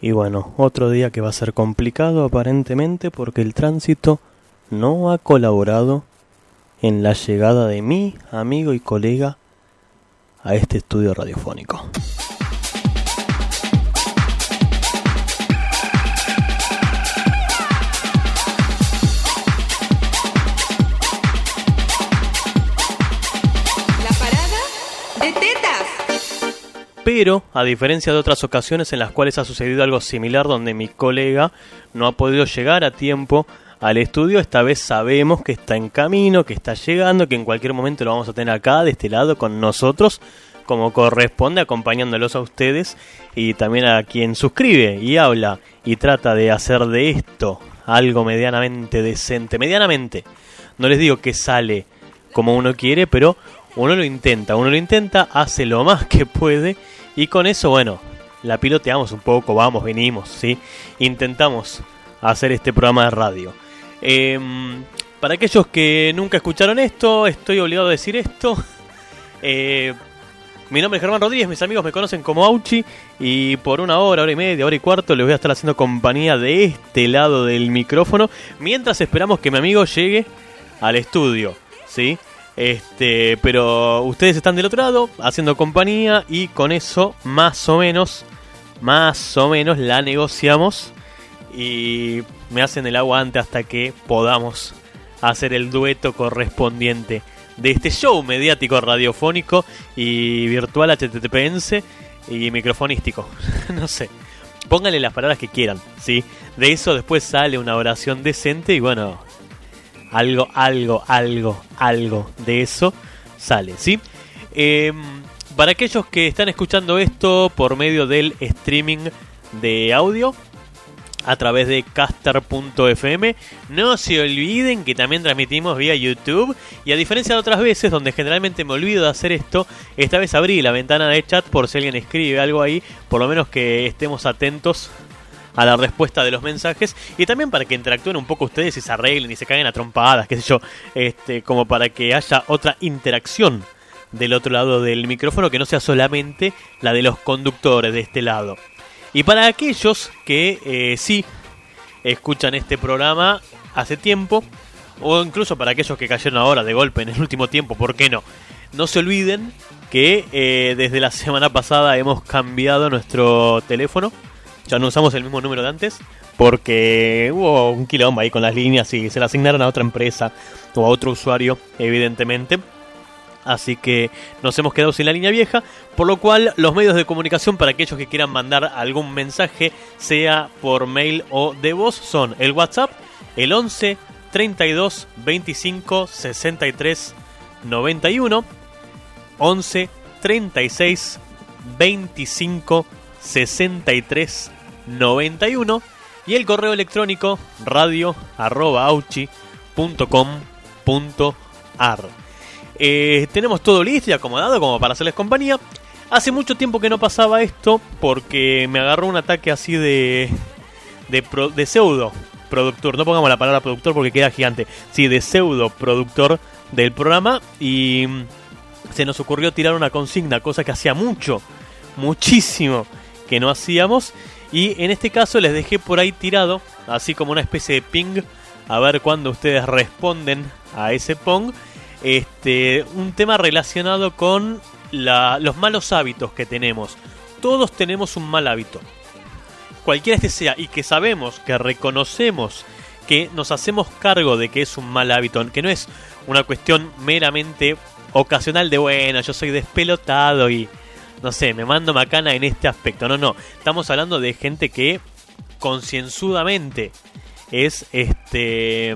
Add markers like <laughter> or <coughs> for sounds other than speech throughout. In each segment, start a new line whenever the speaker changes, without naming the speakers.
Y bueno, otro día que va a ser complicado aparentemente porque el tránsito no ha colaborado en la llegada de mi amigo y colega a este estudio radiofónico.
La parada de tetas.
Pero, a diferencia de otras ocasiones en las cuales ha sucedido algo similar donde mi colega no ha podido llegar a tiempo al estudio, esta vez sabemos que está en camino, que está llegando, que en cualquier momento lo vamos a tener acá, de este lado, con nosotros, como corresponde, acompañándolos a ustedes y también a quien suscribe y habla y trata de hacer de esto algo medianamente decente, medianamente. No les digo que sale como uno quiere, pero uno lo intenta, uno lo intenta, hace lo más que puede y con eso, bueno, la piloteamos un poco, vamos, venimos, ¿sí? Intentamos hacer este programa de radio. Em, para aquellos que nunca escucharon esto, estoy obligado a decir esto. <laughs> Eh, mi nombre es Germán Rodríguez, mis amigos me conocen como Auchi y por una hora, hora y media, hora y cuarto les voy a estar haciendo compañía de este lado del micrófono mientras esperamos que mi amigo llegue al estudio, ¿sí? Este, pero ustedes están del otro lado haciendo compañía y con eso más o menos, más o menos la negociamos y me hacen el aguante hasta que podamos hacer el dueto correspondiente de este show mediático radiofónico y virtual HTTPense y microfonístico. <laughs> no sé. Pónganle las palabras que quieran, ¿sí? De eso después sale una oración decente y bueno, algo, algo, algo, algo de eso sale, ¿sí? Eh, para aquellos que están escuchando esto por medio del streaming de audio, a través de caster.fm. No se olviden que también transmitimos vía YouTube. Y a diferencia de otras veces, donde generalmente me olvido de hacer esto, esta vez abrí la ventana de chat por si alguien escribe algo ahí, por lo menos que estemos atentos a la respuesta de los mensajes y también para que interactúen un poco ustedes y se arreglen y se caguen a trompadas, qué sé yo, este, como para que haya otra interacción del otro lado del micrófono que no sea solamente la de los conductores de este lado. Y para aquellos que eh, sí escuchan este programa hace tiempo, o incluso para aquellos que cayeron ahora de golpe en el último tiempo, ¿por qué no? No se olviden que eh, desde la semana pasada hemos cambiado nuestro teléfono. Ya no usamos el mismo número de antes porque hubo un quilombo ahí con las líneas y se la asignaron a otra empresa o a otro usuario, evidentemente. Así que nos hemos quedado sin la línea vieja, por lo cual los medios de comunicación para aquellos que quieran mandar algún mensaje, sea por mail o de voz, son el WhatsApp, el 11 32 25 63 91, 11 36 25 63 91 y el correo electrónico radio arroba auchi punto com punto ar. Eh, tenemos todo listo y acomodado como para hacerles compañía. Hace mucho tiempo que no pasaba esto porque me agarró un ataque así de. de, pro- de pseudo productor. No pongamos la palabra productor porque queda gigante. Sí, de pseudo productor del programa y mm, se nos ocurrió tirar una consigna, cosa que hacía mucho, muchísimo que no hacíamos. Y en este caso les dejé por ahí tirado, así como una especie de ping, a ver cuándo ustedes responden a ese pong este, un tema relacionado con la- los malos hábitos que tenemos. Todos tenemos un mal hábito, cualquiera este sea, y que sabemos, que reconocemos, que nos hacemos cargo de que es un mal hábito, que no es una cuestión meramente ocasional de, bueno, yo soy despelotado y, no sé, me mando macana en este aspecto. No, no, estamos hablando de gente que concienzudamente es este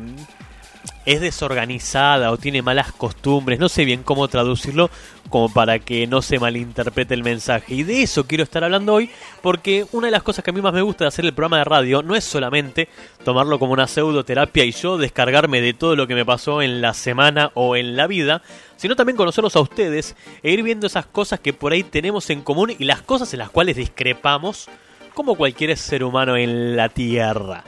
es desorganizada o tiene malas costumbres, no sé bien cómo traducirlo como para que no se malinterprete el mensaje. Y de eso quiero estar hablando hoy porque una de las cosas que a mí más me gusta de hacer el programa de radio no es solamente tomarlo como una pseudoterapia y yo descargarme de todo lo que me pasó en la semana o en la vida, sino también conocerlos a ustedes e ir viendo esas cosas que por ahí tenemos en común y las cosas en las cuales discrepamos como cualquier ser humano en la Tierra.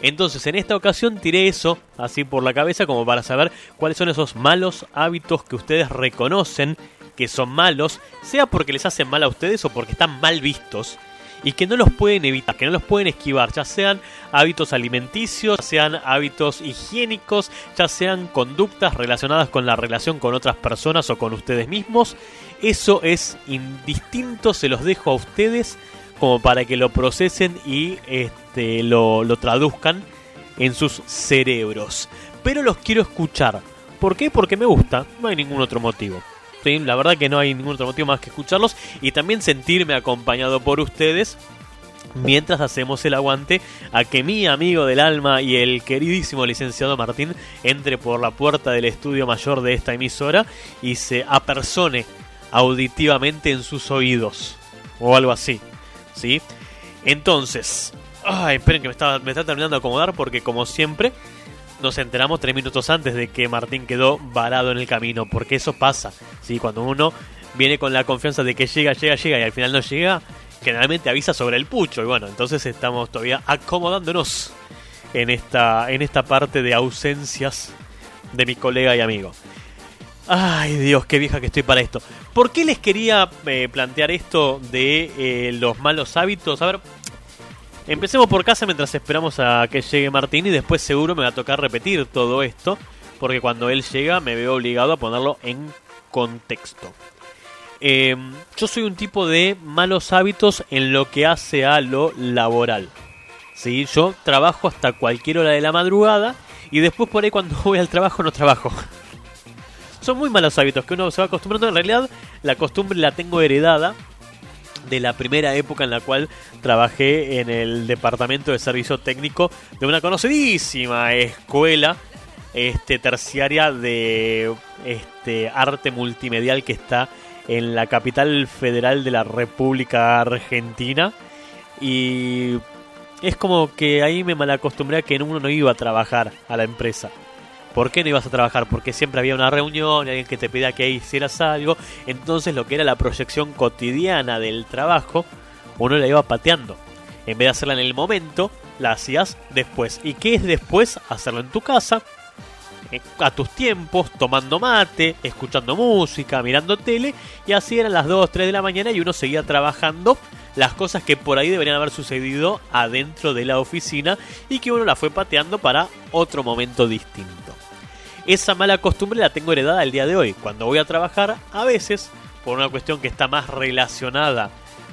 Entonces, en esta ocasión tiré eso así por la cabeza como para saber cuáles son esos malos hábitos que ustedes reconocen que son malos, sea porque les hacen mal a ustedes o porque están mal vistos y que no los pueden evitar, que no los pueden esquivar, ya sean hábitos alimenticios, ya sean hábitos higiénicos, ya sean conductas relacionadas con la relación con otras personas o con ustedes mismos. Eso es indistinto, se los dejo a ustedes como para que lo procesen y este, lo, lo traduzcan en sus cerebros. Pero los quiero escuchar. ¿Por qué? Porque me gusta, no hay ningún otro motivo. Sí, la verdad que no hay ningún otro motivo más que escucharlos y también sentirme acompañado por ustedes mientras hacemos el aguante a que mi amigo del alma y el queridísimo licenciado Martín entre por la puerta del estudio mayor de esta emisora y se apersone auditivamente en sus oídos o algo así. ¿Sí? Entonces, ay, esperen que me está, me está terminando de acomodar porque como siempre nos enteramos tres minutos antes de que Martín quedó varado en el camino, porque eso pasa, ¿sí? Cuando uno viene con la confianza de que llega, llega, llega y al final no llega, generalmente avisa sobre el pucho y bueno, entonces estamos todavía acomodándonos en esta, en esta parte de ausencias de mi colega y amigo. Ay Dios, qué vieja que estoy para esto. ¿Por qué les quería eh, plantear esto de eh, los malos hábitos? A ver, Empecemos por casa mientras esperamos a que llegue Martín y después seguro me va a tocar repetir todo esto, porque cuando él llega me veo obligado a ponerlo en contexto. Eh, yo soy un tipo de malos hábitos en lo que hace a lo laboral. ¿sí? Yo trabajo hasta cualquier hora de la madrugada y después por ahí cuando <laughs> voy al trabajo no trabajo. Son muy malos hábitos que uno se va acostumbrando. En realidad la costumbre la tengo heredada de la primera época en la cual trabajé en el departamento de servicio técnico de una conocidísima escuela este, terciaria de este, arte multimedial que está en la capital federal de la República Argentina. Y es como que ahí me malacostumbré a que uno no iba a trabajar a la empresa. ¿Por qué no ibas a trabajar? Porque siempre había una reunión, alguien que te pedía que hicieras algo. Entonces lo que era la proyección cotidiana del trabajo, uno la iba pateando. En vez de hacerla en el momento, la hacías después. ¿Y qué es después? Hacerlo en tu casa, eh, a tus tiempos, tomando mate, escuchando música, mirando tele. Y así eran las 2, 3 de la mañana y uno seguía trabajando las cosas que por ahí deberían haber sucedido adentro de la oficina y que uno la fue pateando para otro momento distinto esa mala costumbre la tengo heredada al día de hoy. Cuando voy a trabajar, a veces, por una cuestión que está más relacionada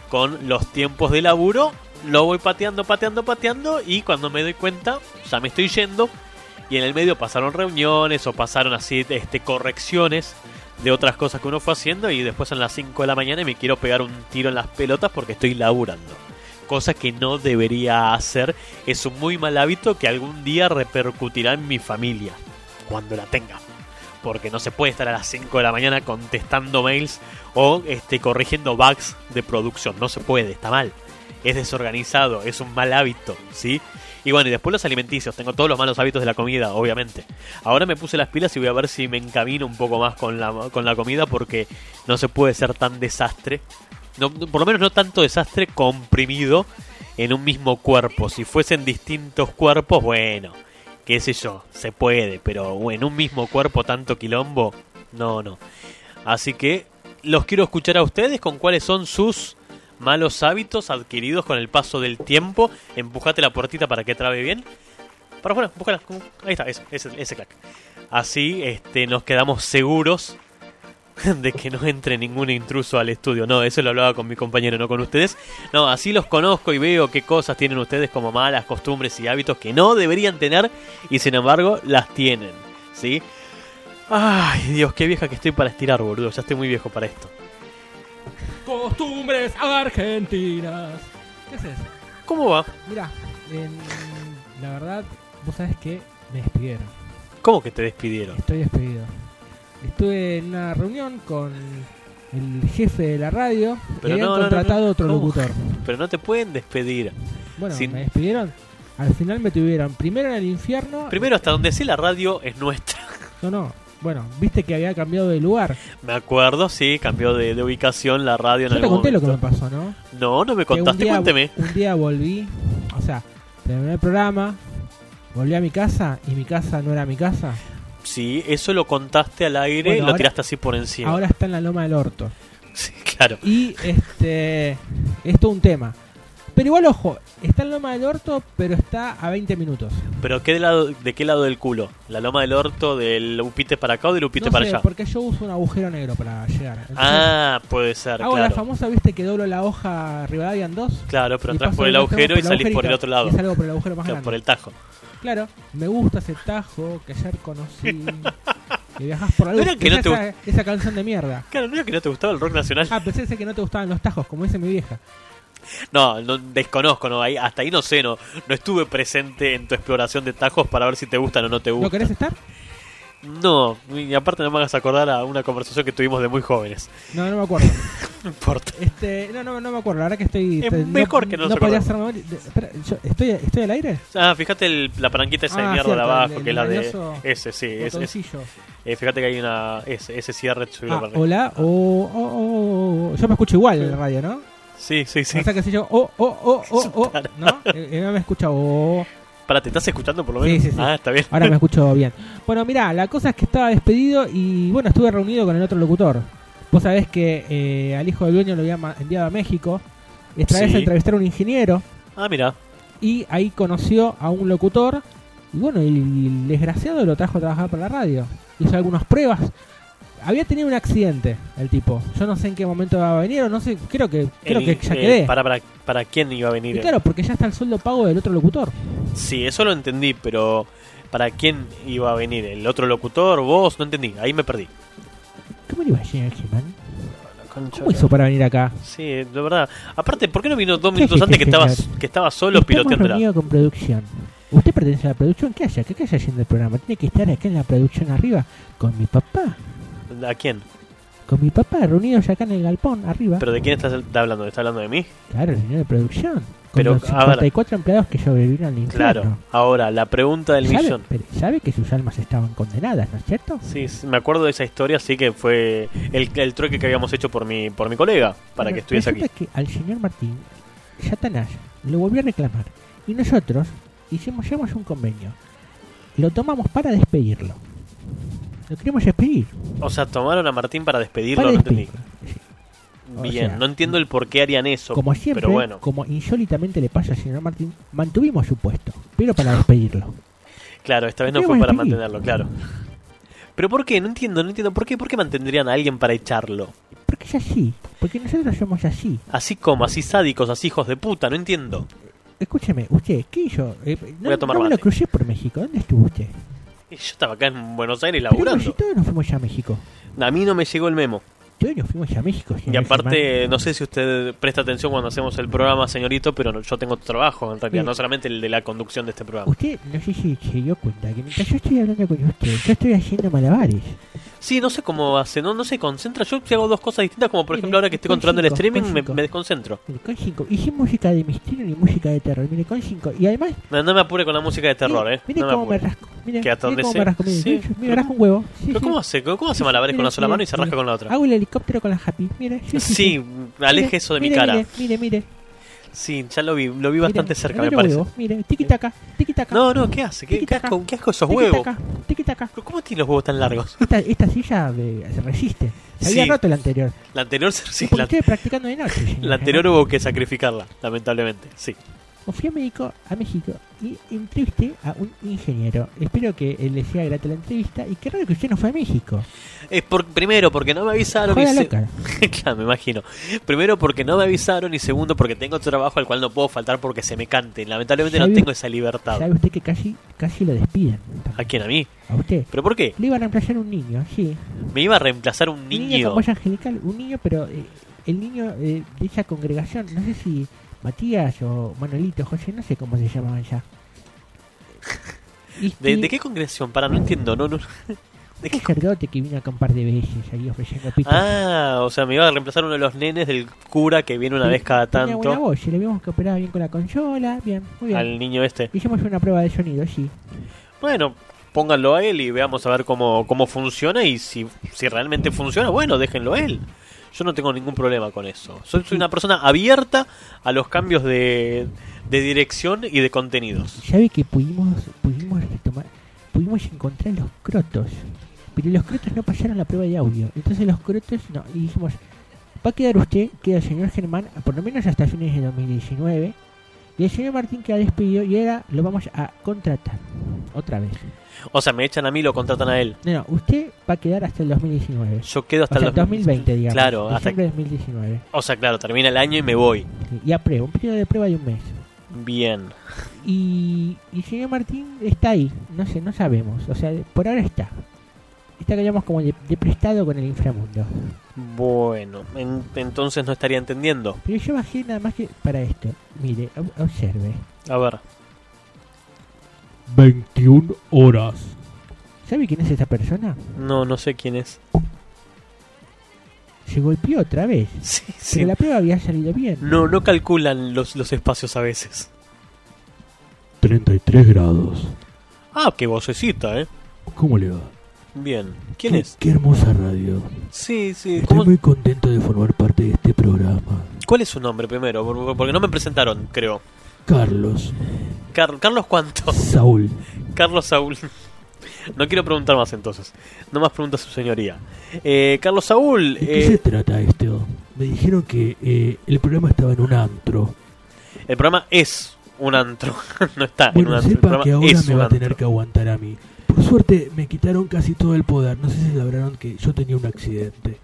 con los tiempos de laburo, lo voy pateando, pateando, pateando y cuando me doy cuenta, ya me estoy yendo y en el medio pasaron reuniones o pasaron así este, correcciones de otras cosas que uno fue haciendo y después son las 5 de la mañana y me quiero pegar un tiro en las pelotas porque estoy laburando. Cosa que no debería hacer, es un muy mal hábito que algún día repercutirá en mi familia cuando la tenga. Porque no se puede estar a las 5 de la mañana contestando mails o este, corrigiendo bugs de producción. No se puede, está mal. Es desorganizado, es un mal hábito, ¿sí? Y bueno, y después los alimenticios. Tengo todos los malos hábitos de la comida, obviamente. Ahora me puse las pilas y voy a ver si me encamino un poco más con la, con la comida porque no se puede ser tan desastre. No, por lo menos no tanto desastre comprimido en un mismo cuerpo. Si fuesen distintos cuerpos, bueno, qué sé yo, se puede, pero en un mismo cuerpo tanto quilombo, no, no. Así que los quiero escuchar a ustedes con cuáles son sus malos hábitos adquiridos con el paso del tiempo. Empujate la puertita para que trabe bien. Para afuera, búscala. Ahí está, eso, ese, ese clac. Así este, nos quedamos seguros <laughs> de que no entre ningún intruso al estudio. No, eso lo hablaba con mi compañero, no con ustedes. No, así los conozco y veo qué cosas tienen ustedes como malas costumbres y hábitos que no deberían tener y sin embargo las tienen, ¿sí? Ay, Dios, qué vieja que estoy para estirar, boludo. Ya estoy muy viejo para esto.
Costumbres argentinas. ¿Qué haces?
¿Cómo va?
Mira, la verdad, vos sabés que me despidieron.
¿Cómo que te despidieron?
Estoy despedido. Estuve en una reunión con el jefe de la radio que
Pero
habían
no, no, no,
contratado
no.
otro
¿Cómo?
locutor.
Pero no te pueden despedir.
Bueno,
Sin-
me despidieron. Al final me tuvieron primero en el infierno.
Primero, hasta donde sé, la radio es nuestra.
No, no. Bueno, viste que había cambiado de lugar.
Me acuerdo, sí, cambió de, de ubicación la radio en
Yo te
algún
conté lo que me
momento.
pasó, ¿no?
No, no me
Que un
contaste,
día,
cuénteme.
Un día volví, o sea, terminé el programa, volví a mi casa y mi casa no era mi casa.
Sí, eso lo contaste al aire,
Bueno,
lo
ahora-
tiraste así por encima. <laughs>
Ahora está en la loma del orto.
Sí, claro.
Y este, es todo un tema. Pero igual, ojo, está en Loma del Orto, pero está a 20 minutos.
¿Pero qué lado, de qué lado del culo? ¿La loma del orto del upite para acá o del upite
no
para
sé,
allá?
porque yo uso un agujero negro para llegar. Entonces,
Ah, puede ser,
hago la
claro.
famosa, viste, que doblo la hoja Rivadavia en dos.
Claro, pero
y
entras
paso
por el
otro
agujero
extremo
y salís por el
agujerito,
otro lado.
Y salgo por el agujero más
Claro,
grande.
por el tajo.
Claro, me gusta ese tajo que ayer
<laughs>
conocí. que viajás por la
No
luz.
era que no
Esa-
te
esa, esa canción de mierda.
Claro, no era que no te gustaba el rock nacional.
Ah, pensé que no te gustaban los tajos, como dice mi vieja.
No, no, desconozco, no, ahí- hasta ahí no sé, no, no estuve presente en tu exploración de tajos para ver si te gustan o no te
¿No
gustan.
querés estar?
No, y aparte no me hagas acordar a una conversación que tuvimos de muy jóvenes.
No, no me acuerdo.
No importa.
Este, no, no, no me acuerdo. La verdad que estoy.
Es
estoy-
mejor
no,
que no
no,
nos
podía
acordemos.
hacer memoria. Espera, yo- ¿estoy, ¿estoy al aire?
Ah, fíjate el- la palanquita esa de
Ah,
mierda de
cierto,
abajo,
el- el
que es la de...
mañoso
Ese, sí, es, es-
Botoncillo.
eh, fíjate que hay una... Ese, ese cierre subirlo
Ah,
para arriba.
hola, o. o- o- o- Yo me escucho igual en la radio, ¿no?
Sí, sí, sí.
O sea que si yo. Oh, oh,
<laughs>
oh, oh, oh. ¿No? Eh, eh, no me escucha. Oh.
Pará, ¿te estás escuchando por lo
Sí,
menos?
sí, sí.
Ah, está bien.
Ahora me escucho bien. Bueno, mirá, la cosa es que estaba despedido y bueno, estuve reunido con el otro locutor. Vos sabés que eh, al hijo del dueño lo había ma- enviado a México. Esta vez
Sí.
a entrevistar a un ingeniero
<laughs> Ah, mira.
y ahí conoció a un locutor. Y bueno, y el desgraciado lo trajo a trabajar para la radio. Hizo algunas pruebas. Había tenido un accidente el tipo. Yo no sé en qué momento va a venir o no sé. Creo que, creo
El-
que ya
eh,
quedé.
para, para, ¿Para quién iba a venir?
Y claro, porque ya está el sueldo pago del otro locutor.
Sí, eso lo entendí, pero ¿para quién iba a venir? ¿El otro locutor? ¿Vos? No entendí, ahí me perdí.
¿Cómo le iba a llegar He-Man? ¿Cómo hizo para venir acá?
Sí, de verdad. Aparte, ¿por qué no vino dos
¿Qué
minutos
dijiste,
antes que
<laughs>
estabas,
señor?
que estabas solo
Estamos
piloteándola?
reunidos con producción. ¿Usted pertenece a la producción? ¿Qué haya? ¿Qué qué haya yendo el programa? Tiene que estar acá en la producción arriba con mi papá.
¿A quién?
Con mi papá reunidos acá en el galpón arriba.
¿Pero de quién estás está hablando? ¿Está hablando de mí?
Claro, el señor de producción. Con
Pero,
los
a ver.
54 empleados que sobrevivieron al infierno.
Claro. Ahora, la pregunta del
¿Sabe,
millón.
pero sabe que sus almas estaban condenadas, ¿no es cierto?
Sí, sí, me acuerdo de esa historia, sí que fue el, el trueque que habíamos hecho por mi, por mi colega, para
Bueno,
que estuviese aquí.
resulta que al señor Martín, Satanás, lo volvió a reclamar. Y nosotros hicimos, llegamos a un convenio. Lo tomamos para despedirlo. Lo queremos despedir.
O sea, tomaron a Martín para despedirlo,
para
no entendí.
despedirlo. O
Bien,
sea,
no entiendo el por qué harían eso.
Como siempre,
pero bueno,
como insólitamente le pasa al señor Martín, mantuvimos su puesto, pero para despedirlo.
claro, esta vez no
Pero
fue
bueno,
para
sí.
mantenerlo, claro. Pero ¿por qué? No entiendo, no entiendo. ¿Por qué? ¿Por qué mantendrían a alguien para echarlo?
Porque es así, porque nosotros somos así.
Así como, así sádicos, así hijos de puta, no entiendo.
Escúcheme, usted, ¿qué hizo? Eh, no,
Voy a tomar
no me lo
mate.
crucé por México, ¿dónde estuvo usted?
Yo estaba acá en Buenos Aires
Pero si
laburando.
todos nos fuimos ya a México.
A mí no me llegó el memo.
Todos nos fuimos ya a México.
Y
señor Germán.
aparte, no sé si usted presta atención cuando hacemos el programa, señorito, pero no- yo tengo otro trabajo, en realidad,
Sí.
no solamente el de la conducción de este programa.
Usted, no sé si se dio cuenta que mientras yo estoy hablando con usted, yo estoy haciendo malabares.
Sí, no sé cómo hace, no, no se concentra. Yo si hago dos cosas distintas, como por
Mire,
ejemplo ahora que estoy
con
controlando el
cinco,
streaming,
con
me,
cinco.
me desconcentro.
Mire, con 5. Hice música de misterio y música de terror. Mire, con 5. Y además,
No, no me apure con la música de terror,
mire,
eh.
mire
No me
cómo me
apure.
rasco. Mire,
Que hasta donde
mire cómo
sé.
me rasco. Mire,
Sí,
yo-
pero-
me rasco un huevo. Sí,
¿Pero
sí.
cómo hace? ¿Cómo hace malabares con una sola mano y se rasca con la otra?
Hago el helicóptero con la happy. Mire, sí, sí, sí.
Sí, aleje
Mire,
eso de mi
mire,
cara.
Mire, mire, mire.
Sí, ya lo vi, lo vi bastante
Mire,
cerca,
el
me
otro
parece.
huevo, Mire, tiquitaca, tiquitaca.
No, no, ¿qué hace? ¿Qué, qué, asco, qué asco esos huevos?
Tiquitaca.
Pero ¿Cómo tiene los huevos tan largos?
Esta, esta silla eh, se resiste. Se
Sí.
había roto la anterior.
La anterior, sí,
Porque
la,
estoy practicando
<laughs>
de noche. señor.
la anterior hubo que sacrificarla, lamentablemente, sí.
O fui a México, a México y entrevisté a un ingeniero. Espero que eh, le sea grata la entrevista y qué raro que usted no fue a México.
Es por, primero, porque no me avisaron y
Joda
se-
loca.
<laughs> claro, me imagino. Primero porque no me avisaron y segundo porque tengo otro trabajo al cual no puedo faltar porque se me cante. Lamentablemente no
¿Sabe-
tengo esa libertad.
Sabe usted que casi, casi lo despiden.
¿A quién? ¿A mí?
A usted.
¿Pero por qué?
Le iba a reemplazar un niño, sí.
Me iba a reemplazar un
Niña
niño.
con voz angelical, un niño, pero eh, el niño eh, de esa congregación, no sé si Matías o Manolito, José, no sé cómo se llamaban ya. Y
¿De,
este-
de qué congregación? Para, no entiendo. No, no. ¿De qué
Un
con-
sacerdote que vino acá un par de veces ahí ofreciendo pitos.
Ah, o sea, me iba a reemplazar uno de los nenes del cura que viene una vez cada
Tenía buena
tanto.
voz, y le vimos que operaba bien con la consola, bien, muy bien.
Al niño este.
Hicimos una prueba de sonido, sí.
Bueno, pónganlo a él y veamos a ver cómo, cómo funciona y si, si realmente funciona, bueno, déjenlo a él. Yo no tengo ningún problema con eso. Soy, soy una persona abierta a los cambios de, de dirección y de contenidos.
¿Sabe que pudimos, pudimos retomar, pudimos encontrar los crotos? Pero los crotos no pasaron la prueba de audio. Entonces los crotos no, y dijimos, va a quedar usted, queda el señor Germán, por lo menos hasta fines de 2019, Y el señor Martín queda despidió y ahora lo vamos a contratar. Otra vez.
O sea, me echan a mí, lo contratan a él.
No, no, usted va a quedar hasta el 2019.
Yo quedo hasta
o sea,
el
2020, digamos.
Claro, hasta
Diciembre de 2019.
O sea, claro, termina el año y me voy.
Y a prueba, un periodo de prueba de un mes.
Bien.
Y, y el señor Martín está ahí, no sé, no sabemos. O sea, por ahora está. Está que llamamos como de, de prestado con el inframundo.
Bueno, en- entonces no estaría entendiendo.
Pero yo bajé nada más que para esto. Mire, ob- observe.
A ver.
21 horas. ¿Sabe quién es esa persona?
No, no sé quién es.
Se golpeó otra vez.
<laughs> Sí, sí.
Pero la prueba había salido bien.
No, no calculan los, los espacios a veces.
33 grados.
Ah, qué vocecita, ¿eh?
¿Cómo le va?
Bien. ¿Quién
Qué-
es?
Qué hermosa Este- radio.
Sí, sí.
Estoy
¿Cómo-
muy contento de formar parte de este programa.
¿Cuál es su nombre primero? Por- por- Porque no me presentaron, creo.
Carlos,
Car- Carlos cuánto?
Saúl,
<laughs> Carlos Saúl. No quiero preguntar más entonces. No más pregunta su señoría. Eh, Carlos Saúl,
¿de qué se
eh,
trata esto? Me dijeron que eh, el programa estaba en un antro.
el programa es un antro. <laughs> no está Ah, en un
Bueno,
antro. El
sepa
programa
que ahora
es
me
un
va a
antro.
tener que aguantar a mí. Por suerte me quitaron casi todo el poder. No sé si sabrán que yo tenía un accidente.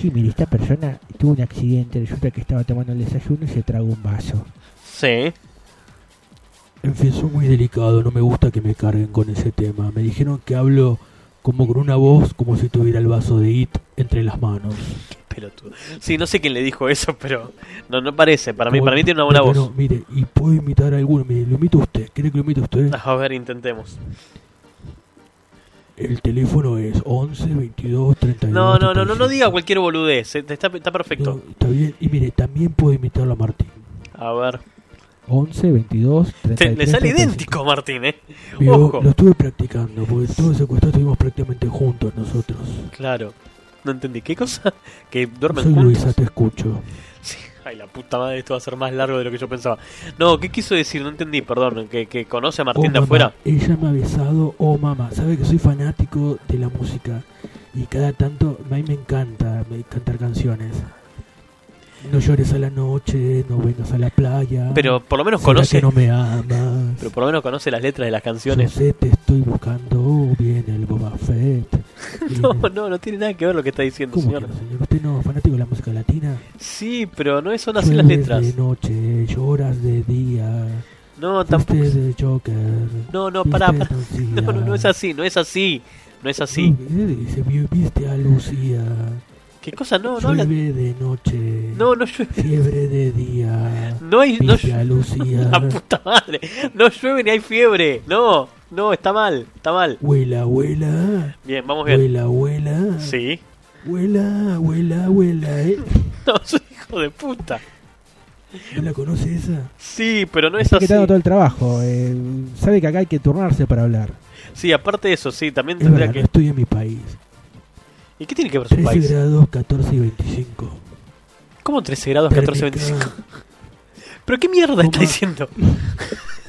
Sí, mire, esta persona tuvo un accidente. Resulta que estaba tomando el desayuno y se tragó un vaso.
Sí.
En fin, soy muy delicado. No me gusta que me carguen con ese tema. Me dijeron que hablo como con una voz, como si tuviera el vaso de IT entre las manos.
Pelotudo. Sí, no sé quién le dijo eso, pero no, no parece. Para mí,
Como-
para mí tiene una buena
Bueno,
voz.
mire, y puedo imitar a alguno. Mire, lo imito a usted. ¿Cree que lo imito a usted?
A ver, intentemos.
El teléfono es 11 22 32.
No, no, no, no, no
35.
diga cualquier boludez. eh, Está, está perfecto.
No, está bien. Y mire, también puedo imitarlo a Martín.
A ver.
11, 22,
Te-
33,
le sale
35.
idéntico, Martín, ¿eh?
Vio,
Ojo.
lo estuve practicando, porque todo ese costado estuvimos prácticamente juntos nosotros.
Claro. No entendí. ¿Qué cosa? <laughs> Que duermen
Soy
juntos.
Luisa, te escucho.
Sí, ay, la puta madre, esto va a ser más largo de lo que yo pensaba. No, ¿qué quiso decir? No entendí, perdón. ¿Que, que conoce a
Oh,
Martín de
mamá,
afuera?
Ella me ha besado, oh mamá, sabe que soy fanático de la música y cada tanto, a mí me encanta me- cantar canciones. No llores a la noche, no vengas a la playa.
Pero por lo menos
¿será
conoce.
que no me amas.
Pero por lo menos conoce las letras de las
Yo
canciones.
sé, te estoy buscando, viene el Boba Fett.
<laughs> No,
Viene-
no, no tiene nada que ver lo que está diciendo,
¿Cómo que
señor.
no, señor? ¿Usted no es fanático de la música latina?
Sí, pero no son así las
Llueves
letras.
de noche, lloras de día.
No, tampoco.
Fuiste de Joker.
No, no, pará,
viste
pará. <laughs>
a Lucía.
No, no, no es así, no es así. No es así.
No, dice, "Vi- viste a Lucía.
¿Qué cosa? No, no habla.
Llueve de noche.
No, no llueve.
Fiebre de día.
No hay. No,
Viste a Lucía.
<laughs> la <laughs> puta madre. No llueve ni hay fiebre. No, no, está mal, está mal.
Huela, huela.
Bien, vamos bien.
Huela, huela.
Sí.
Huela, huela, huela. ¿eh?
<laughs> No, soy hijo de puta.
¿No la conoce esa?
Sí, pero no es
Está
así.
quitando todo el trabajo. eh, sabe que acá hay que turnarse para hablar.
Sí, aparte de eso, sí, también
Es verdad,
tendría
no
que...
estoy en mi país.
¿Y qué tiene que ver su
13
país?
grados, 14 y 25.
¿Cómo 13 grados, 14, 25? ¿Pero qué mierda está
Toma.
diciendo? <laughs>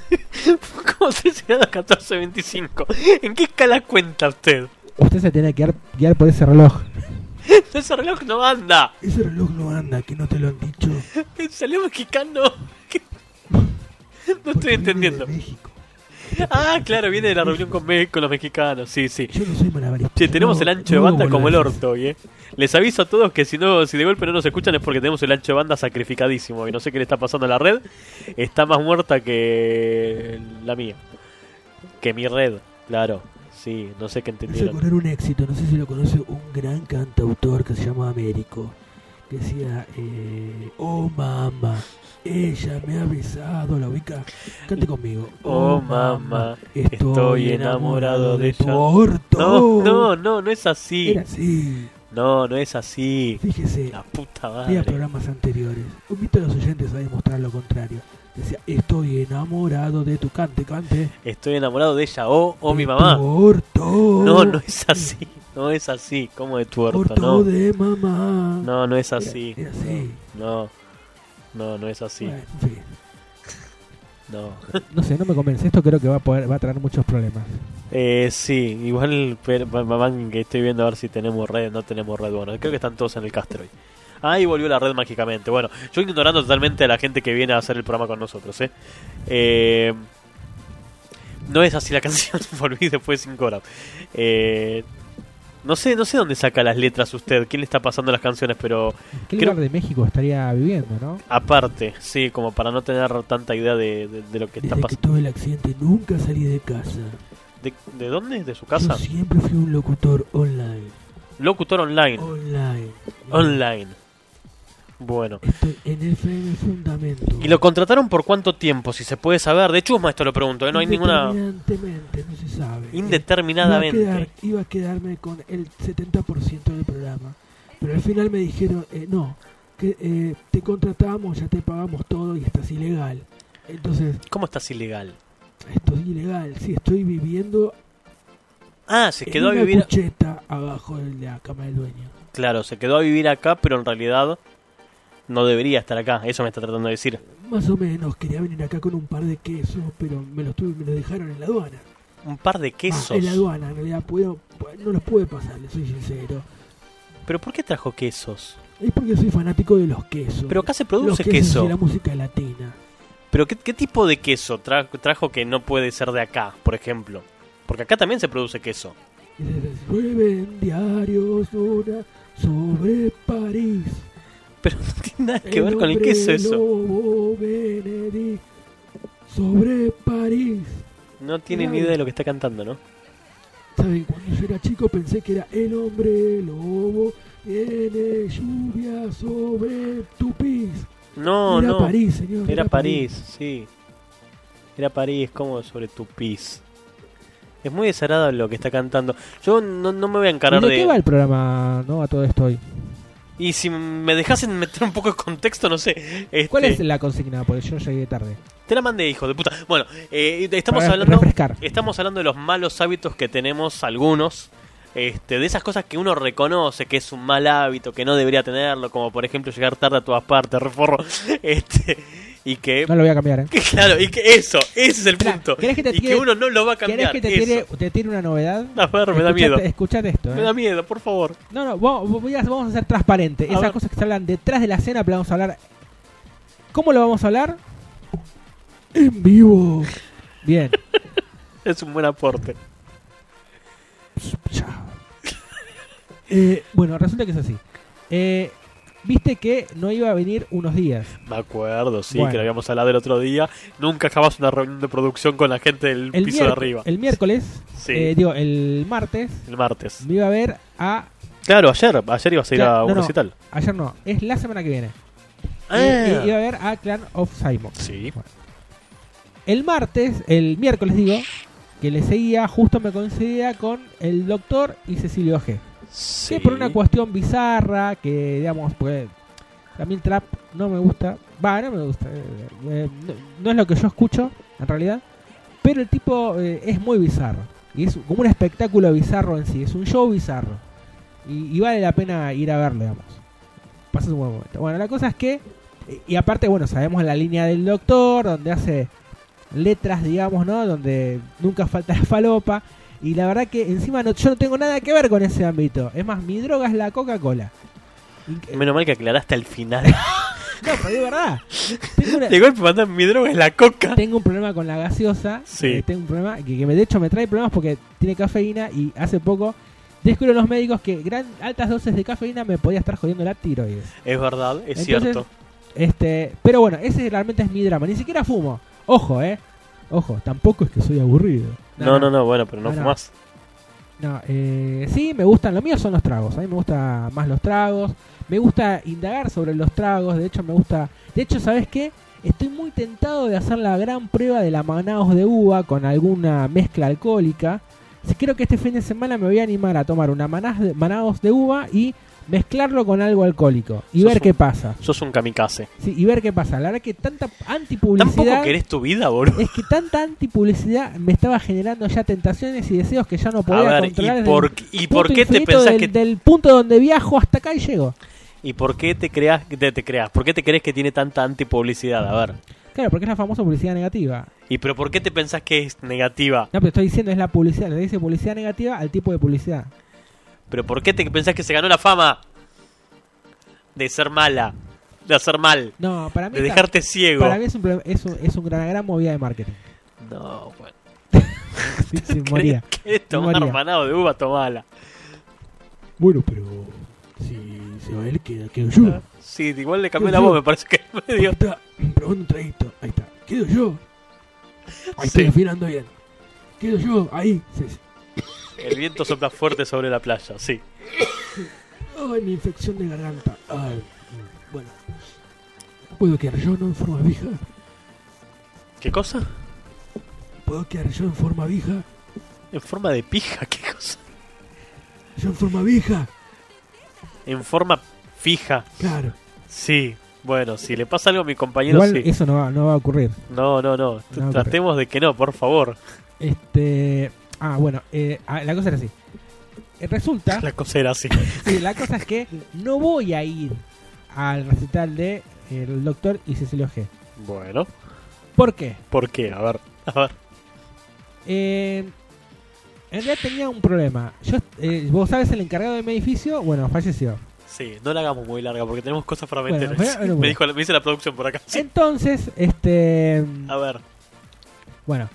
¿Cómo 13 grados, 14, 25? ¿En qué escala cuenta usted?
Usted se tiene que guiar, guiar por ese reloj.
<laughs> Ese reloj no anda.
Ese reloj no anda, que no te lo
<laughs>
han dicho.
El reloj mexicano... <laughs> ¿Qué? No
Porque
estoy
viene
entendiendo.
de México.
Ah, claro, viene de la reunión con, me- con los mexicanos. Sí, sí.
Yo no soy malabarista.
Che, tenemos
no-
el ancho de
no
banda
hago
como el
malabares.
orto hoy, eh. Les aviso a todos que si no, si de golpe no nos escuchan es porque tenemos el ancho de banda sacrificadísimo. Y no sé qué le está pasando a la red. Está más muerta que la mía. Que mi red, claro. Sí, no sé qué
Hice
entendieron.
correr un éxito, no sé si lo conoce un gran cantautor que se llama Américo. Que decía, eh, oh mamá, ella me ha besado, la ubica. Cante conmigo.
Oh, mamá, estoy enamorado de
tu
ella.
orto.
No, no, no, no es así.
Era así.
No, no es así.
Fíjese,
La puta
Vea
madre.
programas anteriores. Invito a los oyentes a demostrar lo contrario. Decía, estoy enamorado de tu cante, cante.
Estoy enamorado de ella o o mi
de
mamá.
tu orto.
No, no es así. No es así. Como de tu orto,
Orto
no.
de mamá.
No, no es
Era-
así.
Era, así.
No. No, no es así.
Bueno, en fin.
No.
<laughs> No sé, no me convence. Esto creo que va a, poder, va a traer muchos problemas.
Eh, sí, igual pero, va- va- van que estoy viendo a ver si tenemos red, no tenemos red. Bueno, creo que están todos en el Castro hoy. Ahí volvió la red mágicamente. Bueno, yo ignorando totalmente a la gente que viene a hacer el programa con nosotros, ¿eh? Eh, no es así la <laughs> canción, volví después de 5 horas. Eh, no sé, no sé dónde saca las letras usted, quién le está pasando las canciones, pero
¿En qué
Creo-
lugar de México estaría viviendo, no?
aparte, sí, como para no tener tanta idea de, de- de lo que está
Desde que
pasando.
tuve el accidente nunca salí de casa.
¿De, de dónde? ¿De su casa?
Yo siempre fui un locutor online.
Locutor online.
Online.
Online. Bueno.
Estoy en FM Fundamento.
¿Y lo contrataron por cuánto tiempo? Si se puede saber. De chusma esto lo pregunto, ¿eh? No hay ninguna...
Indeterminantemente, no se sabe. Iba a,
Indeterminadamente.
quedar- iba a quedarme con el 70% del programa. Pero al final me dijeron, eh, no, que eh, te contratamos, ya te pagamos todo y estás ilegal. Entonces,
¿Cómo estás ilegal?
esto es ilegal. Sí, estoy viviendo
Ah, se
en
quedó a
una
vivir...
cucheta abajo de la cama del dueño.
Claro, se quedó a vivir acá, pero en realidad no debería estar acá. Eso me está tratando de decir.
Más o menos, quería venir acá con un par de quesos, pero me los, tuve, me los dejaron en la aduana.
Un par de
Ah, en la
quesos.
aduana, en realidad, puedo- no los pude pasar, les soy sincero.
¿Pero por qué trajo quesos?
Es porque soy fanático de los quesos.
Pero acá se
los
produce
quesos
queso.
y la música latina.
¿Pero qué, qué tipo de queso tra- trajo que no puede ser de acá, por ejemplo? Porque acá también se produce queso.
Llueven diarios una sobre París.
Pero no tiene nada que ver con el
hombre
queso eso.
lobo Benedict sobre París.
No tiene ni idea de lo que está cantando, ¿no?
Saben, cuando yo era chico pensé que era el hombre lobo. Viene lluvia sobre Tupis.
No,
era
no.
París, señor.
Era París, sí. Era París, como sobre tu pis. Es muy desagradable lo que está cantando. Yo no, no me voy a
¿Y
encarar
de qué va
de...
el programa, no? A todo esto hoy.
Y si me dejasen meter un poco de contexto, no sé.
¿Cuál
este,
es la consigna? Porque yo llegué tarde.
Te la mandé, hijo de puta. Bueno, eh, estamos
Para
hablando...
refrescar.
Estamos hablando de los malos hábitos que tenemos algunos. Este, de esas cosas que uno reconoce que es un mal hábito, que no debería tenerlo, como por ejemplo llegar tarde a todas partes, reforro. <laughs> Este, y que,
No lo voy a cambiar, ¿eh?
que <laughs> claro, y que eso, ese es el
Esperá,
punto.
¿querés que te
y que
tire-
uno no lo va a
¿Querés
cambiar.
que te
eso.
tire, te tire una novedad?
A ver, me da
Escuchate-
miedo.
Escuchate esto,
Me
¿eh?
da miedo, por favor.
No, no, vamos, voy a- vamos a ser transparentes.
A
Esas
ver.
cosas que se hablan detrás de la escena, pero vamos a hablar. ¿Cómo lo vamos a hablar?
En vivo.
Bien.
Es un buen aporte. <laughs>
Chao.
Eh, bueno, resulta que es así. Eh, Viste que no iba a venir unos días.
Me acuerdo, sí,
Bueno.
que lo habíamos hablado el otro día. Nunca jamás una reunión de producción con la gente del
El,
piso de
miérc-
arriba.
el miércoles,
Sí.
eh, digo, el martes,
El martes.
me iba a ver a.
Claro, ayer, ayer ibas a ir
Claro,
a un
no, no.
recital.
Ayer no, es la semana que viene.
Ah.
I- iba a ver a Clan of Simon.
Sí.
El martes, el miércoles digo, que le seguía, justo me coincidía con el doctor y Cecilio G.
Sí.
Que por una cuestión bizarra, que digamos, pues. A mí el trap no me gusta. Va, no me gusta. eh, eh, no, no es lo que yo escucho, en realidad. Pero el tipo eh, es muy bizarro. Y es como un espectáculo bizarro en sí. Es un show bizarro. Y, y vale la pena ir a verlo, digamos. Pasas un buen momento. Bueno, la cosa es que. Y aparte, bueno, sabemos la línea del doctor, donde hace letras, digamos, ¿no? Donde nunca falta la falopa. Y la verdad que encima no, yo no tengo nada que ver con ese ámbito. Es más, mi droga es la Coca-Cola. Y-
Menos mal que aclaraste al final.
<laughs> No, pero de verdad. Tengo, una-
De golpe mandan mi droga es la coca.
tengo un problema con la gaseosa.
Sí.
eh, tengo un problema que, que me- de hecho me trae problemas porque tiene cafeína y hace poco descubrieron los médicos que gran, altas dosis de cafeína me podía estar jodiendo la tiroides.
Es verdad, es
Entonces-
cierto.
Este, pero bueno, ese realmente es mi drama. Ni siquiera fumo. Ojo, eh. Ojo, tampoco es que soy aburrido.
No, no, no, bueno, pero no
No, no.
fumás.
No, eh, sí, me gustan, lo mío son los tragos, a mí me gustan más los tragos, me gusta indagar sobre los tragos, de hecho me gusta, de hecho, ¿sabes qué? Estoy muy tentado de hacer la gran prueba de la Manaos de uva con alguna mezcla alcohólica. Sí, Creo que este fin de semana me voy a animar a tomar una Manaos de, Manaos de uva y mezclarlo con algo alcohólico y
Sos
ver
un-
qué pasa.
Sos un kamikaze.
Sí, y ver qué pasa. La verdad que tanta
Tampoco
antipublicidad
querés tu vida,
<laughs>
boludo.
es que tanta antipublicidad me estaba generando ya tentaciones y deseos que ya no
A
podía
ver,
controlar.
¿y
desde
por, y por
punto
qué te
infinito
pensás
del,
que.?
del punto donde viajo hasta acá y llego.
¿Y por qué te creas, te, te creas? ¿Por qué te crees que tiene tanta antipublicidad? A ver.
Claro, porque es la famosa publicidad negativa.
¿Y pero por qué te pensás que es negativa?
No, pero estoy diciendo es la publicidad. Le dice publicidad negativa al tipo de publicidad.
¿Pero por qué te pensás que se ganó la fama? de ser mala, de hacer mal,
No, para mí,
de
está-
dejarte ciego.
para mí es, un, pro- es, un- es un gran, gran movida de marketing.
No, bueno.
Sí, sí, moría.
<laughs> ¿Querés tomar
Moría.
manado de uva? Tomala.
Bueno, pero si se va él, queda, quedo yo.
Sí, igual le cambié la voz, me parece que en medio.
Ahí está, probando un traguito. Ahí está, quedo yo. Ahí
Sí.
estoy afinando bien. Quedo yo, ahí. Sí, sí.
El viento sopla fuerte sobre la playa, sí.
Ay, mi infección de garganta. Ay, mm, bueno. ¿Puedo quedar yo no en forma vieja?
¿Qué cosa?
¿Puedo quedar yo en forma vieja?
En forma de pija, ¿qué cosa?
¿Yo en forma vieja?
En forma fija.
Claro.
Sí, bueno, si le pasa algo a mi compañero,
Igual
sí.
eso no va, no va a ocurrir.
No, no, no. T-
No,
Tratemos de que no, por favor. <laughs>
Este. Ah, bueno, eh, ah, la cosa era así. Eh, Resulta,
La cosa era así.
sí, la cosa es que no voy a ir al recital de eh, El Doctor y Cecilio G.
Bueno,
¿Por qué?
¿por qué? A ver, a ver.
Eh, en realidad tenía un problema. Yo, eh, vos sabes, el encargado de mi edificio, bueno, falleció.
Sí, no la hagamos muy larga porque tenemos cosas para
Bueno,
meter.
voy a- bueno,
<laughs> me,
bueno.
dijo, me dice la producción por acá. Sí.
Entonces, este.
A ver,
Bueno,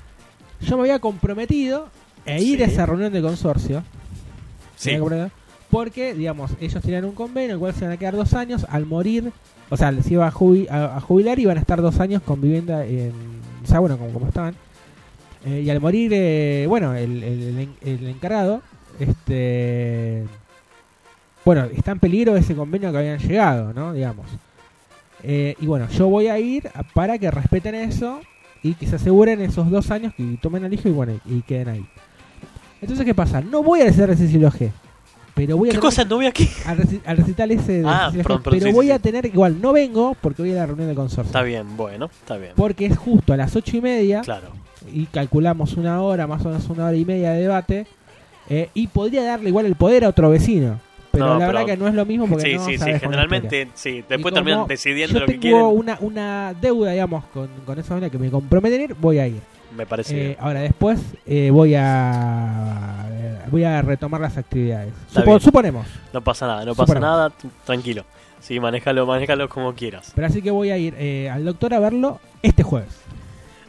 yo me había comprometido a ir a
Sí.
esa reunión de consorcio.
sí.
Me había comprometido, Porque, digamos, ellos tenían un convenio en el cual se van a quedar dos años al morir. O sea, se iba a, jubi- a- a jubilar y van a estar dos años con vivienda en. O sea, bueno, como, como estaban. Eh, y al morir, eh, bueno, el, el- el en- el encargado, este. Bueno, está en peligro ese convenio que habían llegado, ¿no? Digamos. Eh, y bueno, yo voy a ir a- para que respeten eso y que se aseguren esos dos años que tomen al hijo y bueno, y queden ahí. Entonces, ¿qué pasa? No voy a hacer Cecilio G, pero voy a
¿Qué
tener-
cosa? No voy aquí.
al, reci- al recital ese de
Ah,
Cecilio G,
perdón, perdón,
pero
sí,
voy
sí,
a
sí.
tener, igual no vengo porque voy a la reunión de consorcio.
Está bien, bueno, está bien.
Porque es justo a las ocho y media
Claro.
y calculamos una hora, más o menos una hora y media de debate. eh, y podría darle igual el poder a otro vecino. Pero
No,
la
pero-
verdad que no es lo mismo porque
Sí,
no
sí, sí.
sabes con la historia.
Generalmente, sí. Después
Y
terminan
como
decidiendo
yo
lo que
tengo
quieren.
Una, una deuda, digamos, con, con esa manera que me comprometí a ir, voy a ir.
Me parece
Eh,
bien.
ahora después eh, voy a eh, voy a retomar las actividades.
Está
Supo-
bien.
suponemos.
No pasa nada, no pasa
Superman.
nada. t- Tranquilo. Sí, manejalo, manejalo como quieras.
Pero así que voy a ir eh, al doctor a verlo este jueves.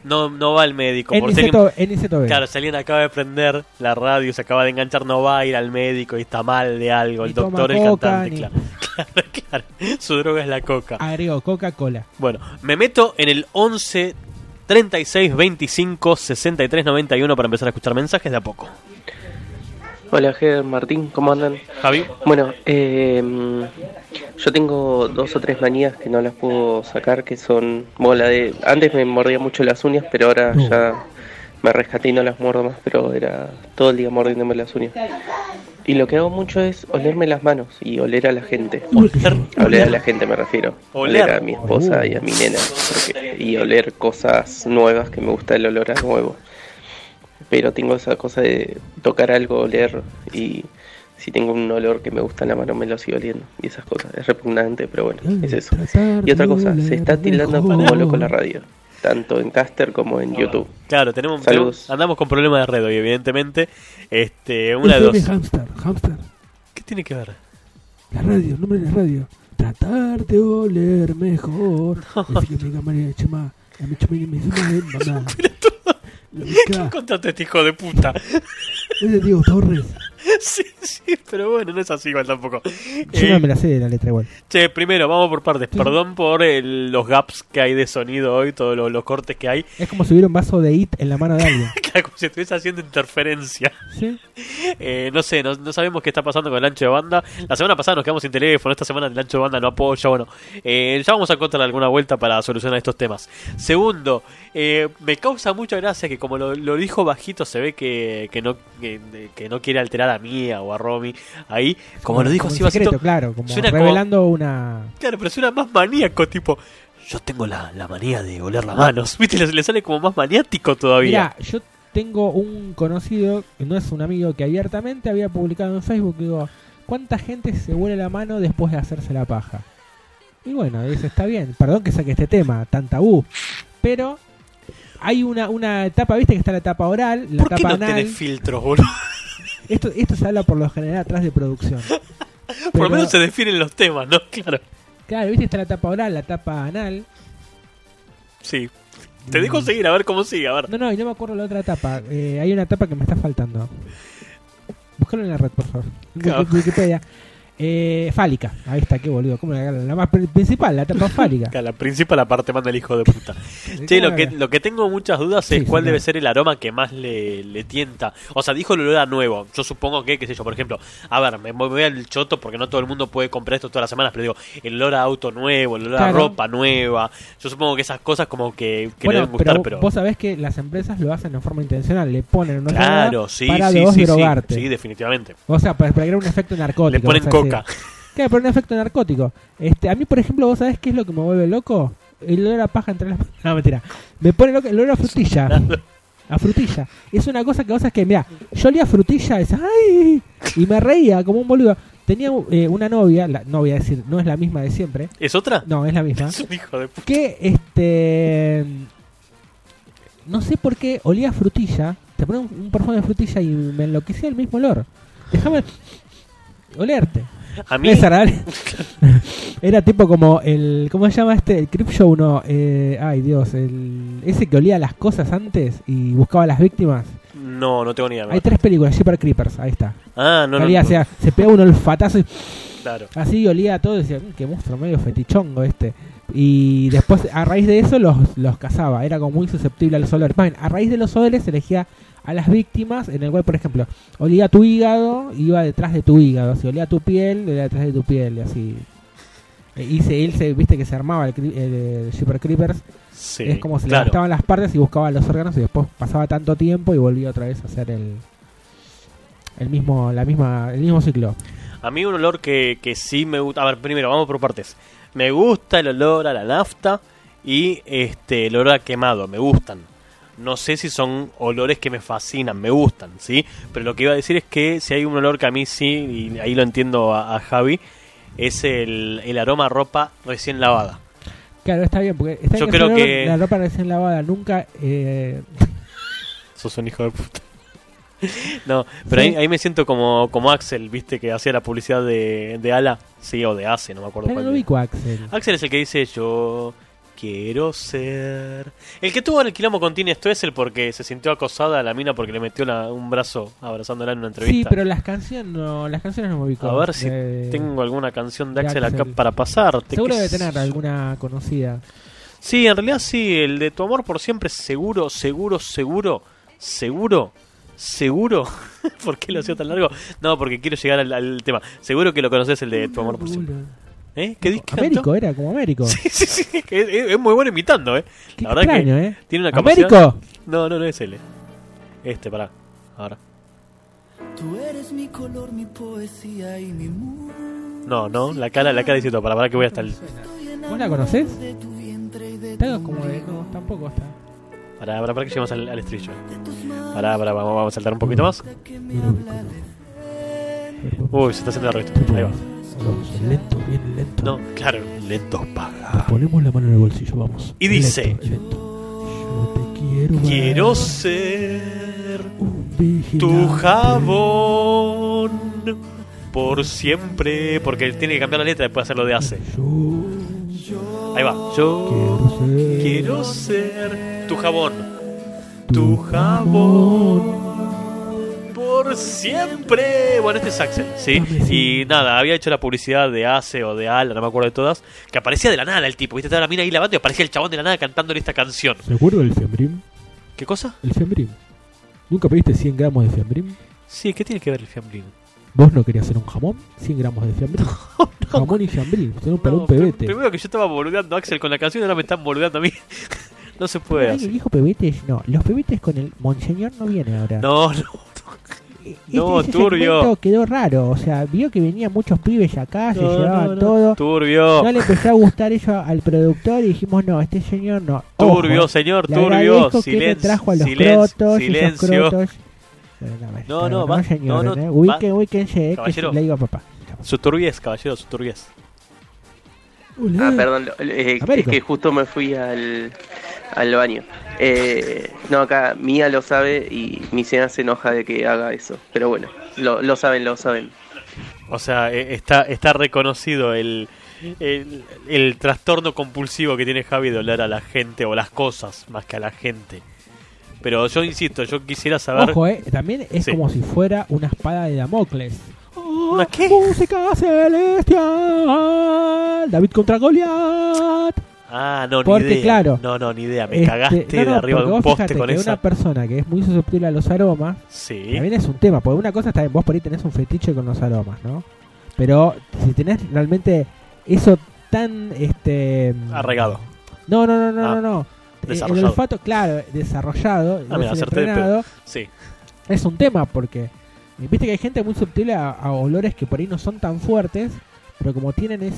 No, no va el médico.
En
por si alguien-
Niceto, en Niceto B.
Claro, si alguien acaba de prender la radio, se acaba de enganchar, no va a ir al médico y está mal de algo. El
Ni toma
doctor, el
coca,
cantante,
ni-
claro. Claro, claro. <laughs> Su droga es la coca.
Agrego Coca-Cola.
Bueno, me meto en el 11 36 25 63 91 para empezar a escuchar mensajes de a poco.
Hola, Ger, Martín, ¿cómo andan?
Javi,
Bueno, eh, yo tengo dos o tres manías que no las puedo sacar, que son, bueno, la de, antes me mordía mucho las uñas, pero ahora
No.
ya me rescaté y no las muerdo más, pero era todo el día mordiéndome las uñas. Y lo que hago mucho es olerme las manos y oler a la gente. Oler a la gente me refiero.
Oler.
Oler, a mi esposa y a mi nena. porque- y oler cosas nuevas que me gusta el olor a nuevo. Pero tengo esa cosa de tocar algo, oler y si tengo un olor que me gusta en la mano me lo sigo oliendo. Y esas cosas. Es repugnante, pero bueno, es eso. Y otra cosa, se está tildando como loco la radio. Tanto en Caster como en YouTube.
claro, tenemos,
Saludos.
tenemos- andamos con problemas de red hoy, evidentemente. Este, una de
FM
dos.
Hamster, Hamster.
¿Qué tiene que ver?
La radio, el nombre de la radio. Tratar de
<laughs>
oler mejor. Así que me diga María Chema. La me chema y me dice, "Mamá,
<laughs>
mamá". La busca.
Contrate este hijo de puta. <laughs>
Es de Diego Torres.
Sí, sí, pero bueno, no es así igual tampoco.
Yo
Eh,
no me la sé de la letra igual.
Che, primero, vamos por partes.
Sí.
Perdón por el- los gaps que hay de sonido hoy, todos los, los cortes que hay.
Es como si hubiera un vaso de IT en la mano de alguien.
Claro, como si estuviese haciendo interferencia.
¿Sí?
Eh, no sé, no, no sabemos qué está pasando con el ancho de banda. La semana pasada nos quedamos sin teléfono, esta semana el ancho de banda no apoya. Bueno, eh, ya vamos a encontrar alguna vuelta para solucionar estos temas. Segundo, eh, me causa mucha gracia que como lo, lo dijo bajito, se ve que, que no, que, que no quiere alterar a Mía o a Romy. Ahí, <laughs> como lo dijo
en
así bajito,
secreto, claro, como
suena como-
revelando una.
Claro, pero suena más maníaco, tipo. Yo tengo la, la manía de oler las manos. <laughs> Viste, le, le sale como más maniático todavía.
Mira, yo tengo un conocido, que no es un amigo, que abiertamente había publicado en Facebook, digo, ¿cuánta gente se huele la mano después de hacerse la paja? Y bueno, dice, está bien, perdón que saque este tema, tan tabú, pero hay una, una etapa, viste que está la etapa oral, la
¿Por qué
etapa
no
anal,
tenés filtros, boludo? <laughs>
esto, esto se habla por lo general atrás de producción.
Por lo
Pero-
menos se definen los temas, ¿no? <laughs> Claro.
Claro, viste, está la tapa oral, la tapa anal.
Sí. Te
Mm.
dejo seguir, a ver cómo sigue, a ver.
No, no, y no me acuerdo la otra etapa. Eh, hay una etapa que me está faltando. Búscalo en la red, por favor. En
Claro.
Wikipedia. Eh, fálica. Ahí está, qué boludo. ¿Cómo la, la más pri- principal, la etapa fálica.
Acá, La principal aparte manda el hijo de
<laughs>
puta. Che, lo que, lo que tengo muchas dudas es
Sí,
cuál
señor.
debe ser el aroma que más le, le tienta. O sea, dijo el olor a nuevo. Yo supongo que, qué sé yo, por ejemplo, a ver, me voy al choto porque no todo el mundo puede comprar esto todas las semanas, pero digo, el olor a auto nuevo, el olor a
Claro.
ropa nueva. Yo supongo que esas cosas como que, que le
bueno,
deben gustar,
pero,
pero...
vos sabés que las empresas lo hacen en forma intencional. Le ponen una
Claro,
droga
sí,
para
sí,
vos
sí, sí,
drogarte.
sí, definitivamente.
O sea, para, para crear un efecto narcótico.
Le ponen
vamos a decir.
coca.
Claro, pero un efecto narcótico. Este, a mí, por ejemplo, ¿vos sabés qué es lo que me vuelve loco? El olor a paja entre las manos. <laughs> No, mentira. Me pone loco el olor a frutilla.
<laughs>
A frutilla. Es una cosa que vos sabés que, mira, yo olía frutilla y decía, ¡ay! Y me reía como un boludo. Tenía eh, una novia, la, no voy a decir, no es la misma de siempre.
¿Es otra?
No, es la misma.
<laughs> Es un hijo de puta.
Que, este... No sé por qué olía a frutilla. Te pone un, un perfume de frutilla y me enloquecía el mismo olor. Déjame olerte.
A
<laughs>
mí...
Desagradable. Era tipo como el. ¿Cómo se llama este? El Crip Show, no. eh, ay, Dios. El, ese que olía las cosas antes y buscaba a las víctimas.
No, no tengo ni idea.
Hay tres películas: Super Creepers, ahí está.
Ah, no, no,
Olía,
no,
o sea, se pega un olfatazo y
Claro.
así olía todo. Y decía, "Mm, qué monstruo medio fetichongo este. Y después, a raíz de eso, los, los cazaba. Era como muy susceptible a los olores. Más bien, a raíz de los olores, elegía a las víctimas. En el cual, por ejemplo, olía tu hígado, iba detrás de tu hígado. Si olía tu piel, olía detrás de tu piel. Y así. Eh, Y se, él se, viste que se armaba el, cri- el, eh, Super Creepers.
Sí,
es como se le
claro.
gastaban las partes y buscaba los órganos. Y después pasaba tanto tiempo y volvía otra vez a hacer el. El mismo, la misma, el mismo ciclo.
A mí un olor que, que sí me gusta. A ver, primero, vamos por partes. Me gusta el olor a la nafta y este el olor a quemado, me gustan. No sé si son olores que me fascinan, me gustan, ¿sí? Pero lo que iba a decir es que si hay un olor que a mí sí, y ahí lo entiendo a, a Javi, es el, el aroma a ropa recién lavada.
Claro, está bien, porque está
Yo
bien
creo
se lave
que-
la ropa recién lavada nunca... Eh,
<laughs> Sos un hijo de puta. No, pero ahí,
<laughs> Sí.
ahí me siento como, como Axel, viste, que hacía la publicidad de, de Ala, sí, o de Ace, no me acuerdo
pero
cuál.
no
era.
ubico a Axel.
Axel es el que dice yo quiero ser. El que tuvo en el quilombo con Tini esto es el porque se sintió acosada a la mina porque le metió la- un brazo abrazándola en una
Sí,
entrevista.
pero las canciones no, las canciones no me ubico.
A ver si
Eh,
tengo alguna canción de
de
Axel acá
Axel.
para pasarte.
Seguro
qué
debe
sé
tener
yo.
alguna conocida.
Sí, en realidad sí, el de tu amor por siempre seguro, seguro, seguro, seguro, seguro. <laughs> ¿Por qué lo hacía tan largo? No, porque quiero llegar al, al tema. Seguro que lo conoces el de tu amor por siempre. ¿Eh? ¿Qué disco? cantó?
Américo, era como Américo.
Sí, sí, sí. que Es, es- es muy bueno imitando, ¿eh?
Qué
la verdad
extraño,
que
¿eh?
tiene una capacidad.
¡Américo!
No, no, no es él. Este, pará. Ahora.
Tú eres mi color, mi poesía y mi música.
No, no, la cara, la cara diciendo, pará, pará que voy hasta el.
¿Vos la conocés?
De tu vientre y de
Está
tu
como de...
ombligo,
No, tampoco está.
Pará, pará, pará que llegamos al, al estribillo.
de tus manos
Pará, pará, vamos, vamos a saltar un poquito más.
que me habla de
Uy, se está haciendo el resto. Ahí va.
Lento, bien lento.
No, claro, lentos paga.
Ponemos la mano en el bolsillo, vamos.
Ah. Y dice-
Lento, lento. Yo te quiero. dar
Quiero ser
un vigilante.
tu jabón por siempre. Porque tiene que cambiar la letra después de hacer lo de hace.
Yo
Ahí va. Yo
quiero ser.
quiero ser tu jabón. Tu jabón por siempre. Bueno, este es Axel, sí. Y nada, había hecho la publicidad de Ace o de Ala, no me acuerdo de todas. Que aparecía de la nada el tipo, ¿viste? Estaba la mina ahí lavando y aparecía el chabón de la nada cantándole esta canción.
¿Se acuerda del fiambrim?
¿Qué cosa?
El fiambrim. ¿Nunca pediste 100 gramos de fiambrim?
Sí, ¿qué tiene que ver el fiambrín?
¿Vos no querías hacer un jamón? 100 gramos de
<laughs>
fiambrín. Jamón y fiambrín. Usted no, para
No,
un pebete.
pr- Primero que yo estaba boludeando a Axel con la canción y ahora me están boludeando a mí. <laughs> no se puede
Ay,
así.
el hijo pebetes, no. Los pebetes con el monseñor no viene ahora.
No, no.
E-
no,
ese
turbio.
segmento quedó raro. O sea, vio que venían muchos pibes acá, se
no,
llevaban
no, no.
todo.
Turbio.
No le empezó a gustar eso al productor y dijimos, no, este señor no. Ojo,
Turbio, señor,
le
turbio.
agradezco que me
Silencio.
trajo a los
silencio.
crotos,
silencio.
esos crotos. Bueno, no,
No, no, va-
no, señor,
no, no,
eh.
va-
Ubiquen, ubíquense, eh, que
Caballero.
le digo a papá.
Su turbiez, caballero, su turbiez.
Hola.
Ah, perdón, lo- eh, es
Américo.
que justo me fui al, al baño. Eh, no, acá Mía lo sabe y mi cena se enoja de que haga eso. Pero bueno, lo, lo saben, lo saben.
O sea, eh, está, está e, reconocido el, el, el trastorno compulsivo que tiene Javi de oler a la gente o las cosas más que a la gente. Pero yo insisto, yo quisiera saber.
Ojo, eh, también es
Sí.
como si fuera una espada de Damocles.
¿Una qué?
Música celestial. David contra Goliat.
Ah, no,
Porque,
ni idea.
claro,
no, no, ni idea. Me
Este,
cagaste
no, no,
de arriba de
porque
un
vos
poste
fijate
con
que
esa.
Una persona que es muy susceptible a los aromas,
Sí.
también es un tema, porque una cosa está bien, vos por ahí tenés un fetiche con los aromas, ¿no? Pero si tenés realmente eso tan este
Arraigado.
No, no, no, no,
Ah,
no, no. Eh, El
desarrollado.
olfato, claro, desarrollado,
Ah, mira,
recién
acerté de pedo.
entrenado,
Sí.
es un tema porque viste que hay gente muy susceptible a, a olores que por ahí no son tan fuertes, pero como tienen es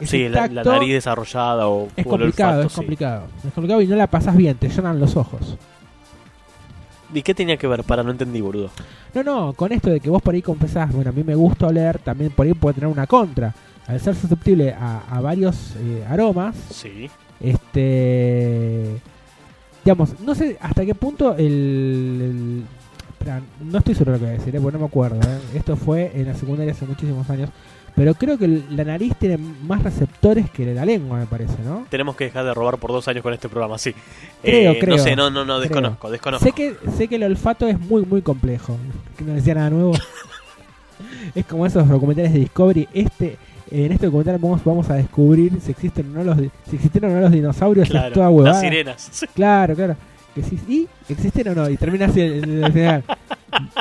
ese
Sí, la, la
tacto,
nariz desarrollada o
es
o el
complicado,
olfato,
es
sí.
complicado. Es complicado y no la pasas bien, te llenan los ojos.
¿Y qué tenía que ver? Para, no entendí, boludo.
No, no, con esto de que vos por ahí confesás, bueno, a mí me gusta oler, también por ahí puede tener una contra. Al ser susceptible a, a varios eh, aromas,
Sí.
este. Digamos, no sé hasta qué punto el. el- Esperá, no estoy seguro de lo que voy a decir, eh, porque no me acuerdo. eh. Esto fue en la secundaria hace muchísimos años. Pero creo que el- la nariz tiene más receptores que la lengua, me parece, ¿no?
Tenemos que dejar de robar por dos años con este programa, sí.
Creo,
Eh,
creo.
No sé, no, no, no, desconozco, desconozco.
Sé que, sé que el olfato es muy, muy complejo. Que no decía nada
<laughs>
nuevo. es como esos documentales de Discovery. Este, en este documental vamos, vamos a descubrir si existen o no los, di- si existieron o no los dinosaurios. es toda
claro,
huevada.
las sirenas. <laughs>
Claro, claro. Que sí, ¿Y existen o no? Y termina así el, el- el final.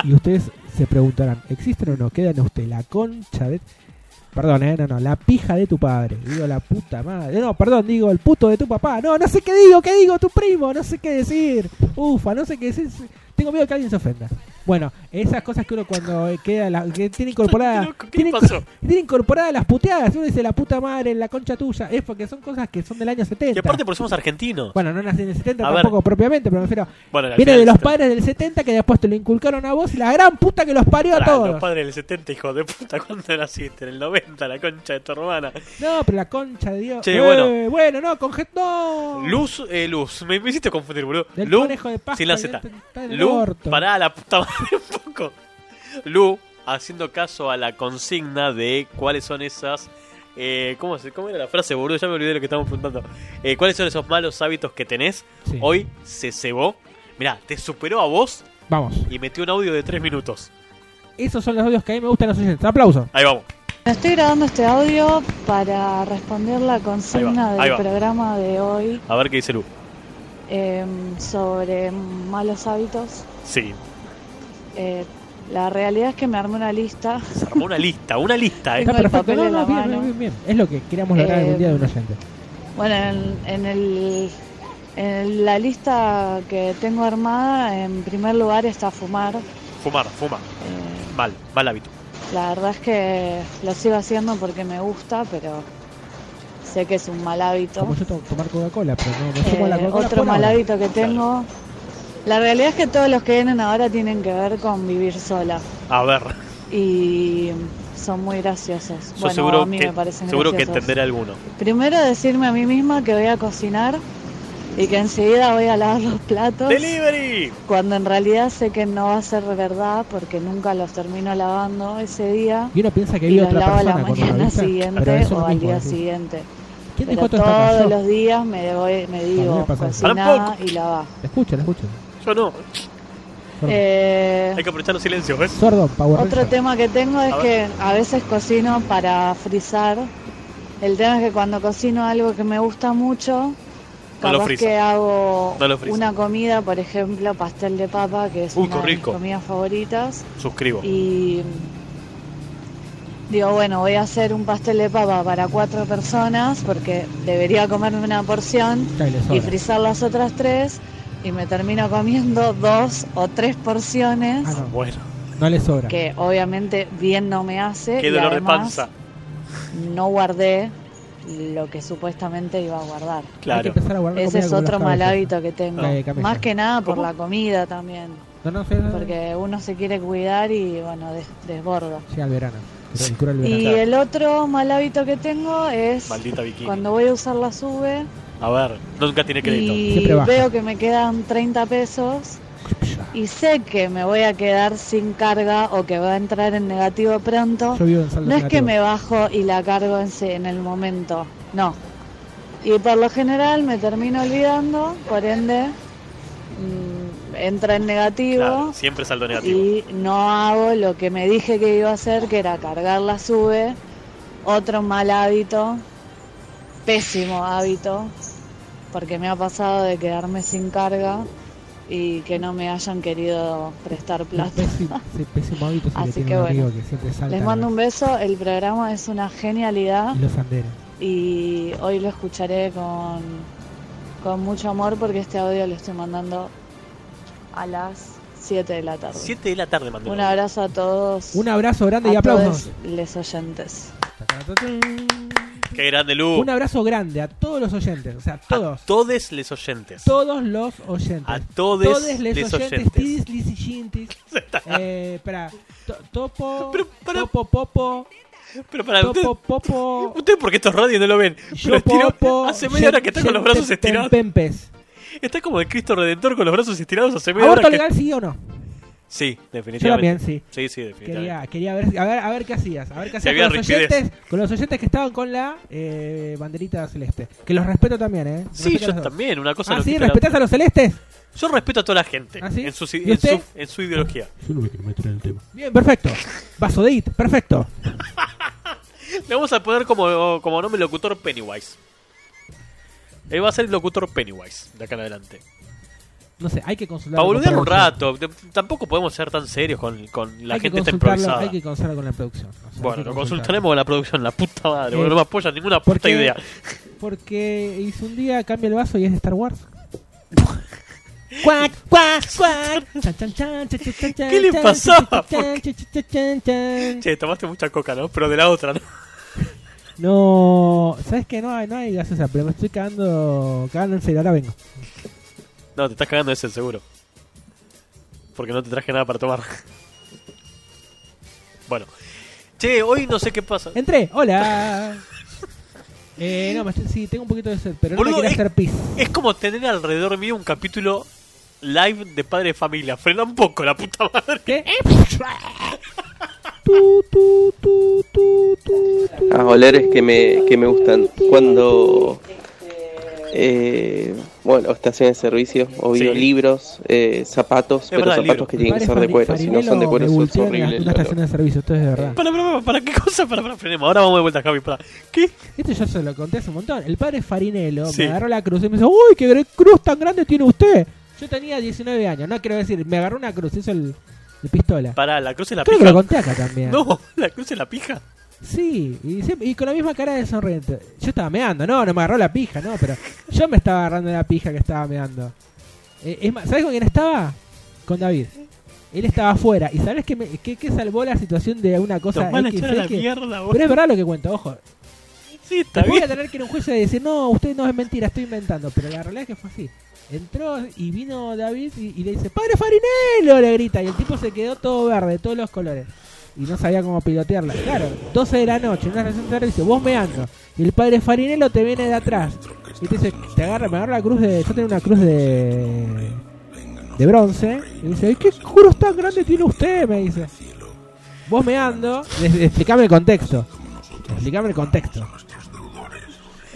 Y ustedes se preguntarán, ¿existen o no? Quedan usted la concha de... Perdón, eh, no, no, la pija de tu padre. Digo, la puta madre. No, perdón, digo, el puto de tu papá. No, no sé qué digo, qué digo, tu primo, no sé qué decir. Ufa, no sé qué decir. Tengo miedo que alguien se ofenda. Bueno, esas cosas que uno cuando eh, queda, la- que
<laughs>
tiene incorporada...
Loco, ¿Qué
tiene,
le pasó?
tiene incorporada las puteadas. Uno dice, la puta madre, la concha tuya. Es porque son cosas que son del año 70.
Y aparte porque somos argentinos.
Bueno, no nací en el 70
A ver.
tampoco propiamente, pero me refiero.
Bueno, al
Viene
final
de los
está-
padres del 70 que después te lo inculcaron a vos y la gran puta que los parió a
Pará,
todos.
Los padres del 70, hijo de puta, ¿cuándo naciste? En el 90, la concha de tu hermana.
No, pero la concha de Dios.
Che,
Eh,
bueno.
Bueno, no, con gente- no.
Luz, eh, Luz, me, me hiciste confundir, boludo.
Del
Lu,
conejo de Pascua,
sin la
del-
Z.
está del
Lu,
orto.
pará la puta madre <laughs> un poco. Lu, haciendo caso a la consigna de cuáles son esas. eh, ¿cómo, se- cómo era la frase, boludo? Ya me olvidé de lo que estábamos preguntando. Eh, ¿Cuáles son esos malos hábitos que tenés?
Sí.
Hoy se cebó. Mirá, te superó a vos
Vamos.
y metió un audio de 3 minutos.
Esos son los audios que a mí me gustan los oyentes. Aplauso.
Ahí vamos.
Estoy grabando este audio para responder la
Ahí
consigna
va, ahí
del
va.
programa de hoy
A ver qué dice Lu.
em, sobre malos hábitos.
Sí,
Eh, la realidad es que me armé una lista.
se armó una lista, una lista, eh.
Tengo
Está
el
perfecto.
papel
No,
en
no,
la
bien,
mano.
bien, bien, bien. Es lo que queríamos lograr
Eh,
algún día de un oyente.
Bueno, en, en el, en la lista que tengo armada, en primer lugar está fumar.
Fumar, fuma.
Eh,
Mal, mal hábito.
La verdad es que lo sigo haciendo porque me gusta, pero sé que es un mal hábito.
Como yo tengo que tomar Coca-Cola, pero no, no tomo la
Eh,
Coca-Cola.
otro
por
mal
ahora.
hábito que tengo. La realidad es que todos los que vienen ahora tienen que ver con vivir sola
A ver, <laughs>
y son muy graciosos.
yo
bueno,
seguro,
a mí
que,
me parecen
seguro que
graciosos.
entenderé alguno.
Primero decirme a mí misma que voy a cocinar y que enseguida voy a lavar los platos,
¡Delivery!
cuando en realidad sé que no va a ser verdad porque nunca los termino lavando ese día.
Y uno piensa que
Y
vive
los
otra
lavo a la
persona con una
mañana
vista, pero
siguiente
eso
o
no
al
mismo,
día
decís.
siguiente.
¿Quién dijo
Pero
esto hasta acá?
todos
Yo.
los días me, voy- me digo,
pasa eso.
Pará un
cocina
poco.
y lava.
La escucho, la escucho.
Yo no.
Perdón.
Eh,
Hay que aprovechar los silencios, ¿ves?
Sordo, Power
otro
Ranger.
tema que tengo es
A
que a veces cocino para frizar. El tema es que cuando cocino algo que me gusta mucho,
No lo
capaz
frisa.
que hago
No lo frisa.
una comida, por ejemplo, pastel de papa, que es
Uy,
una
qué
de mis
rico.
comidas favoritas.
Suscribo.
Y digo, bueno, voy a hacer un pastel de papa para cuatro personas porque debería comerme una porción
Ya, y le
y
sobra.
frizar las otras tres y me termino comiendo <laughs> dos o tres porciones
Ah, no,
Bueno,
no le sobra.
que obviamente bien no me hace
qué
y
dolor de
además
panza.
no guardé lo que supuestamente iba a guardar.
Hay que
Claro.
empezar a guardar
Ese
comida
es
como las
otro mal
cabezas.
hábito que tengo.
Eh, cabeza.
Más que nada por
¿Cómo?
la comida también.
No, no, sí, no, no.
Porque uno se quiere cuidar y bueno, des- desborda.
Llega el verano. Pero el cura el verano.
Y
Claro.
el otro mal hábito que tengo es
Maldita bikini.
cuando voy a usar la sube
A ver, nunca tiene crédito.
y
Siempre baja.
veo que me quedan 30 pesos
Ya.
y sé que me voy a quedar sin carga o que va a entrar en negativo pronto,
Yo vivo en saldo
no es que
negativo.
me bajo y la cargo en, se- en el momento, no. Y por lo general me termino olvidando, por ende mm, entra en negativo
Claro, <laughs> siempre saldo negativo.
y no hago lo que me dije que iba a hacer, que era cargar la sube, otro mal hábito, pésimo hábito, porque me ha pasado de quedarme sin carga y que no me hayan querido prestar plata. <laughs>
Pésimo, ese pésimo hábito es el
Así
que tiene
que
un amigo
bueno.
que siempre salta.
Les mando un beso, el programa es una genialidad
Los anderes.
y hoy lo escucharé con, con mucho amor porque este audio lo estoy mandando a las 7 de la tarde.
7 de la tarde mandó.
Un abrazo a todos.
Un abrazo grande y
a
aplausos.
todos les oyentes.
Qué grande, Lu.
Un abrazo grande a todos los oyentes, o sea, todos.
A todos los oyentes.
Todos los oyentes.
A todos
les
les
oyentes.
oyentes. <laughs>
Tidis, lis y yintis. Eh, espera. To- topo.
Pero para-
Topo, popo.
Pero para usted,
Topo, popo.
usted porque estos radios no lo ven. Pero
Yo
estiró-
popo.
hace media hora que está con los brazos
yem-
estirados.
tempempes.
Está como el Cristo Redentor con los brazos estirados hace media hora
¿Aborto
que...
legal sí o no?
Sí, definitivamente.
Yo también, sí.
Sí, sí, definitivamente.
Quería, quería ver, a ver, a ver qué hacías, a ver qué
Si
hacías
había
con los,
rigidez.
oyentes, con los oyentes que estaban con la eh, banderita celeste. Que los respeto también, ¿eh?
Sí,
Respeto a
yo
los dos.
también, una cosa
Ah,
no
sí,
quita la
¿respetás
otra.
a los celestes?
Yo respeto a toda la gente
¿Ah, sí?
en, su,
¿Y
en,
usted?
su, en su ideología.
Yo no me quiero meter en el tema.
Bien, perfecto. Vasodate, perfecto.
Le vamos a poner como, como nombre locutor Pennywise. Él va a ser el locutor Pennywise de acá en adelante.
No sé, hay que consultar.
Para boludear un rato, de- tampoco podemos ser tan serios con, con la gente está improvisada.
Hay que consultarlo con la producción. o sea,
Bueno,
hay que
lo
consultarlo.
consultaremos con la producción, la puta madre,
Eh,
boludo, no me apoya ninguna
¿por
puta
qué?
idea.
Porque hizo un día, cambia el vaso y es de Star Wars. <laughs> Cuac, cuac, cuac. Chan, chan, chan, chan, chan, chan,
¿Qué le
chan,
pasaba?
chan,
¿Por
chan, chan, chan, chan, chan.
Che, tomaste mucha coca, ¿no? Pero de la otra, ¿no?
No, sabes que no hay, no hay gaseosa, pero me estoy cagando, cagando en serio, ahora vengo.
No, te estás cagando ese seguro. Porque no te traje nada para tomar. <laughs> Bueno. Che, hoy no sé qué pasa.
Entré, hola. eh, no, me estoy- sí, tengo un poquito de sed, pero no
Boludo,
me quería
es-
hacer pis.
Es como tener alrededor mío un capítulo live de padre de familia. Frena un poco, la puta madre.
¿Qué? Tu, tu, tu, tu, tu, tu.
A olores que me, que me gustan. Cuando. eh, bueno, estaciones de servicio, obvio,
Sí.
libros, eh, zapatos, pero
verdad,
zapatos
libro.
que tienen que
Padre
ser de
Fari-
cuero. Si no son de
Farinello
cuero,
me
es
voltean en
horrible.
las-
el
una estación
olor.
de servicio, esto es de verdad.
Para, para, para, para, ¿qué cosa? Para, para, frenemos. Ahora vamos de vuelta, Javi. Para. ¿Qué?
Esto Este yo se lo conté hace un montón. El padre Farinello
Sí.
me agarró la cruz y me dice, uy, qué gre- cruz tan grande tiene usted. Yo tenía 19 años, no quiero decir, me agarró una cruz, hizo el, el pistola.
Para, Ah, la cruz es la
Creo que lo
pija.
conté acá también.
No, <laughs> la cruz es la pija.
Sí, y, siempre- y con la misma cara de sonriente. Yo estaba meando, no, no me agarró la pija, no, pero yo me estaba agarrando la pija que estaba meando. Eh, es más, ¿sabes con quién estaba? Con David. Él estaba afuera. ¿Y sabes qué, me- qué- qué salvó la situación de una cosa?
Nos van a
X,
echar a la
X?
mierda, boludo.
Pero es verdad lo que cuento, ojo.
Sí, está
Te voy a
bien.
tener que ir a un juicio y decir, no, usted no es mentira, estoy inventando. Pero la realidad es que fue así. Entró y vino David y, y le dice, ¡Padre Farinello! le grita. Y el tipo se quedó todo verde, todos los colores. Y no sabía cómo pilotearla. Claro, 12 de la noche, en una estación de servicio, vos meando. Y el padre Farinello te viene de atrás. Y te dice, te agarra, me agarra la cruz de. Yo tengo una cruz de. de bronce. Y dice, "Ay, ¿qué juros tan grande tiene usted? Me dice. Vos meando, des- explicame el contexto. Explicame el contexto.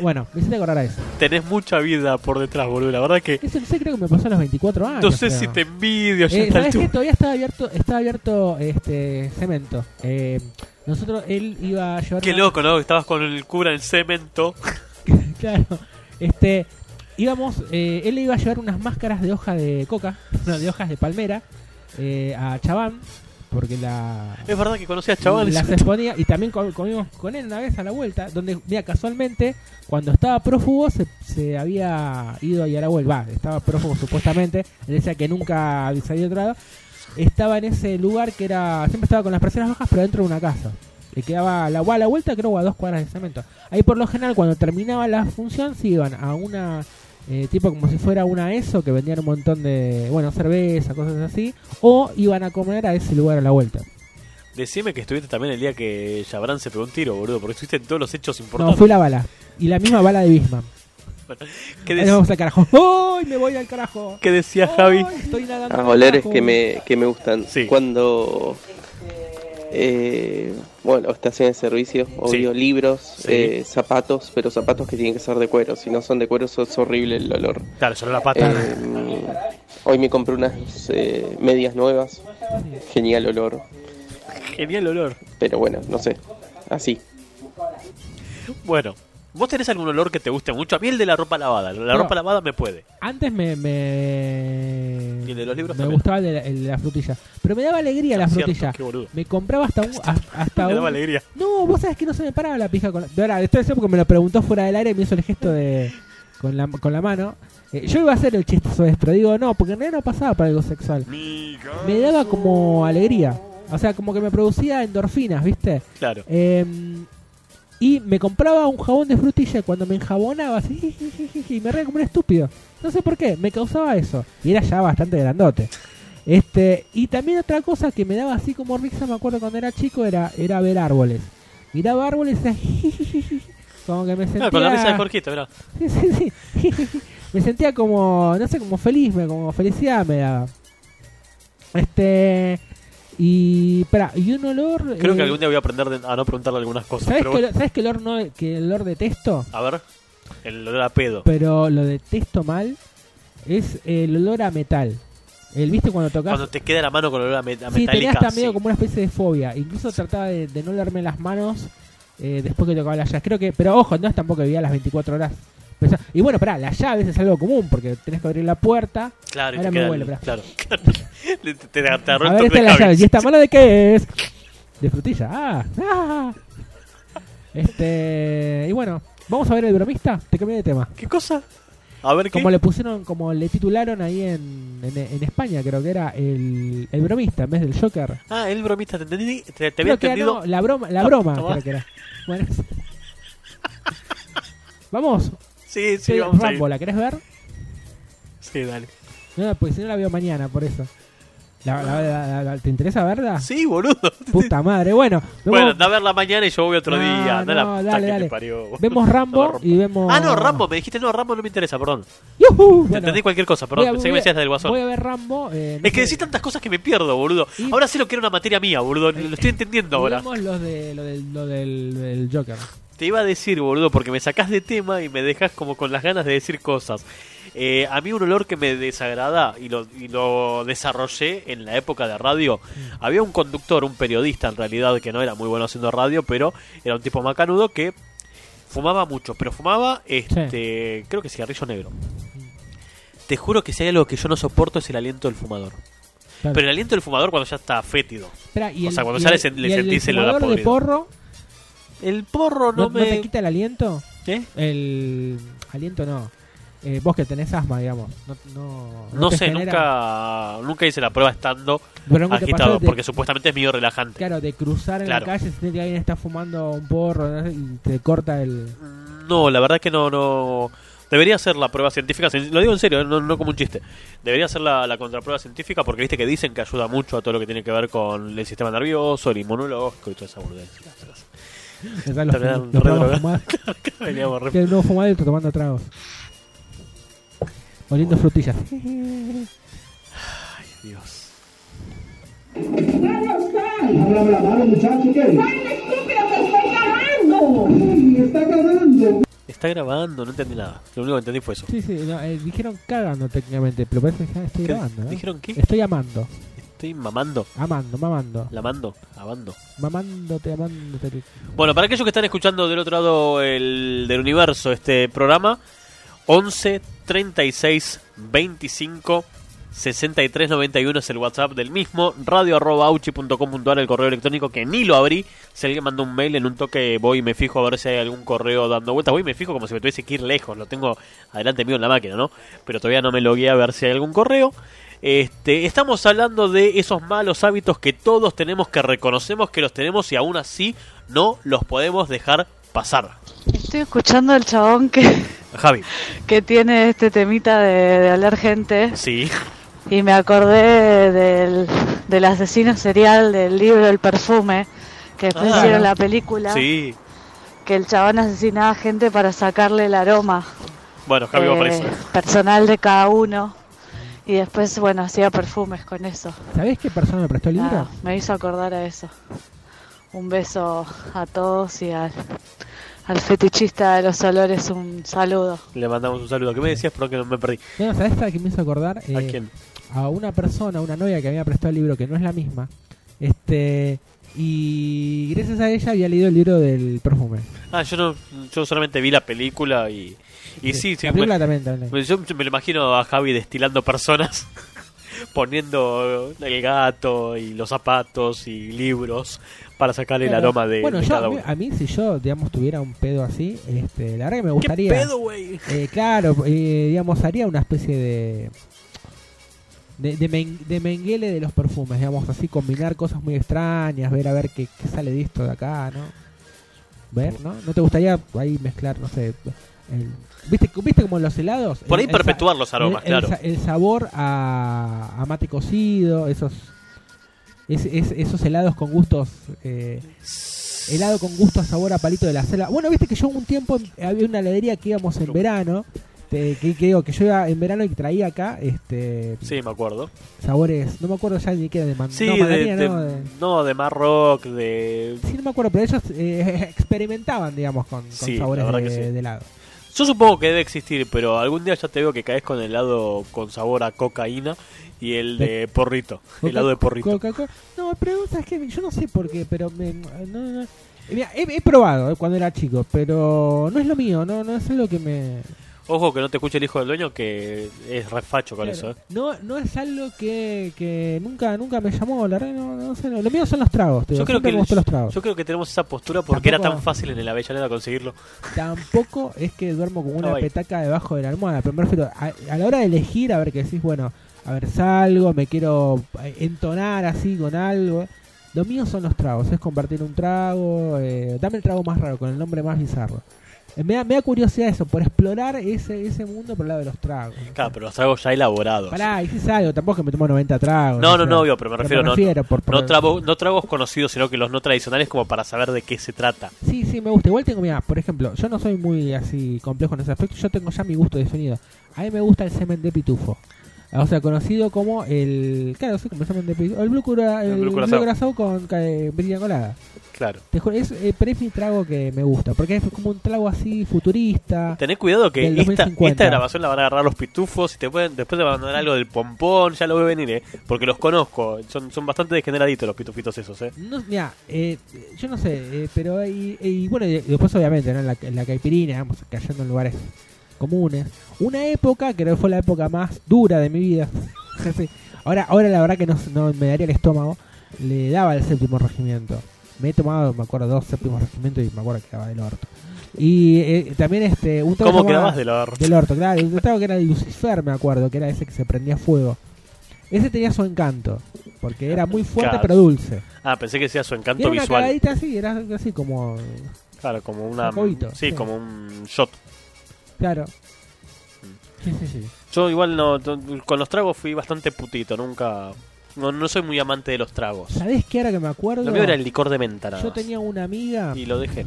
Bueno, me hiciste acordar a eso.
Tenés mucha vida por detrás, boludo. La verdad que.
Eso no sé, creo que me pasó a los 24 años.
No sé
creo.
si te envidio. ya
Eh,
está el
¿Sabes
tu-
qué? Todavía estaba abierto, estaba abierto este cemento. Eh, nosotros, él iba a llevar. <laughs>
Qué
una-
loco, ¿no? Estabas con el cura en cemento.
Claro. Este, íbamos, eh, él le iba a llevar unas máscaras de hoja de coca, <laughs> no, de hojas de palmera, eh, a Chabán, porque la.
Es verdad que conocías chavales.
las exponía y también com- comimos con él una vez a la vuelta, donde, mira, casualmente, cuando estaba prófugo se, se había ido ahí a la vuelta, va, estaba prófugo supuestamente, él decía que nunca había salido a otro lado, estaba en ese lugar que era, siempre estaba con las personas bajas, pero dentro de una casa. Le quedaba a la, a la vuelta, creo, a dos cuadras de cemento. Ahí por lo general, cuando terminaba la función, se iban a una, eh, tipo como si fuera una ESO, que vendían un montón de, bueno, cerveza, cosas así, o iban a comer a ese lugar a la vuelta.
Decime que estuviste también el día que Jabran se pegó un tiro, boludo, porque estuviste en todos los hechos
No,
importantes. <laughs>
fue la bala. Y la misma bala de Bisman.
¿Qué,
Ahí
de-
nos vamos al carajo. <laughs> ¡Ay, me voy al carajo!
qué decía
¡Ay,
Javi?
Estoy nadando
a
al
olores
carajo!
que me, que me gustan.
Sí.
Cuando. eh, bueno, estación de servicio, obvio, libros,
Sí.
eh, zapatos, pero zapatos que tienen que ser de cuero. Si no son de cuero, eso es horrible el olor.
Claro, solo la pata.
Eh, hoy me compré unas eh, medias nuevas, genial olor.
Genial olor.
Pero bueno, no sé, así.
Bueno, ¿vos tenés algún olor que te guste mucho? A mí el de la ropa lavada. La
No.
ropa lavada me puede.
Antes me. me...
Y el de los libros
Me
también.
gustaba el de, la, el de la frutilla. Pero me daba alegría la
Ah, cierto,
frutilla.
qué boludo.
Me compraba hasta un. a- Hasta
Me
un-
daba alegría.
No, vos sabés que no se me paraba la pija con la... De verdad, esto es porque me lo preguntó fuera del aire y me hizo el gesto de... Con la, con la mano. Eh, yo iba a hacer el chistoso de esto, pero digo no, porque en realidad no pasaba para algo sexual. Me daba como alegría. O sea, como que me producía endorfinas, ¿viste?
Claro.
Eh, y me compraba un jabón de frutilla y cuando me enjabonaba así, y me reía como un estúpido. No sé por qué, me causaba eso. Y era ya bastante grandote. Este, y también otra cosa que me daba así como risa, me acuerdo cuando era chico, era, era ver árboles. Miraba árboles y decía, <laughs> como que me sentía...
No, Ah, con la risa de Jorgito, mirá.
Sí, sí, sí. <laughs> me sentía como, no sé, como feliz, me- como felicidad me daba. Este... Y, pará, y un olor...
Creo que
eh,
algún día voy a aprender de- a no preguntarle algunas cosas.
¿Sabes
Pero
que,
bueno,
lo- ¿sabes que el olor no, que el olor detesto?
a ver, el olor a pedo.
Pero lo detesto mal. Es el olor a metal. El, ¿Viste cuando tocas?
Cuando te queda la mano con olor a, met- a
sí, tenía
metálica.
hasta medio como una especie de fobia. Incluso trataba de, de no olerme las manos eh, después que tocaba la llave. Creo que, pero ojo, no es tampoco que vivía las 24 horas. Pensá- Y bueno, pará, las llaves es algo común porque tenés que abrir la puerta.
Claro, y
Ahora
te
me
queda.
huele,
el-
pará.
claro. <laughs> te, te, te agarró
a
el toque
ver, esta es
de
la llave.
Javi.
¿Y esta mano de qué es? De frutilla. Ah, ah. Este. Y bueno, vamos a ver el bromista. Te cambié de tema.
¿Qué cosa? A ver, ¿qué?
Como le pusieron, como le titularon ahí en, en, en España, creo que era el, el bromista en vez del Joker.
Ah, el bromista, te, entendí, te, te había
Creo que era,
entendido.
no, la broma, la
Ah,
broma
toma.
creo que era. Bueno. vamos,
Sí, sí,
soy
vamos a ir.
Rambo, ¿la querés ver?
Sí, dale.
No, no, porque si no la veo mañana, por eso. La- la- la- la- la- ¿Te interesa verla?
Sí, boludo. <laughs>
Puta madre, bueno. Vemos,
Bueno, anda a verla mañana y yo voy otro
No,
día. Anda
no,
la puta
dale,
que
dale.
te parió, boludo.
vemos
Anda, <laughs>
Rambo y vemos...
Ah, no, Rambo, me dijiste, no, Rambo no me interesa, perdón.
¡Yujú!
Te
Bueno,
entendí cualquier cosa,
voy a-
perdón. Pensé que me
voy a-
decías del guasón.
Voy a ver Rambo. eh, no
Es que
sé.
decís tantas cosas que me pierdo, boludo.
Y-
Ahora sé lo que era una materia mía, boludo. Lo
<laughs>
estoy entendiendo ahora.
Vemos los de, lo del, lo del, del Joker.
Te iba a decir, boludo, porque me sacás de tema y me dejas como con las ganas de decir cosas. Eh, a mí un olor que me desagrada y lo, y lo desarrollé en la época de radio.
Mm.
Había un conductor, un periodista en realidad, que no era muy bueno haciendo radio, pero era un tipo macanudo que fumaba mucho, pero fumaba, este, creo que cigarrillo negro. Te juro que si hay algo que yo no soporto es el aliento del fumador.
Claro.
Pero el aliento del fumador cuando ya está fétido.
Espera, y
O
el,
sea, cuando
y
sale
el-
se- le
y el
sentís el olor a
fumador de
podrido.
porro
El porro
no,
no,
no
me...
te quita el aliento?
¿Eh?
El aliento no. Eh, vos que tenés asma, digamos. No, no,
No
te
sé,
genera-
nunca nunca hice la prueba estando
Bueno, nunca te pasó
agitado,
de-
porque supuestamente es medio relajante.
Claro, de cruzar en
Claro.
la calle, sentir que alguien está fumando un porro ¿no? y te corta el...
No, la verdad es que no, no. Debería ser la prueba científica, sen- lo digo en serio, eh, no, no como un chiste. Debería ser la, la contraprueba científica porque viste que dicen que ayuda mucho a todo lo que tiene que ver con el sistema nervioso, el inmunológico y toda esa burdez.
te da los-
Te dan re
los tragos
drogado. <laughs>
fumados.
Veníamos re-
Que el nuevo fumado y otro tomando tragos. Oliendo frutillas.
Dios. Está grabando, no entendí nada. Lo único que entendí fue eso.
Sí, sí, no, eh, dijeron cagando técnicamente, pero parece que ya estoy
¿Qué?
grabando. ¿eh?
¿Dijeron qué?
Estoy amando,
Estoy mamando,
amando, mamando,
lamando, amando.
mamándote, amándote.
Bueno, para aquellos que están escuchando del otro lado el, del universo este programa, 11 36 25 63 91 es el WhatsApp del mismo, radio arroba auchi punto com punto ar, el correo electrónico que ni lo abrí. Si alguien mandó un mail en un toque, voy y me fijo a ver si hay algún correo dando vueltas. Voy y me fijo como si me tuviese que ir lejos, lo tengo adelante mío en la máquina, ¿no? Pero todavía no me logué a ver si hay algún correo. Este, estamos hablando de esos malos hábitos que todos tenemos, que reconocemos que los tenemos y aún así no los podemos dejar pasar.
Estoy escuchando al chabón que,
Javi,
que tiene este temita de, de hablar gente
sí,
y me acordé del, del asesino serial del libro El Perfume, que después
Ah.
hicieron la película,
sí,
que el chabón asesinaba gente para sacarle el aroma.
Bueno, Javi va
eh,
para eso.
personal de cada uno. Y después, bueno, hacía perfumes con eso.
¿Sabés qué persona me prestó el libro?
Nada, Ah, me hizo acordar a eso. Un beso a todos y al, al fetichista de los olores un saludo.
Le mandamos un saludo. ¿Qué me decías? Perdón que no me perdí.
No, no, ¿sabés a quién me hizo acordar?
¿A
Ah, Eh,
quién?
a una persona, una novia que había prestado el libro que no es la misma. Este y gracias a ella había leído el libro del perfume.
Ah, yo no, yo solamente vi la película y, y sí, sí,
la
me,
película también, también.
me- yo me lo imagino a Javi destilando personas, <laughs> poniendo el gato y los zapatos y libros para sacar el
Claro.
aroma de,
bueno,
de
yo,
cada
a mí-
uno.
a mí si yo digamos tuviera un pedo así, este, la verdad que me
¿Qué
gustaría.
pedo, güey?
Eh, claro, eh, digamos, haría una especie de. De, de, men- de menguele de los perfumes, digamos, así combinar cosas muy extrañas, ver a ver qué, qué sale de esto de acá, ¿no? Ver, ¿no? ¿No te gustaría ahí mezclar, no sé, el- ¿viste, ¿viste como en los helados?
Por ahí
El- el sa-
perpetuar los aromas,
el- el
claro.
sa- El, sabor a, a mate cocido, esos, es- es- esos helados con gustos eh, helado con gusto a sabor a palito de la selva. Bueno, viste que yo un tiempo em- había una heladería que íbamos en verano, te- que, que digo, que yo iba en verano y traía acá este
Sí, me acuerdo.
sabores, no me acuerdo ya ni qué era de man-
Sí,
no,
de,
mandarina,
de-
no, de-
no, de Marrock, de...
Sí, no me acuerdo, pero ellos eh, <laughs> experimentaban, digamos, con, con
Sí, la
sabores
verdad
de,
que sí.
de helado.
Yo supongo que debe existir, pero algún día ya te veo que caes con helado con sabor a cocaína y el de porrito,
Coca-
helado de porrito.
Coca-Cola. No, pero ¿sabes qué? yo no sé por qué, pero me- no, no. Eh, mira, he, he probado eh, cuando era chico, pero no es lo mío, no, no es algo que me...
Ojo que no te escuche el hijo del dueño que es refacho con eso.
Claro.
¿eh?
No, no es algo que, que nunca, nunca me llamó, la verdad, no, no sé, no. lo mío son los tragos, te digo,
Yo creo,
siempre
que
me gustó los tragos.
yo creo que tenemos esa postura porque era
Tampoco-
tan fácil en el Avellaneda conseguirlo.
Tampoco es que duermo con una
Ay.
petaca debajo de la almohada, pero me refiero, a, a la hora de elegir, a ver que decís, bueno, a ver, salgo, me quiero eh, entonar así con algo. Lo mío son los tragos, es compartir un trago, eh, dame el trago más raro, con el nombre más bizarro. Eh, Me da, me da curiosidad eso, por explorar ese, ese mundo por el lado de los tragos.
Claro, pero los tragos ya elaborados.
Pará, hiciste algo, tampoco es que me tomo 90 tragos.
No,
o
no,
sea,
no, obvio, pero me refiero, no-
por- por-
No, trabo- no tragos conocidos, sino que los no tradicionales como para saber de qué se trata.
Sí, sí, me gusta. Igual tengo, mira, por ejemplo, yo no soy muy así complejo en ese aspecto. Yo tengo ya mi gusto definido. A mí me gusta el semen de pitufo. O sea, conocido como el. Claro, sí, como el semen de pitufo. El blue, cura,
El
el
Blue
blue
Curazao.
Curazao con eh, brilla colada.
Claro.
Te juro, es, eh, pero es mi trago que me gusta. Porque es como un trago así futurista.
Tenés cuidado que
Del
esta,
2050.
esta grabación la van a agarrar los pitufos y te pueden, después te van a mandar algo del pompón, ya lo voy a venir, ¿eh? Porque los conozco, son, son bastante degeneraditos los pitufitos esos, ¿eh?
No, mira, eh, yo no sé, eh, pero y, y bueno, y después obviamente, ¿no? En la, en la caipirina, vamos, cayendo en lugares comunes. Una época, creo que fue la época más dura de mi vida. <laughs> Sí, sí. ahora, ahora la verdad que no, no me daría el estómago, le daba el séptimo regimiento. Me he tomado, me acuerdo, dos séptimos regimientos y me acuerdo que quedaba del orto. Y eh, también este, un trago
¿Cómo
que se llamaba-
quedabas del orto?
del orto, claro. El trago que era el Lucifer, me acuerdo, que era ese que se prendía fuego. Ese tenía su encanto, porque era muy fuerte
Claro.
pero dulce.
Ah, pensé que sea su
Y
encanto
Era una
visual.
cagadita así, era algo así como.
Claro, como una.
Sacudito,
sí,
sí.
como un shot.
Claro. Sí, sí, sí.
Yo igual no. no- Con los tragos fui bastante putito, nunca. No, no soy muy amante de los tragos.
¿Sabés qué ahora que me acuerdo?
Lo mío era el licor de menta, nada
Yo
más.
tenía una amiga
Y lo dejé.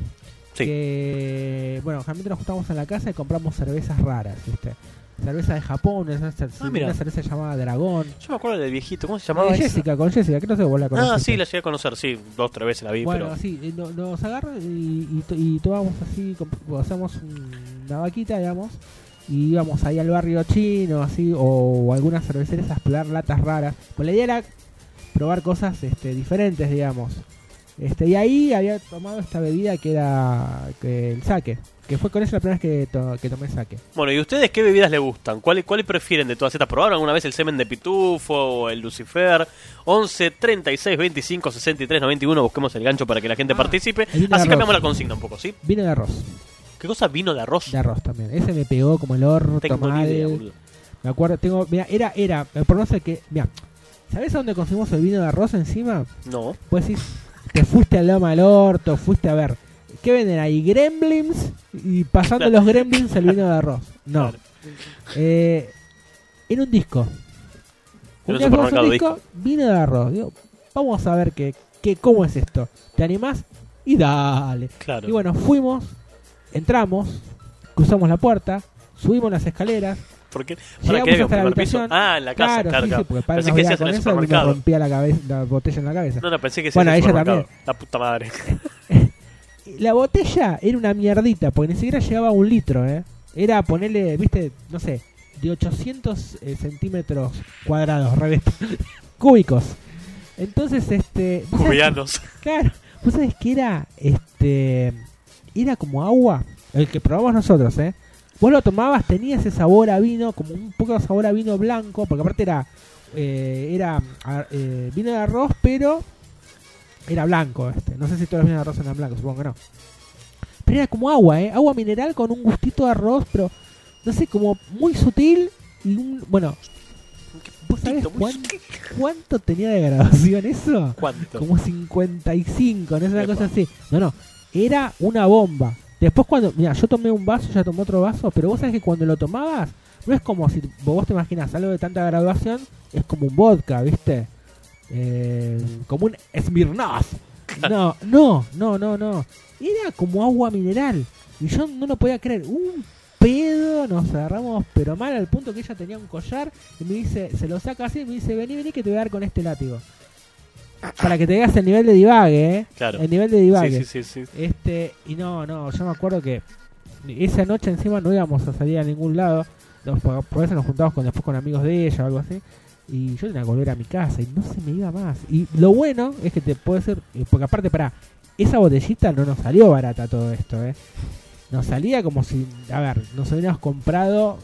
Sí.
que. Bueno, generalmente nos juntamos en la casa y compramos cervezas raras, ¿viste? Cerveza de Japón, una, cer-
Ah, mira.
una cerveza llamada Dragón.
Yo me acuerdo del viejito, ¿cómo se
Eh,
llamaba? esa?
Jessica, con Jessica, que no sé vos la conociste.
Ah, sí, la llegué a conocer, sí, dos, tres veces la vi,
Bueno,
pero.
sí, eh, no- nos agarran y, y, to- y tomamos así, comp- hacemos un- una vaquita, digamos, y íbamos ahí al barrio chino, así, o, o algunas cervecerías a explorar latas raras. Pues la idea era probar cosas este, diferentes, digamos. Este, y ahí había tomado esta bebida que era que el saque, que fue con eso la primera vez que, to- que tomé saque.
Bueno, ¿y ustedes qué bebidas les gustan? ¿Cuáles cuáles prefieren de todas estas? ¿Probaron alguna vez el semen de pitufo o el lucifer? 11 36 25 63 91, busquemos el gancho para que la gente
Ah,
participe.
el vino de
Así cambiamos
arroz.
la consigna un poco, ¿sí?
Vino de arroz,
¿Qué cosa vino de arroz?
de arroz también. Ese me pegó como el orto,
Tengo ni
mal.
idea, boludo.
Me acuerdo, tengo, mira, era, era, eh, por no ser que, mira, ¿sabés a dónde conseguimos el vino de arroz encima?
No.
Pues sí, te fuiste al Loma del Orto, fuiste a ver, ¿qué venden ahí? Gremlins y pasando
Claro.
los Gremlins el vino de arroz. No.
Claro.
Eh, en un disco.
En un
día fuimos a
supermercado
vino de arroz. Digo, vamos a ver qué, qué, cómo es esto. ¿Te animás? Y dale.
Claro.
Y bueno, fuimos, entramos, cruzamos la puerta, subimos las escaleras,
Porque, ¿Para qué
llegamos
había un
hasta la
primer piso?
habitación.
Ah, en la casa,
claro,
carga.
sí, sí, porque para
Pensé
no
que
había
hacías en
con
el
eso y me
supermercado.
rompía la, cabeza, la botella en la cabeza.
No, no, pensé que
Bueno,
hacías en el
ella también.
supermercado. La puta
<laughs>
madre.
La botella era una mierdita, porque ni siquiera llegaba a un litro, ¿eh? Era ponerle, viste, no sé, de 800 eh, centímetros cuadrados, revés, <laughs> cúbicos. Entonces, este... ¿vos sabés
Cubianos.
que- Claro, vos sabés que era, este... Era como agua, el que probamos nosotros, ¿eh? Vos lo tomabas, tenía ese sabor a vino, como un poco de sabor a vino blanco, porque aparte era... eh, era a- eh, vino de arroz, pero era blanco este. No sé si todos los vinos de arroz eran blancos, supongo que no. Pero era como agua, ¿eh? Agua mineral con un gustito de arroz, pero no sé, como muy sutil y un... Bueno, ¿vos sabés
Tito, muy
cuán-
sutil.
cuánto tenía de grabación eso?
¿Cuánto?
Como 55, no es una
Epa.
cosa así. No, no, era una bomba. Después cuando, mira, yo tomé un vaso, ya tomé otro vaso, pero vos sabés que cuando lo tomabas, no es como si vos te imaginas algo de tanta graduación, es como un vodka, ¿viste? Eh, como un Smirnoff. No, no, no, no, no. Era como agua mineral. Y yo no lo podía creer. Un pedo, nos agarramos, pero mal al punto que ella tenía un collar y me dice, se lo saca así y me dice, vení, vení que te voy a dar con
<coughs>
este látigo. Para que te veas el nivel de divague, ¿eh?
Claro.
El nivel de
Sí,
divague.
sí, sí, sí.
Este, y no, no, yo me acuerdo que esa noche encima no íbamos a salir a ningún lado. Nos, por por eso nos juntamos con, después con amigos de ella o algo así. Y yo tenía que volver a mi casa y no se me iba más. Y lo bueno es que te puede ser. eh, Porque aparte, pará, esa botellita no nos salió barata todo esto, ¿eh? Nos salía como si. A ver, nos hubiéramos comprado.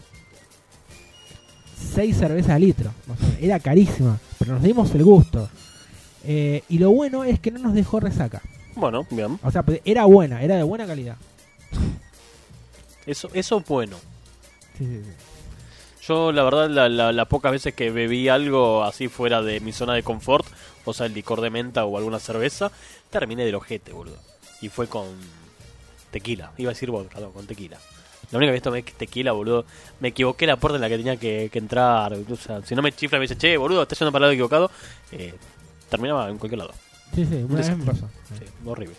6 cervezas al litro. más o menos. Era carísima, pero nos dimos el gusto. Eh, y lo bueno es que no nos dejó resaca.
Bueno, bien.
O sea, pues, era buena, era de buena calidad.
Eso, eso bueno.
Sí, sí, sí.
Yo, la verdad, la- la- las pocas veces que bebí algo así fuera de mi zona de confort, o sea, el licor de menta o alguna cerveza, terminé del ojete, boludo. Y fue con tequila. Iba a decir vodka, no, con tequila. La única vez tomé tequila, boludo. Me equivoqué la puerta en la que tenía que, que entrar. O sea, si no me chifla, me dice, che, boludo, estás yendo para el lado equivocado. Eh, terminaba en cualquier lado.
Sí, sí, una vez me pasó.
Sí, horrible.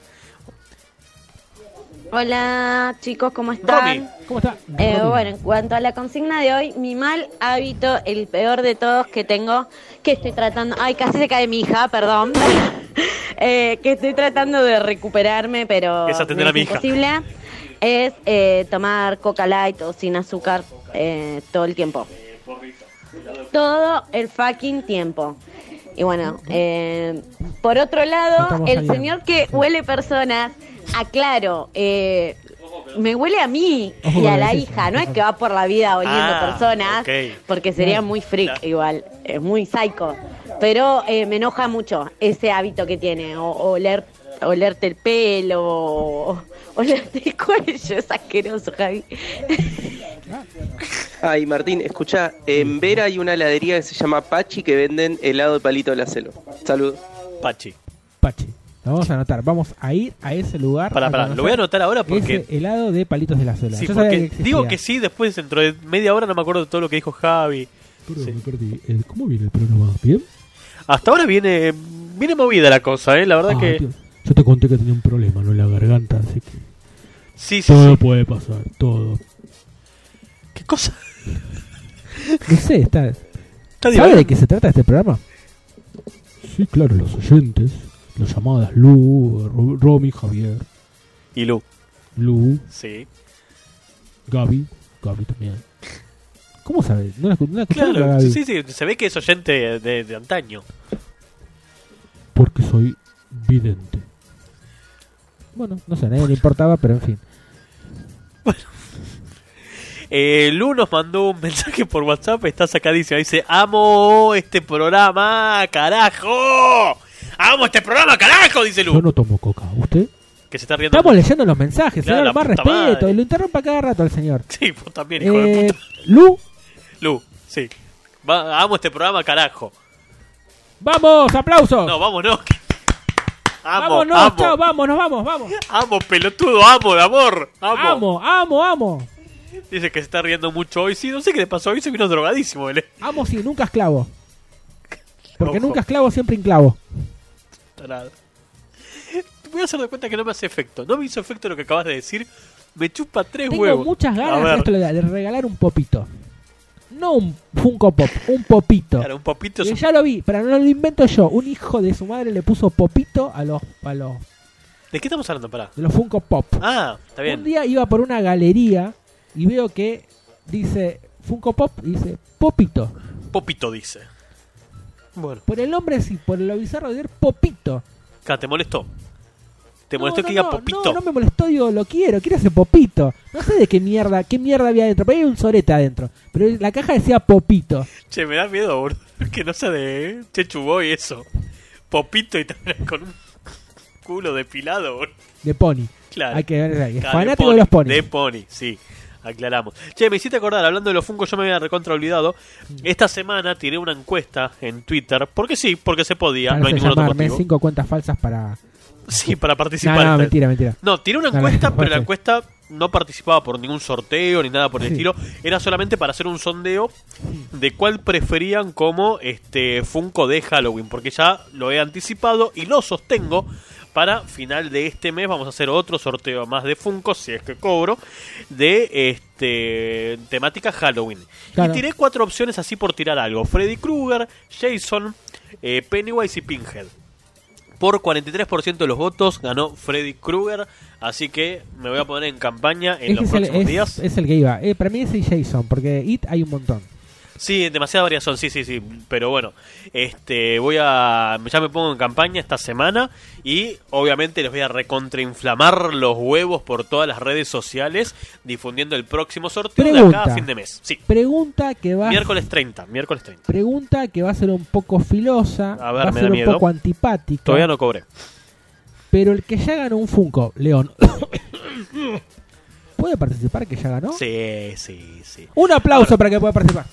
Hola chicos, ¿cómo están?
Romy,
¿Cómo está?
Eh,
Romy?
bueno, en cuanto a la consigna de hoy, mi mal hábito, el peor de todos que tengo, que estoy tratando, ay, casi se cae mi hija, perdón, <laughs> Eh, que estoy tratando de recuperarme, pero
Es atender
me
a mi hija.
imposible, es eh, tomar coca light o sin azúcar eh, todo el tiempo. Todo el fucking tiempo. Y bueno, eh, por otro lado,
Estamos
el
saliendo.
señor que
Sí.
huele personas, aclaro, eh, me huele a mí
Ojo
y
con
a
lo
la
que decís.
hija, no es que va por la vida oliendo
Ah,
personas,
ok.
porque sería muy freak
Claro.
igual, es muy psycho, pero eh, me enoja mucho ese hábito que tiene, o, o oler, olerte el pelo, o olerte el cuello, es asqueroso, Javi.
Ay, Martín, escucha, en Vera hay una heladería que se llama Pachi que venden helado de palito de la celo. Saludos.
Pachi.
Pachi. Lo vamos a anotar. Vamos a ir a ese lugar.
Pará, pará, lo voy a anotar ahora porque.
Ese helado de palitos de la cela.
Sí,
Yo sabía
porque
que
digo que
existía.
sí, después dentro de media hora no me acuerdo de todo lo que dijo Javi.
Pero
Sí.
me perdí. Eh, ¿Cómo viene el programa? ¿Bien?
Hasta ahora viene viene movida la cosa, ¿eh? La verdad
Ah,
que...
tío, Yo te conté que tenía un problema, ¿no? En la garganta, así que
Sí, sí,
todo
sí.
puede pasar, todo.
¿Qué cosa?
No sé, está.
Está
¿Sabe
divagando.
de qué se trata este programa?
Sí, claro, los oyentes, las llamadas Lu, Ro- Romy, Javier,
Y Lu,
Lu,
sí.
Gaby, Gaby también.
¿Cómo sabe? ¿No la, escu- no la escucharon, la
Ah, Claro,
Gaby?
sí, sí, se ve que es oyente de, de antaño.
Porque soy vidente.
Bueno, no sé, a nadie le importaba, pero en fin.
Eh, Lu nos mandó un <laughs> mensaje por WhatsApp, está sacadísimo. Dice, amo este programa, carajo. Amo este programa, carajo, dice
Yo
Lu.
no tomo coca. ¿Usted?
Que se está riendo.
Estamos leyendo los mensajes,
Claro,
señor,
la
más
puta
respeto.
madre.
Y lo interrumpa cada rato al señor.
<laughs> Sí, vos también, hijo de
Eh,
puta.
Lu,
Lu, sí. Va- amo este programa, carajo.
vamos, aplausos.
No, <laughs> vámonos. Amo,
vámonos,
amo.
chao, vámonos, vamos, vamos.
Amo, pelotudo, amo, de amor. Amo.
Amo, amo, amo.
Dice que se está riendo mucho hoy. Sí, no sé qué le pasó hoy. Se vino drogadísimo. él.
Amo sí, nunca esclavo. Porque
Ojo.
nunca esclavo, siempre enclavo.
Tarado. Voy a hacer de cuenta que no me hace efecto. No me hizo efecto lo que acabas de decir. Me chupa tres
Tengo
huevos.
muchas
A
ganas
ver.
esto lo de de regalar un popito. No un Funko Pop, un popito.
Claro, un popito es
Que
un-
ya lo vi, pero no lo invento yo. Un hijo de su madre le puso popito a los, a los,
¿De qué estamos hablando? Pará.
de los Funko Pop.
Ah, está
Un
bien.
día iba por una galería y veo que dice Funko Pop y dice popito.
Popito dice. Bueno.
Por el nombre sí, por lo bizarro de decir popito.
Claro, te molestó. Te
No,
molestó
no,
que diga
no,
popito.
No, no me molestó, digo, lo quiero, quiero ese popito. No sé de qué mierda, qué mierda había adentro, pero había un sorete adentro. Pero la caja decía popito.
Che, me da miedo, boludo. <laughs> Que no sea de eh, Chechu Boy eso. Popito y <laughs> también con un culo depilado, boludo.
De pony.
Claro.
Hay que ver, hay que-
Claro,
fanático de los
pony, De
ponis.
pony, sí. Aclaramos. Che, me hiciste acordar, hablando de los Funko, yo me había recontra olvidado.
Mm.
Esta semana tiré una encuesta en Twitter. Porque sí, porque se podía.
Para
no hay ningún otro
llamarme
motivo.
cinco cuentas falsas para.
Sí, para
No,
participar.
no,
Está-
mentira, mentira.
No, tiré una
No, no,
encuesta,
no,
pero la
sí.
encuesta no participaba por ningún sorteo ni nada por el
Sí.
estilo. Era solamente para hacer un sondeo de cuál preferían como este Funko de Halloween, porque ya lo he anticipado y lo sostengo. Para final de este mes vamos a hacer otro sorteo más de Funko, si es que cobro, de este temática Halloween.
Claro.
Y tiré cuatro opciones así por tirar algo. Freddy Krueger, Jason, eh, Pennywise y Pinhead. Por 43% de los votos ganó Freddy Krueger, así que me voy a poner en campaña en
Ese
los
es el,
próximos
es-
días.
es el que iba. Eh, para mí es el Jason, porque It hay un montón.
Sí, demasiada variación, sí, sí, sí, pero bueno, este voy a ya me pongo en campaña esta semana y obviamente les voy a recontrainflamar los huevos por todas las redes sociales difundiendo el próximo sorteo de acá a
Pregunta.
fin de mes. Sí,
Pregunta que va.
miércoles 30, miércoles 30.
Pregunta que va a ser un poco filosa.
A ver,
va a
me
ser
da
un
miedo.
poco antipática.
Todavía no cobré.
Pero el que ya ganó un Funko, León. <coughs> ¿Puede participar que ya ganó?
Sí, sí, sí.
Un aplauso para que pueda participar.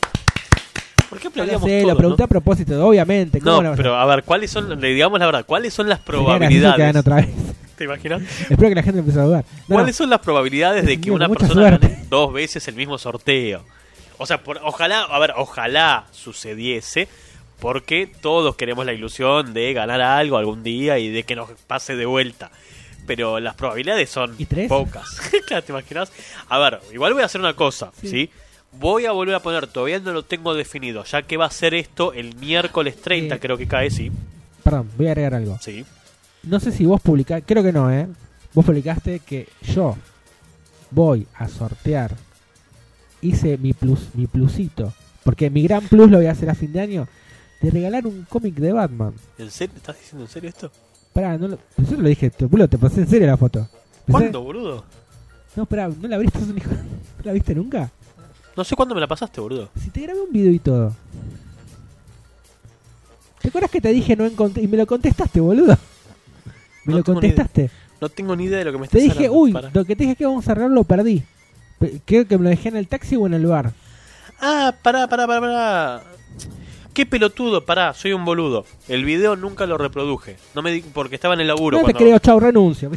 ¿Por qué
Ya lo
aplaudíamos
sé,
todo,
lo pregunté
no?
a propósito, obviamente. Este, ¿cómo
No,
lo vas a
pero
hacer?
a ver, ¿cuáles son, le digamos la verdad, cuáles son las
Sería gracioso que gane
probabilidades?
otra vez.
<laughs> ¿Te imaginas?
Espero que la gente empiece a dudar. No,
¿Cuáles son las probabilidades de que
Dios,
una
mucha
persona
suerte.
gane dos veces el mismo sorteo? O sea, por- ojalá, a ver, ojalá sucediese, porque todos queremos la ilusión de ganar algo algún día y de que nos pase de vuelta. Pero las probabilidades son
¿Y tres?
pocas. <laughs> claro, ¿te imaginas? A ver, igual voy a hacer una cosa, ¿sí? Voy a volver a poner, todavía no lo tengo definido, ya que va a ser esto el miércoles 30,
Eh.
creo que cae, sí.
no. Perdón, voy a agregar algo.
Sí.
No sé si vos publicaste, creo que no, ¿eh? Vos publicaste que yo voy a sortear. Hice mi plus, mi plusito. Porque mi gran plus lo voy a hacer a fin de año. De regalar un cómic de Batman.
¿En serio? ¿Estás diciendo en serio esto?
Pará, no lo, yo te lo dije, te, boludo, te pasé en serio la foto. ¿Pensé?
¿Cuándo, boludo?
No, pará, ¿no la abriste? sos un hijo- ¿No la viste nunca?
No sé cuándo me la pasaste, boludo.
Si te grabé un video y todo. ¿Te acuerdas que te dije no encontré? Y me lo contestaste, boludo. Me
No
lo
tengo ni idea.
contestaste.
No tengo ni idea de lo que me
Te
estás
dije,
hablando,
uy,
pará.
lo que te dije que vamos a arreglar lo perdí. Pe- Creo que me lo dejé en el taxi o en el bar.
Ah, pará, pará, pará, pará. Qué pelotudo, pará, soy un boludo. El video nunca lo reproduje. No me di- porque estaba en el laburo.
no te
cuando-
creo, chau, renuncio.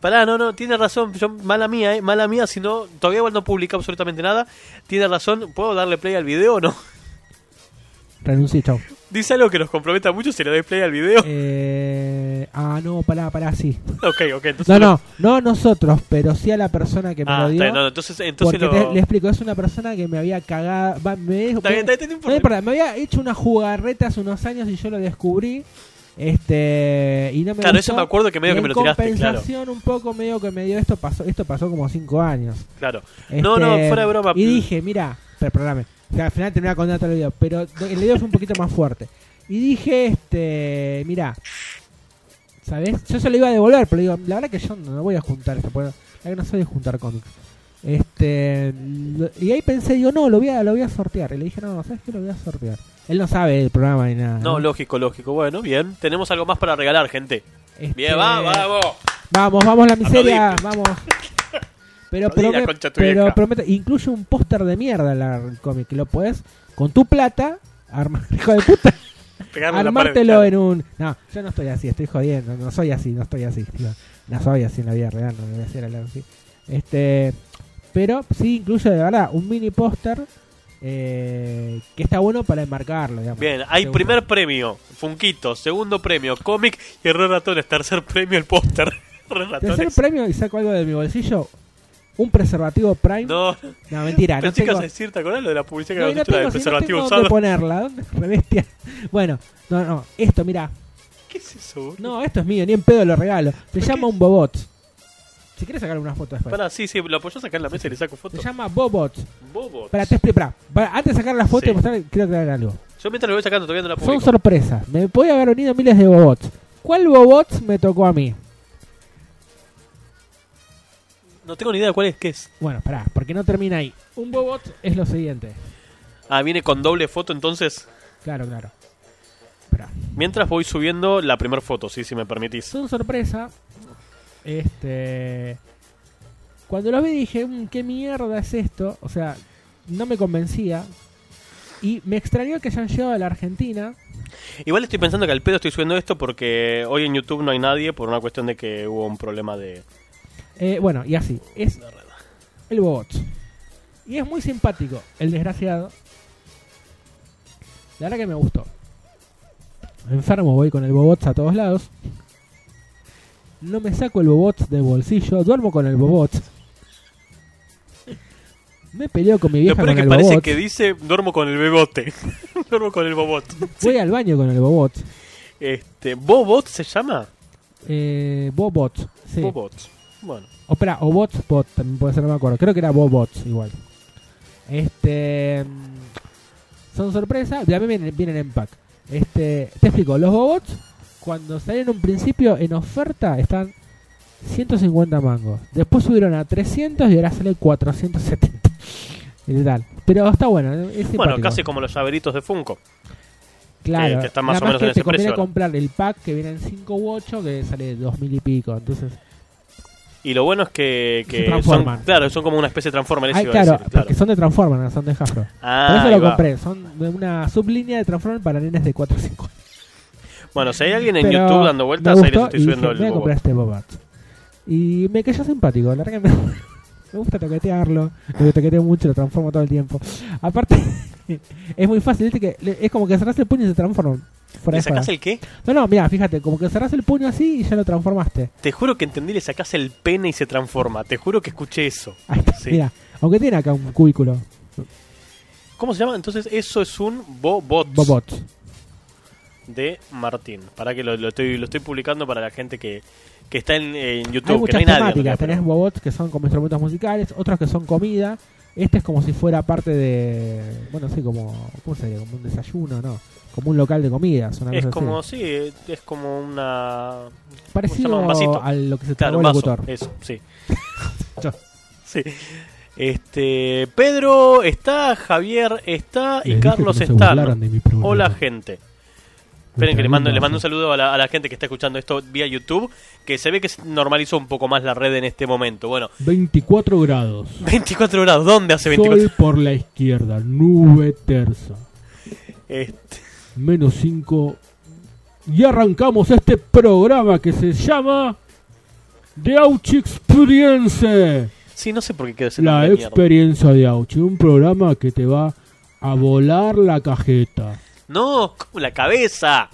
Pará, no, no, tiene razón. Yo, mala mía, eh, mala mía, si no, todavía igual no publica absolutamente nada. Tiene razón, ¿puedo darle play al video o no?
<laughs>
<laughs>
Renuncié, chau.
Dice algo que nos comprometa mucho si le doy play al video.
Eh, ah, no, pará, pará, sí.
<laughs> ok, ok, entonces.
No,
lo-
no, no a nosotros, pero sí a la persona que me
Ah,
lo
está
dio.
bien, no, no, entonces, entonces
porque
lo.
te- le explico, es una persona que me había cagado. va, me,
Está bien,
me-
está bien, no
no me
importa.
importa, me había hecho una jugarreta hace unos años y yo lo descubrí. Este, y no me
Claro,
gustó.
eso me acuerdo que medio
Y
que
en
me lo tiraste, claro.
compensación un poco medio que me dio esto pasó, esto pasó como 5 años.
Claro. No,
Este,
no, fuera de broma.
Y dije, mira, perdóname. O sea, al final terminaba contando todo el video, pero el video es un poquito más fuerte. Y dije, este, mira, ¿sabes? Yo se lo iba a devolver, pero digo, la verdad que yo no, no voy a juntar esto, porque la verdad que no soy de juntar cómics. Este, lo- y ahí pensé, digo, no, lo voy a, lo voy a sortear. Y le dije, no, ¿sabes qué? Lo voy a sortear. Él no sabe el programa ni nada.
No, lógico, lógico. Bueno, bien. Tenemos algo más para regalar, gente.
Este,
Bien, va, vamos.
Vamos, vamos la miseria,
Aplaudí.
vamos. Pero,
Aplaudí la
prome-
concha tu
pero
vieja.
prometo, incluye un póster de mierda la- el cómic, que lo puedes con tu plata armar, <laughs> hijo de puta,
Pegarle en la pared,
armártelo
claro.
en un. No, yo no estoy así, estoy jodiendo, no soy así, no estoy así, tío. no soy así en la vida real, no me voy a hacer hablar así. Este, pero sí incluye de verdad un mini póster eh, que está bueno para enmarcarlo, digamos.
Bien, hay
Seguro.
primer premio, Funquito, segundo premio, cómic y error ratones, tercer premio, el póster. <laughs> Re
Tercer
ratones.
premio y saco algo de mi bolsillo. Un preservativo Prime. No,
No, <laughs>
mentira, no
pensé que
tengo,
ibas a decir, ¿te acordás lo de la publicidad que
no, y
habíamos
no
hecho, la
tengo,
del
si
preservativo
no tengo dónde
usado?
ponerla. <laughs> ¿dónde? Re bestia. Bueno, no, no, esto, mira,
¿Qué es eso, boludo?
no, esto es mío, ni en pedo lo regalo. Se llama un Bobot. Si quieres sacar unas fotos después.
Pará, sí, sí, lo apoyás acá en la mesa y le saco foto.
Se llama Bobot.
Bobo.
Para te explicar, para- antes de sacar la foto
Sí.
y mostrar, quiero aclarar algo.
Yo mientras lo voy sacando, todavía no la
Son
publico.
sorpresas. Me puede haber unido miles de Bobots. ¿Cuál Bobot me tocó a mí?
No tengo ni idea de cuál es, qué es.
Bueno, pará, porque no termina ahí. Un Bobot es lo siguiente.
Ah, viene con doble foto, entonces.
Claro, claro. Pará.
Mientras voy subiendo la primera foto, sí, si me permitís.
Son sorpresa. Este. Cuando los vi dije, "Mm, ¿qué mierda es esto? O sea, no me convencía. Y me extrañó que hayan llegado a la Argentina.
Igual estoy pensando que al pedo estoy subiendo esto porque hoy en YouTube no hay nadie por una cuestión de que hubo un problema de...
Eh, bueno, y así. Es el Bobot. Y es muy simpático, el desgraciado. La verdad que me gustó. Enfermo voy con el Bobot a todos lados. No me saco el Bobot del bolsillo, duermo con el Bobot. Me peleo con mi
Lo
vieja
peor es
con
que
el
parece
Bobot.
que dice, duermo con el bebote. <laughs> duermo con el bobot.
Voy al baño con el Bobot.
Este, ¿Bobot se llama?
Eh, Bobot. Sí.
Bobot. Bueno.
O espera, o Bot, Bot, también puede ser, no me acuerdo. Creo que era Bobot igual. Este. mm, Son sorpresas, también vienen, vienen en pack. Este, te explico, los Bobots, cuando salieron en un principio en oferta, están 150 mangos. Después subieron a 300 y ahora sale 470. <laughs> Y tal. Pero está bueno, es
bueno,
simpático.
casi como los llaveritos de Funko. Eh,
Claro,
que- que están más
nada
o menos
que
en
te
ese precio
conviene
ahora.
comprar el pack que viene en 5 u 8 que sale 2000 y pico. Entonces,
Y lo bueno es que, que
Se transforman.
son, claro, son como una especie de transformer. eso
Ay,
iba a
claro,
decir,
porque son de Transformers, no son de Hasbro.
Ah,
Por eso
ahí
lo
va.
compré. Son de una sublínea de Transformers para nenes de 4 o 5.
Bueno, si hay alguien en
Pero
YouTube dando vueltas,
me
ahí les
gustó
estoy
y
subiendo
dije,
el
voy a
Bobot.
comprar este Bobat. Y me cayó simpático, la verdad que me, <laughs> me gusta toquetearlo. Lo toqueteo mucho, lo transformo todo el tiempo. Aparte, <laughs> es muy fácil, ¿viste? Que le- es como que cerrás el puño y se transforma. Fuera
¿Le
de
sacás
joda.
el qué?
No, no, mira, fíjate, como que cerrás el puño así y ya lo transformaste.
Te juro que entendí, le sacás el pene y se transforma. Te juro que escuché eso.
Ahí está,
Sí.
Mira, aunque tiene acá un cubículo,
¿Cómo se llama? Entonces, eso es un Bobot
Bobot.
de Martín. Para que lo, lo estoy, lo estoy publicando para la gente que, que está en, en
Hay
YouTube, que no
muchas
hay nadie. en
temáticas.
realidad,
Tenés
pero-
bobots que son como instrumentos musicales, otros que son comida. Este es como si fuera parte de. Bueno, sí, como. ¿Cómo sería? Como un desayuno, ¿no? Como un local de comidas. Una
es
cosa
como,
así.
sí, es como una.
Parecido
llama? Un vasito.
a lo que se
Claro,
tragó
un
el
vaso.
locutor.
Eso, sí.
<laughs> Yo.
sí. Este, Pedro está, Javier está y
Les dije
Carlos
que no se
está.
burlaran de mi programa.
Hola, gente. Esperen que les mando, les mando un saludo a la, a la gente que está escuchando esto vía YouTube, que se ve que se normalizó un poco más la red en este momento. Bueno,
24 grados.
24 grados, ¿dónde hace 24?
Sol por la izquierda, nube tersa.
Este,
menos 5. Y arrancamos este programa que se llama The Auchi Experience.
sí, no sé por qué quedó ese
La
nombre de mierda.
experiencia de Auchi, un programa que te va a volar la cajeta.
No, como la cabeza.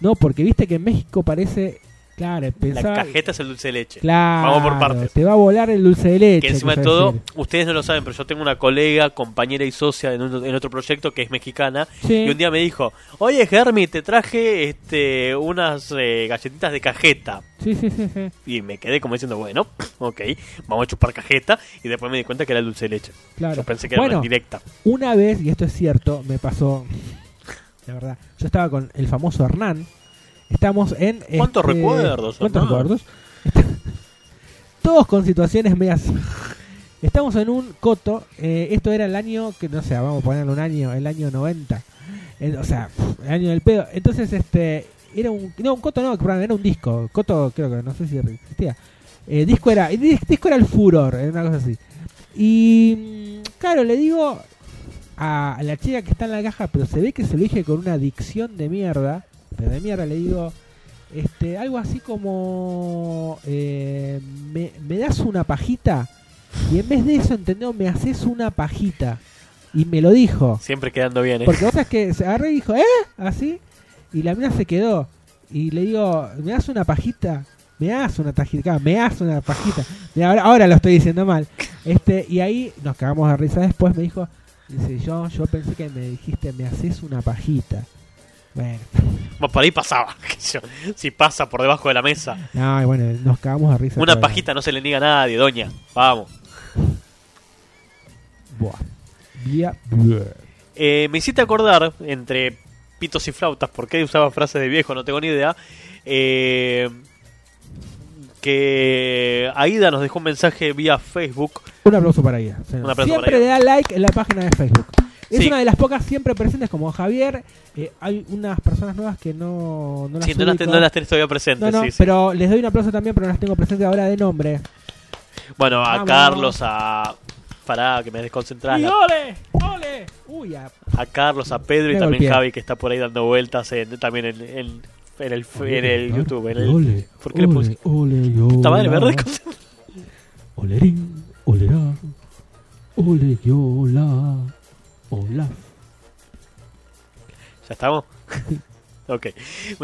No, porque viste que en México parece. Claro,
La
pensar.
cajeta es el dulce de leche.
Claro,
Vamos por partes.
Te va a volar el dulce de leche.
Que encima de
quise
todo,
decir.
ustedes no lo saben, pero yo tengo una colega, compañera y socia en, un- en otro proyecto que es mexicana.
Sí.
Y un día me dijo, oye Germi, te traje este, unas eh, galletitas de cajeta.
Sí, sí, sí. sí.
Y me quedé como diciendo, bueno, <laughs> ok, vamos a chupar cajeta. Y después me di cuenta que era el dulce de leche.
Claro.
Yo pensé que era
bueno,
una directa.
Una vez, y esto es cierto, me pasó. La verdad, yo estaba con el famoso Hernán. Estamos en. este-
¿Cuántos recuerdos,
¿Cuántos
Hernán?
recuerdos? Está- <laughs> Todos con situaciones medias. Estamos en un coto. eh, esto era el año que, no sé, vamos a ponerle un año, el año 90. El- o sea, pf, el año del pedo. Entonces, este. Era un. No, un coto no, perdón, era un disco. Coto, creo que no sé si existía. Eh, disco era. el dis- Disco era el furor, era una cosa así. Y. mm, Claro, le digo a la chica que está en la caja, pero se ve que se lo dije con una adicción de mierda. Pero de mierda le digo, este, algo así como, eh, me, me das una pajita. Y en vez de eso, entendió, me haces una pajita. Y me lo dijo.
Siempre quedando bien, ¿eh?
Porque vos sabés que se agarró y dijo, ¿eh? Así. Y la mina se quedó. Y le digo, ¿me das una pajita? me hace una tajita, me hace una pajita. Mirá, ahora, ahora lo estoy diciendo mal. Este, y ahí nos cagamos de risa después, me dijo, dice, yo, yo pensé que me dijiste, me haces una pajita. Bueno,
Bueno, por ahí pasaba. <laughs> qué sé yo. si pasa por debajo de la mesa.
no, y bueno, nos cagamos de risa.
Una
todos.
pajita no se le niega a nadie, doña. Vamos.
Buah. Vía- buah.
Eh, me hiciste acordar, entre pitos y flautas, porque usaba frases de viejo, no tengo ni idea. eh, que Aida nos dejó un mensaje vía Facebook.
Un aplauso para ella. señor.
Un aplauso
siempre
para
le da like en la página de Facebook. Es
Sí.
una de las pocas siempre presentes como Javier. Eh, hay unas personas nuevas que no, no las
Sí, no las,
ubico.
ten- no las tenés todavía
No,
presentes.
no,
sí, sí.
pero les doy un aplauso también, pero no las tengo presentes ahora de nombre.
Bueno, a
Vamos.
Carlos, a. Pará, que me desconcentrás. la-
ole! ¡Ole! Uy, a-
A Carlos, a Pedro y
Me
también
golpeé.
Javi, que está por ahí dando vueltas en- también en, en- en el, en el YouTube. En el,
Ole,
¿Por qué le puse?
Ole,
Puta madre, me
yola.
reconcentré.
Olerín, olerá. Ole, yola. Hola.
¿Ya
<laughs>
estamos? ok.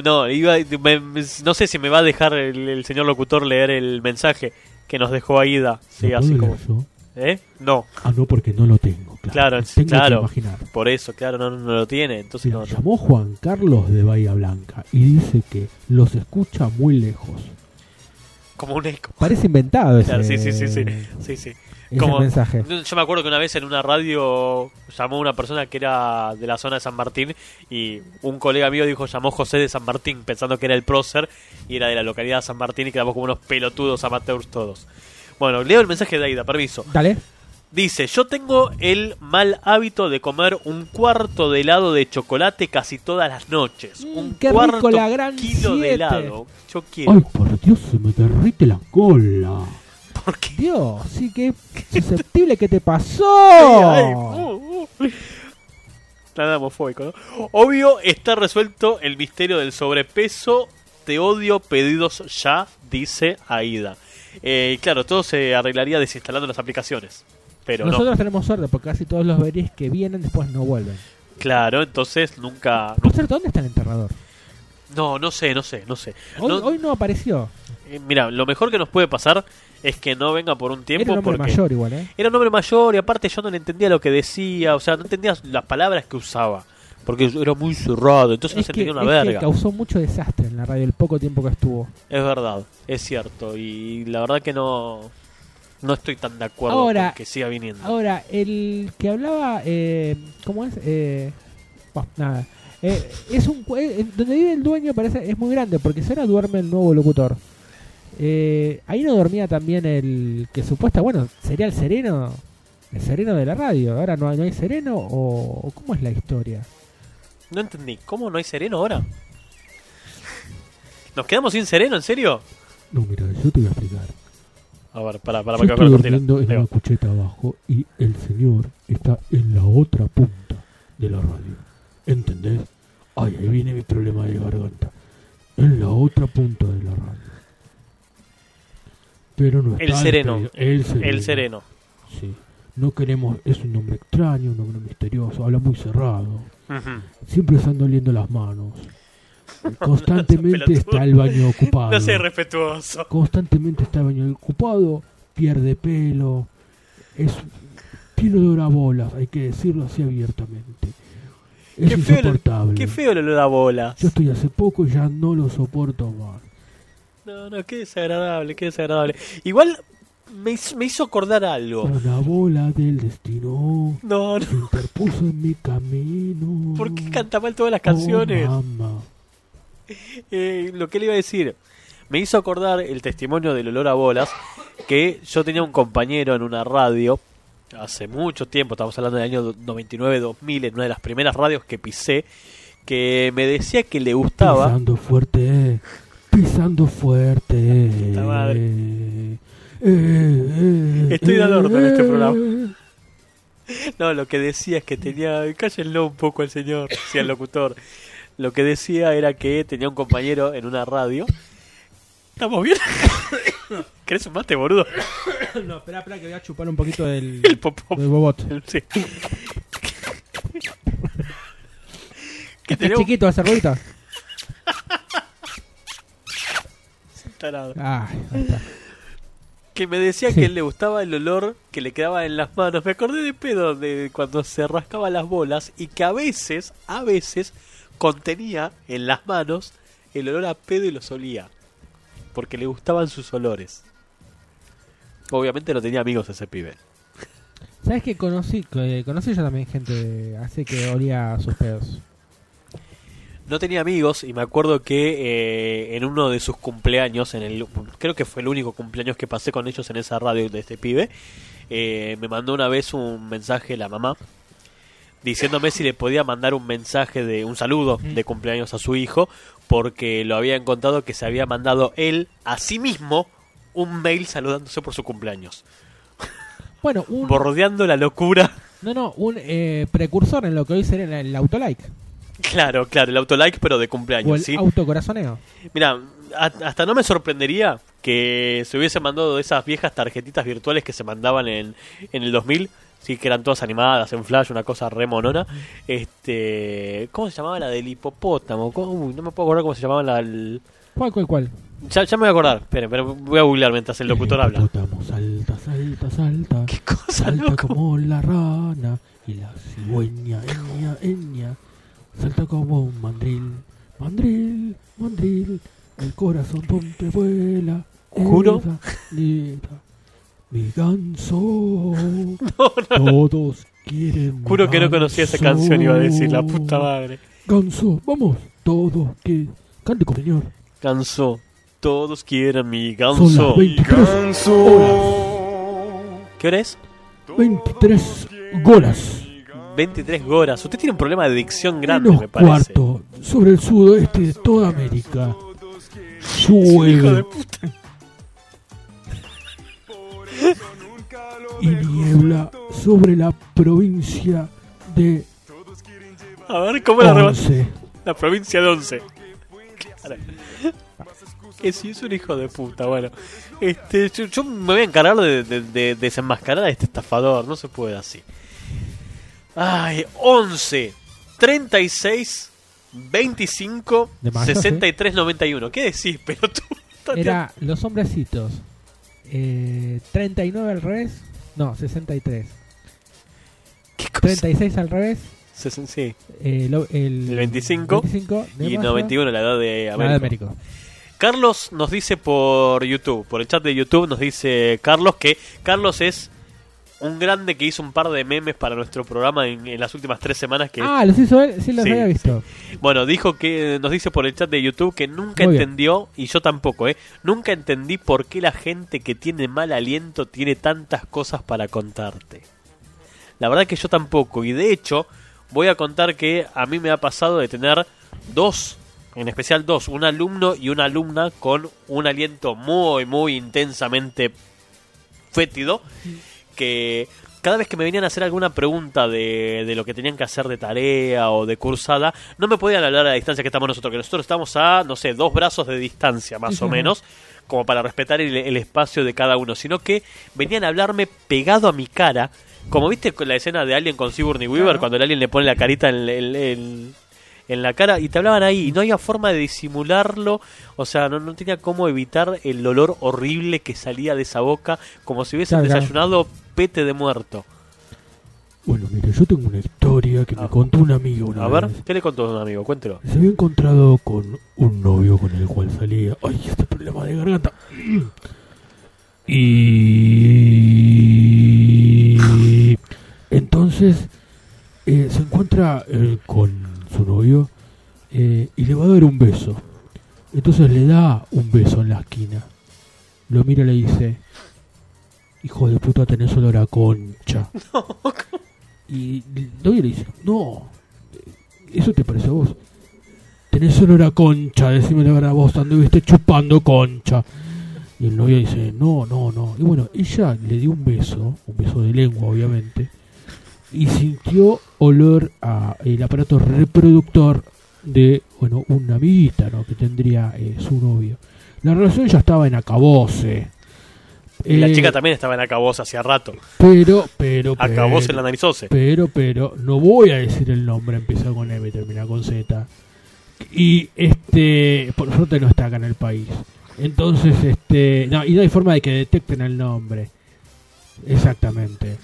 No, iba- me- me- no sé si me va a dejar el, el señor locutor leer el mensaje que nos dejó Aida. Sí,
¿Lo
así como.
puedo leer yo?
¿Eh? No,
Ah, no, porque no lo tengo. Claro,
Claro,
tengo que
claro.
imaginar.
por eso, claro, no, no lo tiene. Entonces
Mira,
no, no.
llamó Juan Carlos de Bahía Blanca y dice que los escucha muy lejos.
Como un eco.
Parece inventado ese,
Claro, sí, sí, sí, sí. Sí, sí.
ese
Como-
mensaje.
Yo me acuerdo que una vez en una radio llamó una persona que era de la zona de San Martín y un colega mío dijo llamó José de San Martín pensando que era el prócer y era de la localidad de San Martín y quedamos como unos pelotudos amateurs todos. Bueno, leo el mensaje de Aida, permiso.
Dale.
Dice, yo tengo el mal hábito de comer un cuarto de helado de chocolate casi todas las noches.
Mm,
un
qué rico,
cuarto
la gran
kilo de
siete.
helado. Yo quiero.
Ay, por Dios, se me derrite la cola.
¿Por qué?
Dios, sí, que susceptible que te
Ay,
pasó.
uh, uh. Nada homofóbico, ¿no? Obvio, está resuelto el misterio del sobrepeso. Te odio, pedidos ya, dice Aida. Eh, claro, todo se arreglaría desinstalando las aplicaciones. Pero
Nosotros
no.
tenemos suerte porque casi todos los veris que vienen después no vuelven.
Claro, entonces nunca.
Por cierto, ¿dónde está el enterrador?
No, no sé, no sé, no sé.
Hoy
No-
no, hoy no apareció.
Eh, Mira, lo mejor que nos puede pasar es que no venga por un
Era
tiempo
un hombre
porque
mayor igual, ¿eh?
era un hombre mayor y aparte yo no le entendía lo que decía, o sea, no entendía las palabras que usaba, porque era muy cerrado, entonces no
Es
se
que,
entendía una
es que
verga.
causó mucho desastre en la radio el poco tiempo que estuvo.
Es verdad, es cierto y la verdad que no no estoy tan de acuerdo
Ahora-
con que siga viniendo.
Ahora, el que hablaba, eh, ¿cómo es? Eh, bueno, nada. Eh, es un cue- eh, donde vive el dueño parece es muy grande porque si ahora duerme el nuevo locutor. Eh, ahí no dormía también el que supuesta, bueno, sería el sereno, el sereno de la radio. Ahora no hay, no hay sereno o o cómo es la historia.
No entendí, ¿cómo no hay sereno ahora? <laughs> ¿Nos quedamos sin sereno, en serio?
No, mira, yo te voy a explicar.
A ver, para para
Yo
para
estoy durmiendo en una cucheta abajo y el señor está en la otra punta de la radio. ¿Entendés? Ay, ahí viene mi problema de garganta. En la otra punta de la radio. Pero no está
El sereno.
despedido. El sereno.
El sereno.
Sí. No queremos, es un nombre extraño, un nombre misterioso, habla muy cerrado.
Ujú.
Siempre están doliendo las manos.
<laughs>
Constantemente
pelotudo.
está el baño
<laughs>
ocupado.
No seas respetuoso.
Constantemente está el baño ocupado, pierde pelo, es tiene olor a bolas, hay que decirlo así abiertamente. Es
Qué feo,
insoportable.
Qué feo el olor a bola.
Yo estoy hace poco y ya no lo soporto más.
No, no, qué desagradable, qué desagradable. Igual me hizo, me hizo acordar algo.
Una bola del destino
Oh. No, no,
se interpuso en mi camino.
¿por qué canta mal todas las canciones?
Oh, mamá.
<laughs> Eh, lo que le iba a decir, me hizo acordar el testimonio del olor a bolas que yo tenía un compañero en una radio hace mucho tiempo, estamos hablando del año 99-2000, en una de las primeras radios que pisé, que me decía que le gustaba...
Pisando fuerte, pisando fuerte.
Puta madre.
Eh, eh,
Estoy dando orden en este programa.
eh.
<laughs> No, lo que decía es que tenía. Cállenlo un poco al señor, si al locutor. Lo que decía era que tenía un compañero en una radio. ¿Estamos bien? <coughs> ¿Querés un mate, boludo? <coughs>
No, espera, espera que voy a chupar un poquito del,
El popó.
del bobot.
Sí. Que
Es
tenía un-
chiquito ese ruido.
está tarado.
Ah, ahí está.
Que me decía
Sí.
que le gustaba el olor que le quedaba en las manos. Me acordé de pedo de cuando se rascaba las bolas y que a veces, a veces, contenía en las manos el olor a pedo y lo solía. Porque le gustaban sus olores. Obviamente no tenía amigos ese pibe.
¿Sabes que conocí, que conocí yo también gente así que olía a sus pedos?
No tenía amigos y me acuerdo que eh, en uno de sus cumpleaños, en el creo que fue el único cumpleaños que pasé con ellos en esa radio de este pibe, eh, me mandó una vez un mensaje la mamá diciéndome si le podía mandar un mensaje de un saludo de cumpleaños a su hijo porque lo había encontrado que se había mandado él a sí mismo un mail saludándose por su cumpleaños,
Bueno, un,
bordeando la locura. <laughs>
no, no, un eh, precursor en lo que hoy sería el, el autolike
Claro, claro, el autolike pero de
o
cumpleaños,
el
¿sí?
autocorazoneo.
Mira, hasta no me sorprendería que se hubiese mandado esas viejas tarjetitas virtuales que se mandaban en, en el 2000, sí que eran todas animadas en flash, una cosa re monona. Este, ¿cómo se llamaba la del hipopótamo? ¿Cómo? Uy, no me puedo acordar cómo se llamaba la del-
¿Cuál, cuál, cuál?
Ya, ya me voy a acordar, esperen, pero voy a googlear mientras el locutor habla.
hipopótamo salta, salta, salta.
¿Qué cosa,
Salta
loco?
como la rana y la cigüeña, eña, eña. Salta como un mandril, mandril, mandril. El corazón donde vuela.
Juro.
esa nena. Mi
<laughs>
ganso. Todos quieren. mi
Juro que no conocía esa
ganso.
canción, iba a decir, la puta madre.
Ganso, vamos. Todos que. Cante, señor.
Ganso, todos quieren mi
Son
ganso.
las 23
¿Qué hora es?
23 golas.
23 horas. Usted tiene un problema de adicción grande,
Menos
me parece.
cuarto sobre el sudoeste de toda América.
Hijo de
Llueve
puta.
y niebla sobre la provincia de
A ver cómo la reba-
Once.
La provincia de Once. Cara. Que si es un hijo de puta, bueno. Este, yo, yo me voy a encargar de, de- de desenmascarar a este estafador, no se puede así. Ay, 11, 36, 25,
De mayo,
63, 91. ¿Qué decís, pelotudo? <laughs>
Era los hombrecitos. Eh, 39 al revés. No, 63.
¿Qué cosa?
36 al revés.
Sesen- sí.
eh, lo- el,
El 25
de
Y
mayo,
91, la edad de
la de
América.
Américo.
Carlos nos dice por YouTube, por el chat de YouTube, nos dice Carlos que Carlos es un grande que hizo un par de memes para nuestro programa en, en las últimas tres semanas. Que
Ah, los hizo él. Sí, los
Sí,
había visto.
bueno, dijo que nos dice por el chat de YouTube que nunca
Muy bien.
entendió y yo tampoco, eh, nunca entendí por qué la gente que tiene mal aliento tiene tantas cosas para contarte. La verdad que yo tampoco y de hecho voy a contar que a mí me ha pasado de tener dos, en especial dos, un alumno y una alumna con un aliento muy, muy intensamente fétido, que cada vez que me venían a hacer alguna pregunta de, de lo que tenían que hacer de tarea o de cursada, no me podían hablar a la distancia que estamos nosotros, que nosotros estamos a, no sé, dos brazos de distancia más o menos, como para respetar el, el espacio de cada uno, sino que venían a hablarme pegado a mi cara, como viste con la escena de Alien con Sigourney Weaver, cuando el alien le pone la carita en, el- el- el- en la cara y te hablaban ahí y no había forma de disimularlo, o sea, no, no tenía cómo evitar el olor horrible que salía de esa boca, como si hubiesen
Claro, claro.
desayunado pete de muerto.
Bueno, mire, yo tengo una historia que
Ah.
me contó un amigo una
A ver,
vez.
¿qué le contó a un amigo? Cuéntelo.
Se había encontrado con un novio con el cual salía. Ay, este problema de garganta. Y entonces eh, se encuentra eh, con su novio eh, y le va a dar un beso. Entonces le da un beso en la esquina. Lo mira y le dice, hijo de puta, tenés olor a concha. Y el novio le dice, no, eso te parece a vos. Tenés olor a concha, decime la verdad vos, anduviste chupando concha. Y el novio dice, no, no, no. Y bueno, ella le dio un beso, un beso de lengua obviamente, y sintió olor a el aparato reproductor de, bueno, una amiguita, ¿no? Que tendría eh, su novio. La relación ya estaba en acabose.
Y la
Eh,
chica también estaba en acabos hacía rato.
Pero, pero, pero.
Acabos en la narizose.
Pero, pero, no voy a decir el nombre, empieza con M y termina con Z. Y este, por suerte no está acá en el país. Entonces, este. No, y no hay forma de que detecten el nombre. Exactamente.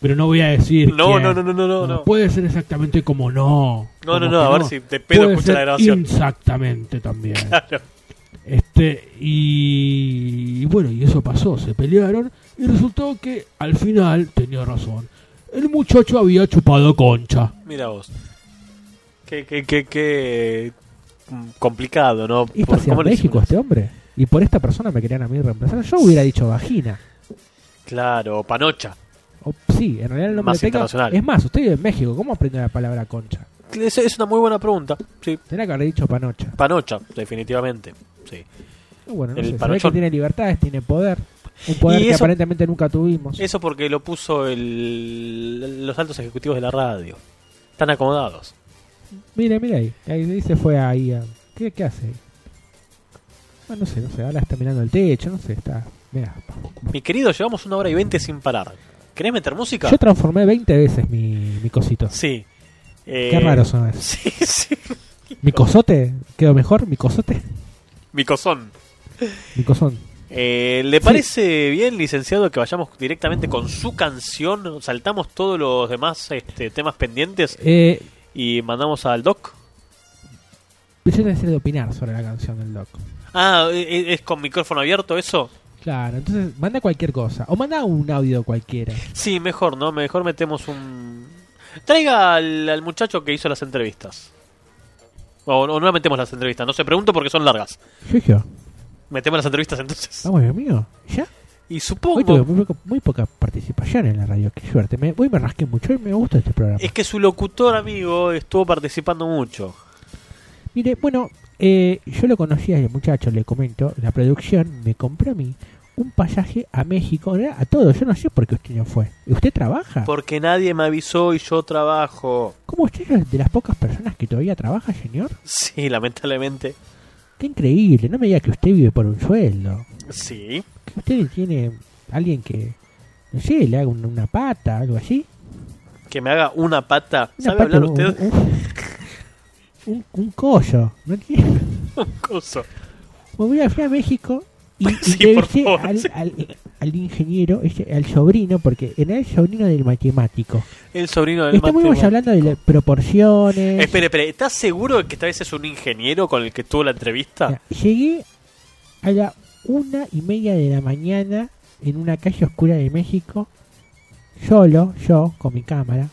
Pero no voy a decir.
No,
quién.
no, no, no, no, no, no.
Puede ser exactamente como no.
No,
como
no, no,
que
a ver si de pedo
Puede
escucha la
ser
grabación.
Exactamente también.
<laughs> Claro.
Este, y, y bueno, y eso pasó, se pelearon y resultó que al final tenía razón. El muchacho había chupado concha.
Mira vos. Qué, qué, qué, qué mm, complicado, ¿no?
¿Y
Por-
está hacia
¿cómo le
México
hicimos?
este hombre? Y por esta persona me querían a mí reemplazar. Yo hubiera
<laughs>
dicho vagina.
Claro, Panocha.
O, sí, en realidad el nombre
Más
técnico-
internacional.
Es más, usted vive en México. ¿Cómo aprendió la palabra concha?
Es, es una muy buena pregunta. Sí,
Tendría que haber dicho panocha.
Panocha, definitivamente. Sí.
Y Bueno, no
El
sé, se ve
panochón.
que tiene libertades, tiene poder. Un poder
Y
que
eso-
aparentemente nunca tuvimos.
Eso porque lo puso el, los altos ejecutivos de la radio. Están acomodados.
Mire, mire ahí. Ahí dice fue ahí. a- ¿Qué, qué hace? ahí? Ah, no sé, no sé. Ahora está mirando el techo, no sé. Está. Mira.
Mi querido, llevamos una hora y veinte sin parar. ¿Querés meter música?
Yo transformé 20 veces mi, mi cosito.
Sí. Eh,
Qué raro son
<laughs>
eso.
Sí, sí.
¿Mi cosote? ¿Quedó mejor? ¿Mi cosote?
Mi cosón.
Mi cosón.
Eh, ¿Le parece bien, licenciado, que vayamos directamente con su canción? Saltamos todos los demás este, temas pendientes
Eh,
y mandamos al doc.
yo te decía de opinar sobre la canción del Doc.
Ah, ¿e- ¿es con micrófono abierto eso?
Claro, entonces manda cualquier cosa. O manda un audio cualquiera.
Sí, mejor, ¿no? Mejor metemos un... Traiga al, al muchacho que hizo las entrevistas. O, o no metemos las entrevistas, no se pregunto porque son largas.
Yo, yo.
Metemos las entrevistas entonces.
Vamos, Dios mío. ¿Ya?
Y
Hoy tuve
supongo...
muy, poca- muy poca participación en la radio. Qué suerte. Me, hoy me rasqué mucho. Hoy me gusta este programa.
Es que su locutor amigo estuvo participando mucho.
Mire, bueno, eh, yo lo conocí al muchacho, le comento, la producción me compró a mí un pasaje a México, en realidad a todo, yo no sé por qué usted no fue. ¿Y ¿Usted trabaja?
Porque nadie me avisó y yo trabajo.
¿Cómo usted es de las pocas personas que todavía trabaja, señor?
Sí, lamentablemente.
Qué increíble, no me diga que usted vive por un sueldo,
Sí.
que usted tiene alguien que, no sé, le haga un- una pata, algo así.
Que me haga una pata.
Una
¿Sabe
pata,
hablar
un-
usted?
Un, un, un collo, ¿no entiende?
Un coso.
Me voy a fui a México y, y
<laughs> Sí,
le
por
dije
favor,
al,
sí.
al- al ingeniero, ese- al sobrino, porque era el sobrino del matemático.
El sobrino del
Estamos
mate.
hablando de las proporciones.
Espere, espere. ¿Estás seguro de que esta vez es un ingeniero con el que tuvo la entrevista?
Mira, Llegué a la una y media de la mañana en una calle oscura de México, solo, yo, con mi cámara,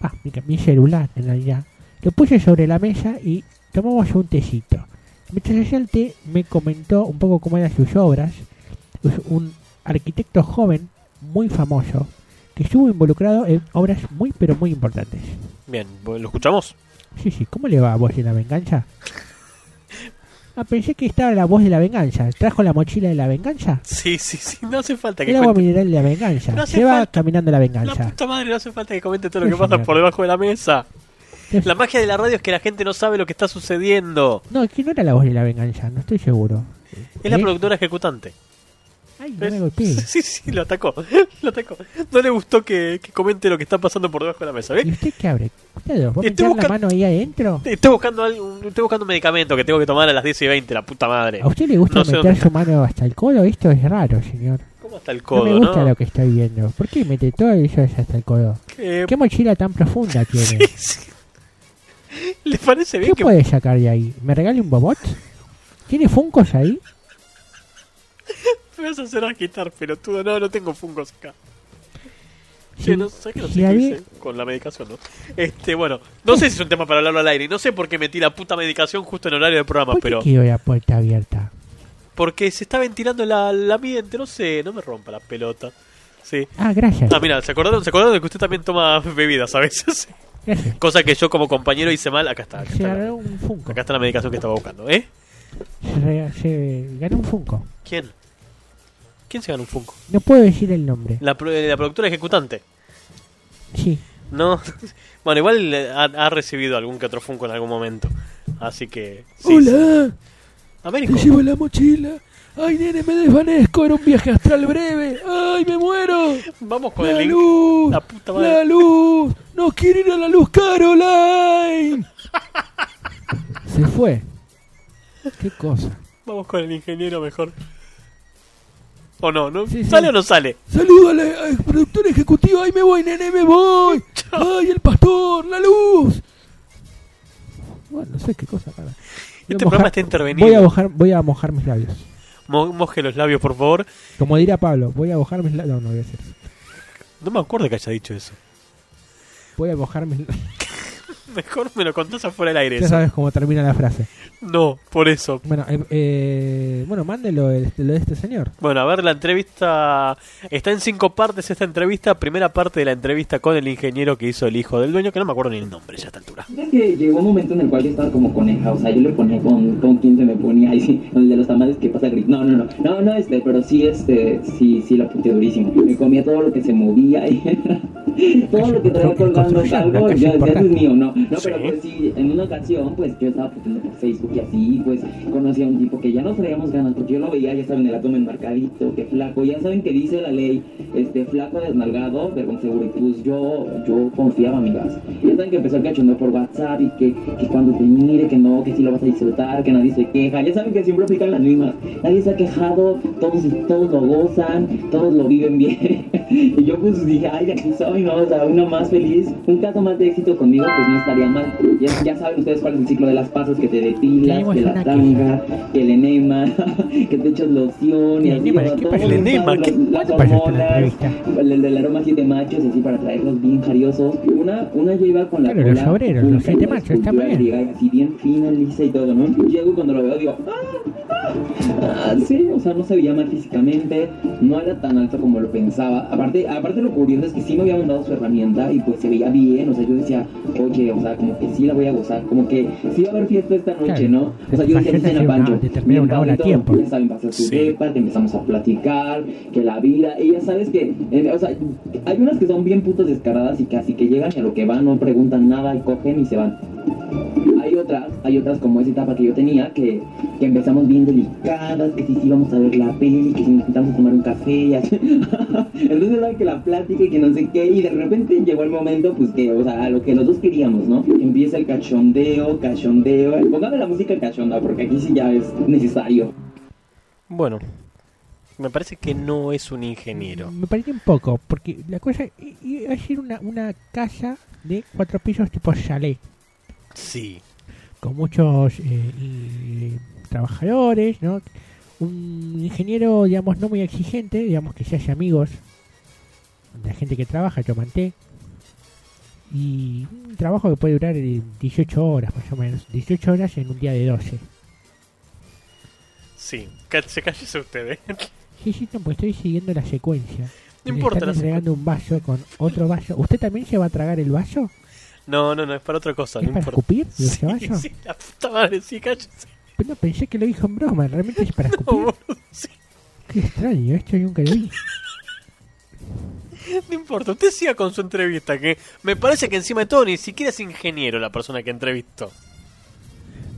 ah, mi, ca- mi celular en realidad, lo puse sobre la mesa y tomamos un tecito. Mientras hacía el té, me comentó un poco cómo eran sus obras. Es un arquitecto joven, muy famoso, que estuvo involucrado en obras muy, pero muy importantes.
Bien, ¿lo escuchamos?
Sí, sí, ¿cómo le va a Voz de la Venganza? <laughs> Ah, pensé que estaba la voz de la venganza. ¿Trajo la mochila de la venganza?
Sí, sí, sí. No hace falta que
El agua
comente.
mineral de la venganza.
No hace
Se va
falta.
caminando la
La
venganza.
puta madre, no hace falta que comente todo lo
Sí,
que pasa
señor.
por debajo de la mesa.
Sí.
La magia de la radio es que la gente no sabe lo que está sucediendo.
No, es que no era la voz de la venganza, no estoy seguro.
Es la
¿Eh?
productora ejecutante.
Ay, no
¿Ves?
me golpeé.
<laughs> Sí, sí, lo atacó. Lo atacó. No le gustó que, que comente lo que está pasando por debajo de la mesa.
¿Y
¿Ve?
usted qué abre? Cuidado, ¿vos
Estoy
meter la
buscando-
mano ahí adentro?
Estoy buscando, algo- estoy buscando un medicamento que tengo que tomar a las 10 y 20, la puta madre.
¿A usted le gusta
No sé
meter
dónde
su mano hasta el codo? Esto es raro, señor.
¿Cómo está el
no me
codo, no?
gusta lo que estoy viendo. ¿Por qué mete todo eso hasta el codo?
Eh,
¿Qué mochila tan profunda
<laughs>
tiene?
sí, sí. ¿Le parece bien
¿Qué
que.?
puede sacar de ahí? ¿Me regale un bobot? ¿Tiene funcos ahí?
Me vas a hacer agitar, pelotudo. No, no tengo fungos acá.
Sí,
Che, no, ¿sabés que no sé
sí,
qué
había-
hice con la medicación, no? Este, bueno, no sé si es un tema para hablarlo al aire. y No sé por qué metí la puta medicación justo en horario del programa,
¿Por qué
pero.
quedó la puerta abierta?
Porque se está ventilando la, el ambiente, no sé, no me rompa la pelota. Sí.
Ah, gracias.
Ah, mira, se acordaron, se acordaron de que usted también toma bebidas a veces.
Gracias.
Cosa que yo como compañero hice mal. Acá está. Acá
Se
está,
ganó
la,
un Funko.
acá está la medicación que estaba buscando, ¿eh?
Se, re- se ganó Eh, un Funko.
¿Quién? ¿Quién se ganó un Funko?
No puedo decir el nombre.
La, pro- eh, la productora ejecutante.
Sí.
No. <laughs> Bueno, igual eh, ha, ha recibido algún que otro Funko en algún momento. Así que. sí, sí.
¡Hola!
Américo.
Te llevo la mochila. ¡Ay, nene, me desvanezco! Era un viaje astral breve. ¡Ay, me muero!
Vamos con
¡La
el link.
luz!
La puta madre.
¡La luz! ¡No quiero ir a la luz,
<laughs>
Caroline!
Se fue. Qué cosa.
Vamos con el ingeniero mejor. ¿O no? ¿No?
Sí, sí.
¿Sale o no sale?
Saludo al, al productor ejecutivo. Ahí me voy, nene, me voy. Ay, el pastor, la luz.
Bueno, no sé qué cosa cara.
Este
Voy a
programa
mojar-
está intervenido.
Voy a, mojar, voy a mojar mis labios.
Mo- moje los labios, por favor.
Como dirá Pablo, voy a mojar mis labios. No, no voy a hacer eso.
No me acuerdo que haya dicho eso. <laughs>
Voy a mojar mis labios.
Mejor me lo contás afuera del aire.
Ya
eso.
sabes cómo termina la frase.
No, por eso.
Bueno, eh, eh, bueno mándelo el- lo de este señor.
Bueno, a ver, la entrevista está en cinco partes esta entrevista. Primera parte de la entrevista con el ingeniero que hizo el hijo del dueño, que no me acuerdo ni el nombre ya a esta altura.
Creo que llegó un momento en el cual yo estaba como coneja, o sea, yo le ponía con, con 15 me ponía ahí, <laughs> sí, el de los tamales que pasa el grito. No, no, no, no, no, este, pero sí, este, sí, sí, la puteé durísimo. Me comía todo lo que se movía y <laughs> todo lo que traía
Construyendo,
colgando
construyendo,
algo,
que es
yo decía, "Eso es
importante".
mío, no, no, pero
Sí.
pues sí, en una ocasión, pues yo estaba puteando por Facebook y así, pues conocí a un tipo que ya no traíamos ganas, porque yo lo veía, ya saben, el abdomen marcadito, que flaco, ya saben que dice la ley, este, flaco, desnalgado, vergüenza seguro, y pues yo, yo confiaba, amigas. Y ya saben que empezó el cachondeo por WhatsApp y que, que cuando te mire, que no, que si lo vas a disfrutar, que nadie se queja, ya saben que siempre pican las mismas, nadie se ha quejado, todos, todos lo gozan, todos lo viven bien. <laughs> y yo pues dije, ay, aquí soy, ¿no? O sea, uno más feliz, un caso más de éxito conmigo, pues no estaría mal. Ya, ya saben ustedes cuál es el ciclo de las pasas, que te depilas,
Tenemos
que
una
la tanga, que el enema, <laughs> que te echas loción y así.
enema,
o sea,
¿qué
todo
pasa?
El
lo
enema,
usan
¿qué-
las- las
¿Cuánto pasaste la
hormonas,
entrevista?
el, el, el aroma siete machos, así para traerlos bien jariosos. Una, una ya iba con la
Claro, los
cola
obreros, los
junta,
siete
una
machos, está
escultura
bien.
griega, Así bien fina, lisa y todo, ¿no? Llego y cuando lo veo, digo, Ah, sí, o sea, no se veía mal físicamente, no era tan alto como lo pensaba. Aparte, aparte lo curioso es que sí me había mandado su herramienta y pues se veía bien, o sea, yo decía, oye, o sea, como que sí la voy a gozar, como que sí va a haber fiesta esta noche,
Claro.
¿no? O sea, yo decía,
Imagínate
dicen a
hacer una-
Pancho,
determinar
bien
una hora a
bonito,
tiempo.
ya saben, pasó su
Sí.
depa, que empezamos a platicar, que la vida, y ya sabes que, eh, o sea, hay unas que son bien putas descaradas y casi que llegan y a lo que van, no preguntan nada y cogen y se van hay otras, hay otras como esa etapa que yo tenía, que, que empezamos bien delicadas, que si sí, íbamos a ver la peli, que si nos intentamos tomar un café y así. <laughs> Entonces era que la plática y que no sé qué, y de repente llegó el momento, pues que, o sea, a lo que los dos queríamos, ¿no? Empieza el cachondeo, cachondeo, póngame la música cachonda, porque aquí sí ya es necesario.
Bueno, me parece que no es un ingeniero.
Me pareció un poco, porque la cosa i- iba a ser una, una casa de cuatro pisos tipo chalet,
Sí.
con muchos eh,
Eh.
y- trabajadores, ¿no? Un ingeniero, digamos, no muy exigente, digamos que se hace amigos de la gente que trabaja, yo manté. Y un trabajo que puede durar eh, 18 horas, más o menos. 18 horas en un día de 12.
Sí, cállese, cállese usted, ¿eh? <laughs>
Sí, sí, no, pues estoy siguiendo la secuencia.
No
Le
importa
Están
la
entregando un vaso con otro vaso. ¿Usted también se va a tragar el vaso?
No, no, no, es para otra cosa,
¿Es
no
para
importa.
escupir
Sí,
de ese vaso?
sí, la puta madre, sí, cállese.
Pero Pues no, pensé que lo dijo en broma. Realmente es
<laughs>
para
No,
escupir.
boludo, sí,
Qué extraño, esto nunca lo
<laughs>
vi.
no importa, usted siga con su entrevista, que me parece que encima de todo ni siquiera es ingeniero la persona que entrevistó.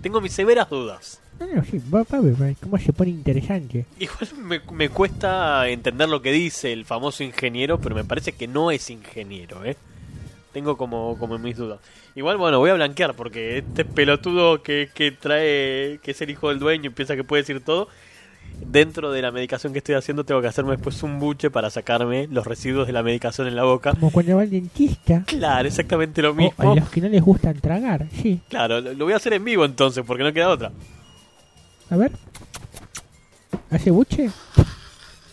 Tengo mis severas dudas.
No, no, sí, va, va a ver, va, cómo se pone interesante.
Igual me, me cuesta entender lo que dice el famoso ingeniero, pero me parece que no es ingeniero, ¿eh? Tengo como, como mis dudas. Igual, bueno, voy a blanquear porque este pelotudo que, que trae, que es el hijo del dueño y piensa que puede decir todo, dentro de la medicación que estoy haciendo tengo que hacerme después un buche para sacarme los residuos de la medicación en la boca.
Como cuando va al dentista,
Claro, exactamente lo
o a
mismo.
los que no les gustan tragar. Sí,
Claro, lo, lo voy a hacer en vivo entonces porque no queda otra.
a ver. ¿Hace buche?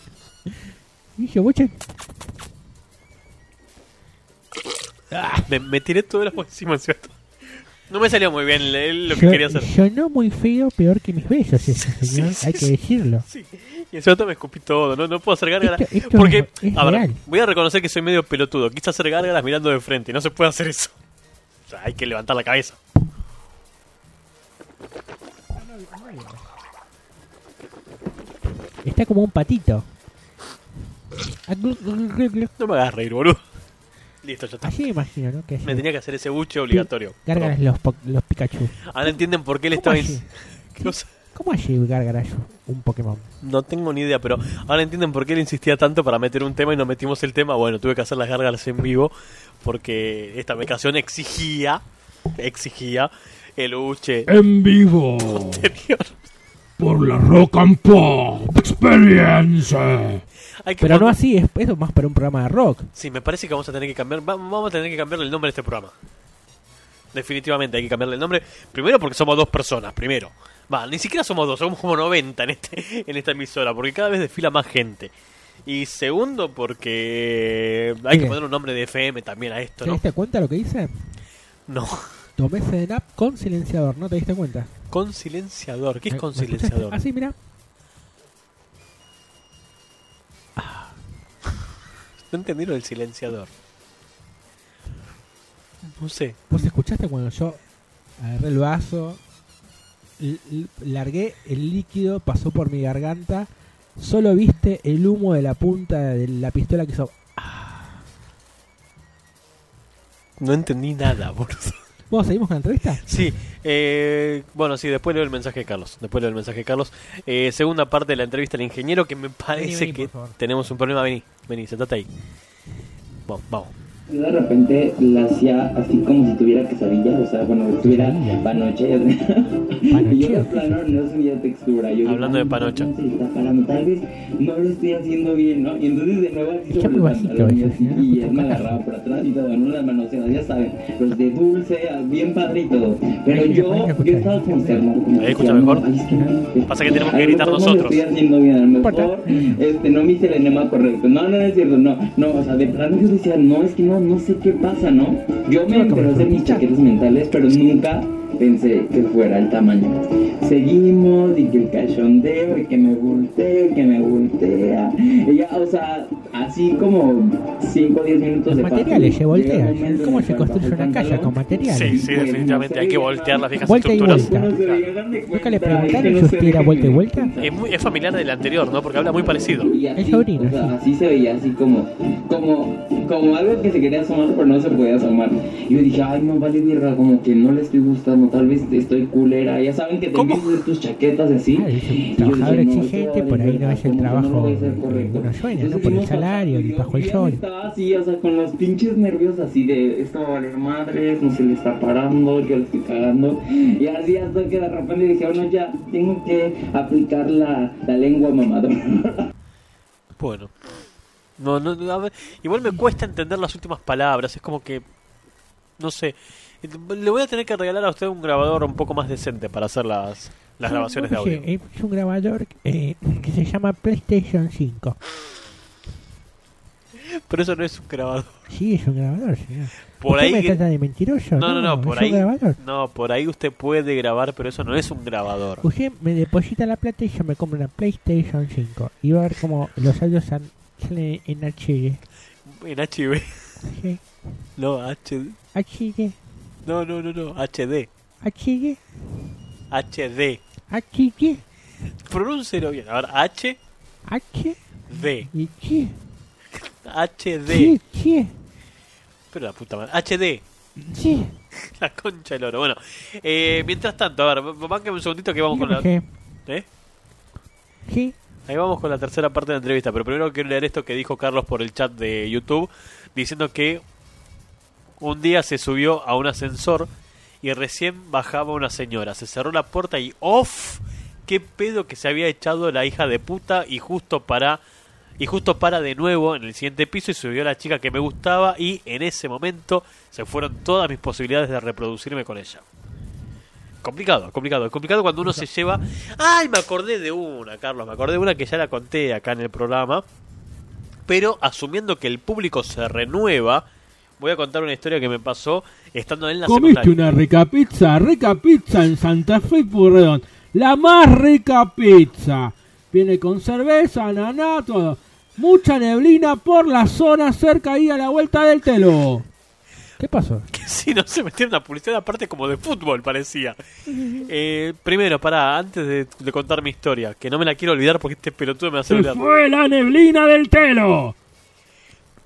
<laughs> ¿Hizo buche? Ah.
Me, me tiré todo el agua encima, ¿cierto? No me salió muy bien el- el- lo que
Yo-
quería hacer.
Sonó muy feo, peor que
<laughs>
mis besos, ese señor.
sí,
Hay
sí.
que decirlo.
Sí, y encima me escupí todo, no, no puedo hacer gárgaras.
Esto- esto
porque,
es- es
a ver,
real.
voy a reconocer que soy medio pelotudo. Quise hacer gárgaras mirando de frente, y no se puede hacer eso. O sea, hay que levantar la cabeza.
Está como un patito.
No me hagas reír, boludo. Listo, ya está.
Así me imagino, ¿no? Que
Me
así-
tenía que hacer ese buche obligatorio.
Gárgaras
Perdón.
los, po- los Pikachu.
Ahora entienden por qué él
¿Cómo
estaba.
así?
in- <laughs> ¿Qué cosa?
¿Cómo allí Gárgaras un Pokémon?
No tengo ni idea, pero ahora entienden por qué él insistía tanto para meter un tema y no metimos el tema. Bueno, tuve que hacer las gárgaras en vivo porque esta medicación exigía, exigía el buche
Em.
En vivo.
anterior.
por la Rock and Pop Experience.
Hay que
Pero no
pon-
así, es, eso es más para un programa de rock.
Sí, me parece que vamos a tener que cambiar. va- Vamos a tener que cambiarle el nombre a este programa. Definitivamente hay que cambiarle el nombre. Primero porque somos dos personas, primero. Va, ni siquiera somos dos, somos como 90 en, este, <laughs> en esta emisora, porque cada vez desfila más gente. Y segundo porque hay que
Mire.
poner un nombre de FM también a esto,
¿Te
¿no?
diste cuenta lo que hice?
No.
Tomé Sedenap con silenciador, ¿no te diste cuenta?
Con silenciador. ¿Qué es
¿Me-
con
me escuchaste?
silenciador?
Ah, sí, mira.
No entendí lo del silenciador. No sé.
¿Vos escuchaste cuando yo agarré el vaso, l- l- largué el líquido, pasó por mi garganta, solo viste el humo de la punta de la pistola que hizo...
No entendí nada, <laughs> boludo.
¿Vos seguimos con la entrevista?
Sí, eh, bueno, sí, después leo el mensaje de Carlos. Después leo el mensaje de Carlos. Eh, segunda parte de la entrevista al ingeniero, que me parece
vení,
que
por favor.
tenemos un problema. Vení, vení, sentate ahí. Vamos, vamos.
Yo de repente la hacía así como si tuviera quesadillas, o sea, bueno, si tuviera panoche. <laughs> y yo de plano no subía textura. Yo
Hablando de
"Ay,
panocha".
no sé, está parando, Tal vez no lo estoy haciendo bien, ¿no? Y entonces de nuevo así
Es que
sobre
muy
el
bajito,
pantalón, y
es,
así,
¿no?
y él me agarraba por atrás y todo, en una manoseada, ya saben, los de dulce, bien padre y todo. Pero
Ahí,
yo,
ahí, escucha,
yo estaba consternado. como
Ahí escucha
decía,
mejor.
"Ay, es que no-
Pasa que tenemos que
a lo
gritar
mejor no lo
nosotros.
estoy haciendo bien, a lo
importa.
mejor este, no me hice el enema correcto. No, no, no es cierto, no. No, o sea, de plano yo decía, no, es que no, no sé qué pasa, ¿no? Yo me enteré de mis chaquetas mentales, pero nunca pensé que fuera el tamaño. Seguimos y que el cachondeo y que me volteo y que me voltea. Y ya, o sea, así como 5 o 10 minutos
Los
de fácil.
materiales se
Llega un
voltean.
momento
¿Cómo
en el
se
cual
construye
bajo el
una calle
pantalón,
con materiales?
Sí, sí, definitivamente. Hay que voltear las viejas
Vuelta y
estructuras.
vuelta.
Algunos se llegan de
Nunca le
cuenta, es que
preguntaron
no
si
se
usted era
dejan
vuelta y
ni
vuelta.
pensar.
Es, muy- es familiar del anterior, ¿no? Porque habla muy parecido.
Y así,
El sobrino,
o sea,
sí.
así se veía, así como, como, como algo que se quería asomar, pero no se podía asomar. Y yo dije, ay, no vale mierda, como que no le estoy gustando, tal vez estoy culera. Ya saben que te
¿Cómo?
empiezas a ver tus chaquetas y así.
Claro, Ah, dice,
Y yo
trabajador
dije, no,
exigente,
esto
por ahí
vale
no es el
verga, como que no lo
trabajo
voy a hacer
que
correcto.
uno sueña,
Entonces
¿no? Por el
fuimos
salario,
pasando,
ni
y
bajo el
yo
sol.
Estaba así, o sea, con los pinches nervios así de, esto va a valer madres, no se le está parando, yo le estoy cagando. Y así hasta que de repente dije, bueno, ya, tengo que aplicar la, la lengua mamadora.
Bueno. No, no, no, a ver, igual me cuesta entender las últimas palabras. Es como que. No sé. Le voy a tener que regalar a usted un grabador un poco más decente para hacer las,
Ah,
las grabaciones de audio.
Oye, Es un grabador eh, que se llama PlayStation 5.
Pero eso no es un grabador.
Sí, es un grabador, señor.
Por
¿Usted
ahí
me
que-
trata de mentiroso?
No, no, no, por
es
ahí.
un grabador.
No, por ahí usted puede grabar, pero eso no es un grabador.
Usted me deposita la plata y yo me compro una PlayStation 5. Y va a ver cómo los audios sal- salen en HD.
En HB.
Sí,
No, HD.
HD,
No, no, no, no. HD.
HD,
HD.
HD,
Pronúncelo bien. Ahora, H,
H
D.
y G.
HD.
Sí, sí,
Pero la puta madre. HD.
sí.
<laughs> La concha del oro. Bueno, eh, mientras tanto, a ver, bánqueme un segundito que vamos con la.
Dígame,
¿Eh?
Sí,
Ahí vamos con la tercera parte de la entrevista, pero primero quiero leer esto que dijo Carlos por el chat de YouTube, diciendo que un día se subió a un ascensor y recién bajaba una señora. Se cerró la puerta y ¡off! ¡Qué pedo que se había echado la hija de puta! Y justo para. Y justo para de nuevo en el siguiente piso y subió la chica que me gustaba y en ese momento se fueron todas mis posibilidades de reproducirme con ella. Complicado, complicado, complicado cuando uno se lleva. ¡Ay! Me acordé de una, Carlos, me acordé de una que ya la conté acá en el programa. Pero asumiendo que el público se renueva, voy a contar una historia que me pasó estando en la
Comiste
secundaria. <laughs>
una rica pizza, rica pizza en Santa Fe y Pueyrredón. La más rica pizza. Viene con cerveza, naná, todo. Mucha neblina por la zona cerca ahí a la vuelta del telo.
¿qué pasó?
que si no se metieron una publicidad aparte como de fútbol parecía. Eh, primero, pará, antes de, de contar mi historia, que no me la quiero olvidar porque este pelotudo me hace
Se
olvidar.
fue la neblina del telo.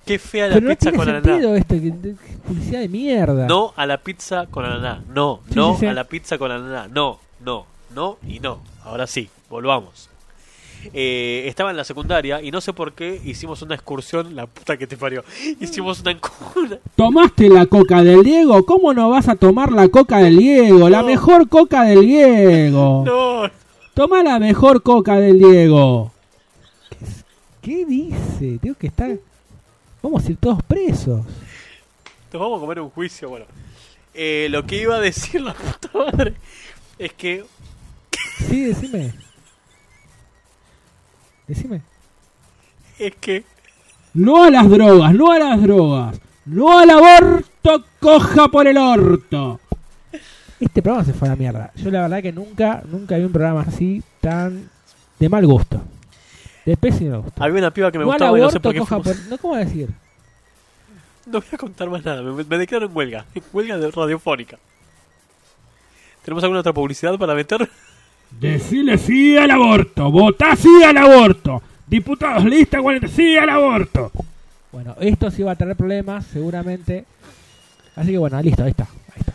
Qué fea la
Pero no
pizza
tiene
con
sentido
ananá.
esto, que- que- que publicidad de mierda.
No a la pizza con ananá. No,
Sí,
no
sí, sí.
a la pizza con ananá. No, no, no y no. Ahora sí, volvamos. Eh, estaba en la secundaria y no sé por qué hicimos una excursión, la puta que te parió. Hicimos una, encu- una-
¿Tomaste la coca del Diego? ¿Cómo no vas a tomar la coca del Diego? La
No.
mejor coca del Diego.
No,
Toma la mejor coca del Diego.
¿Qué dice? Tengo que estar. Vamos a ir todos presos.
Nos vamos a comer un juicio, bueno. Eh, lo que iba a decir la puta madre es que
Sí, decime. Decime.
es que
No a las drogas, no a las drogas. No al aborto, coja por el orto.
Este programa se fue a la mierda. Yo la verdad que nunca, nunca vi un programa así tan de mal gusto. De pésimo gusto.
había una piba que me
No al
gustaba y no sé por qué
coja
fuimos.
por- No, ¿cómo va a decir?
<laughs> No voy a contar más nada, me, me declaro en huelga, <laughs> en huelga de radiofónica. ¿Tenemos alguna otra publicidad para meter?
Decile sí al aborto, votá sí al aborto. Diputados, lista 40, sí al aborto.
Bueno, esto sí va a tener problemas, seguramente. Así que bueno, ah, listo, ahí está. Ahí está.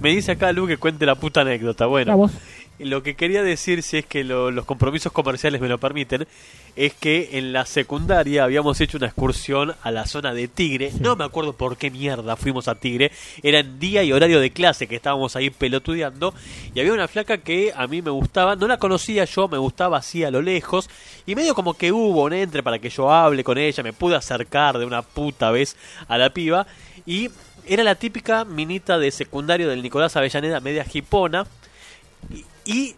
Me dice acá Lu que cuente la puta anécdota. Bueno,
Vamos.
Lo que quería decir, si es que lo- los compromisos comerciales me lo permiten, es que en la secundaria habíamos hecho una excursión a la zona de Tigre. No me acuerdo por qué mierda fuimos a Tigre. Era en día y horario de clase que estábamos ahí pelotudeando. Y había una flaca que a mí me gustaba. No la conocía yo, me gustaba así a lo lejos. Y medio como que hubo un entre para que yo hable con ella. Me pude acercar de una puta vez a la piba. Y era la típica minita de secundario del Nicolás Avellaneda, media jipona. Y- Y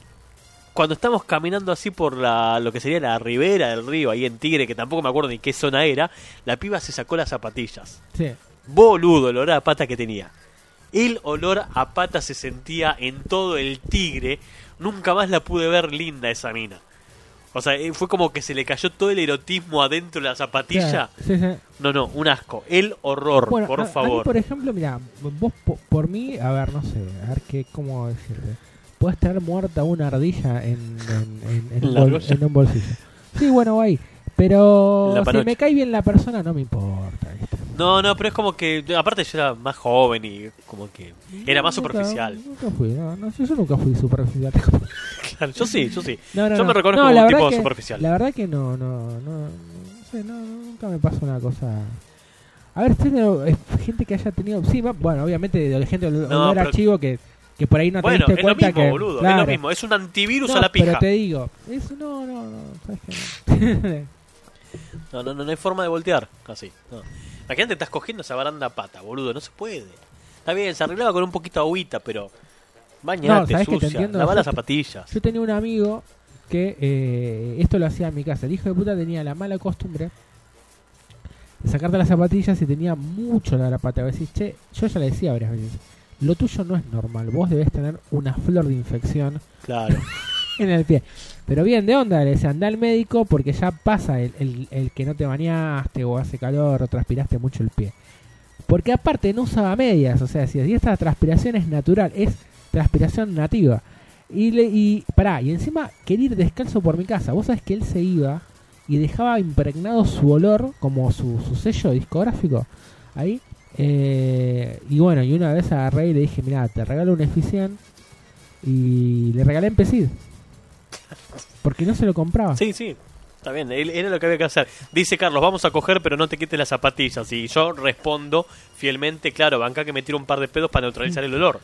cuando estamos caminando así por la, lo que sería la ribera del río, ahí en Tigre, que tampoco me acuerdo ni qué zona era, la piba se sacó las zapatillas.
Sí.
Boludo, el olor a pata que tenía. El olor a pata se sentía en todo el Tigre. Nunca más la pude ver linda esa mina. O sea, eh, fue como que se le cayó todo el erotismo adentro de la zapatilla.
Sí, sí.
No, no, un asco. El horror,
Bueno,
por
a- a mí,
favor.
por ejemplo, mira, vos po- por mí, a ver, no sé, a ver qué, cómo decirte. Puedes tener muerta una ardilla en, en- en- en un
La
bol-
argolla.
en un bolsillo. Sí, bueno, va ahí. Pero
La
si
panocha.
me cae bien la persona, no me importa. ¿viste?
No, no, pero es como que. Aparte, yo era más joven y como que. Era más
Nunca-
superficial.
Nunca, fui, no, no, yo, yo nunca fui superficial. <laughs>
Claro, yo sí, yo sí.
No, no,
yo me
no.
reconozco
No,
como
la
un
verdad
tipo
que-
superficial.
La verdad que no, no, no, no sé, no, no, nunca me pasa una cosa. A ver, estoy teniendo, eh, gente que haya tenido, sí, va- bueno, obviamente de gente del
No,
olor a
pero-
chivo que, que por ahí no
bueno,
te
es
diste
lo
cuenta
mismo,
que,
boludo. Es
claro.
lo mismo. Es un antivirus
No,
a la
Pero
pija.
te digo, eso no, no, no, sabes que no.
No, no, no, no hay forma de voltear. Así. No. Imagínate, estás cogiendo esa baranda a pata, boludo. No se puede. Está bien, se arreglaba con un poquito de agüita, pero. Bañate,
¿sabés que te
sucia.
entiendo?
Lavá
Yo
las
te-
zapatillas.
Yo tenía un amigo que eh, esto lo hacía en mi casa. El hijo de puta tenía la mala costumbre de <laughs> sacarte las zapatillas y tenía mucho la pata. A veces, che, yo ya le decía varias veces, lo tuyo no es normal, vos debes tener una flor de infección
Claro.
<laughs> en el pie. Pero bien, de onda, le decía, anda al médico porque ya pasa el, el- el que no te bañaste o hace calor o transpiraste mucho el pie. Porque aparte no usaba medias, o sea, si y esta transpiración es natural, es transpiración nativa. Y, le, y pará, y encima quería ir descalzo por mi casa. Vos sabés que él se iba y dejaba impregnado su olor, como su, su sello discográfico, ahí. Eh, y bueno, y una vez agarré y le dije, mirá, te regalo un eficient y le regalé en Pesid. Porque no se lo compraba.
Sí, sí. Está bien, él- era lo que había que hacer. Dice Carlos, vamos a coger, pero no te quites las zapatillas. Y yo respondo fielmente, claro, banca que me tiro un par de pedos para neutralizar el olor.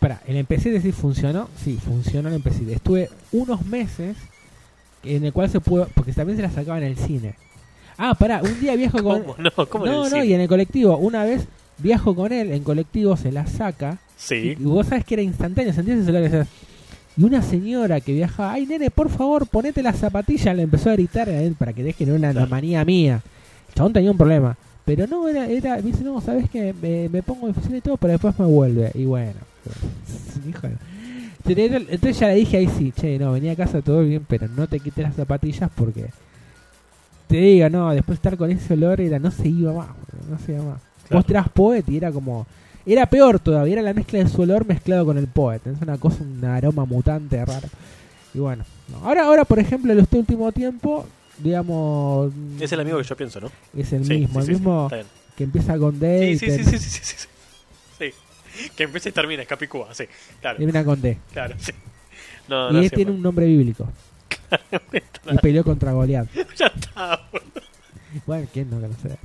Pará, el empecé decir funcionó. Sí, funcionó el empecé. Estuve unos meses en el cual se pudo. Porque también se la sacaba en el cine. Ah, pará, un día
<laughs>
viajo con.
¿Cómo? No, ¿cómo
no,
le
no,
decís?
y en el colectivo. Una vez viajo con él, en colectivo se la saca.
Sí.
Y vos sabés que era instantáneo, sentías ese olor, decías, Y una señora que viajaba, ay nene, por favor, ponete la zapatilla, le empezó a gritar a él para que dejen una una
Claro.
manía mía. El chabón tenía un problema. Pero no, era, era, me dice, no, sabes que me, me pongo difícil y todo, pero después me vuelve. Y bueno, <laughs> hijo de- Pero era- Entonces ya le dije ahí sí, che, no, venía a casa todo bien, pero no te quites las zapatillas porque te digo, no, después de estar con ese olor era, no se iba más, boludo, no se iba más.
Claro.
Vos tirás poet y era como, era peor todavía, era la mezcla de su olor mezclado con el poet. Es una cosa, un aroma mutante raro. Y bueno, no. ahora, ahora por ejemplo, en este último tiempo, digamos.
Es el amigo que yo pienso, ¿no?
Es el
Sí,
mismo,
sí,
el
sí,
mismo
está bien.
que empieza con
Sí,
D y
sí, sí, sí,
termina
sí, sí, sí, sí. Sí. <laughs> Que empieza y termina, es Capicúa, sí. Claro,
termina con D.
claro, sí. No,
y
no
él
sé,
tiene un nombre bíblico. y peleó
<laughs>
contra Goliat.
bueno. <laughs> Ya está, boludo.
Bueno, ¿quién no conoce?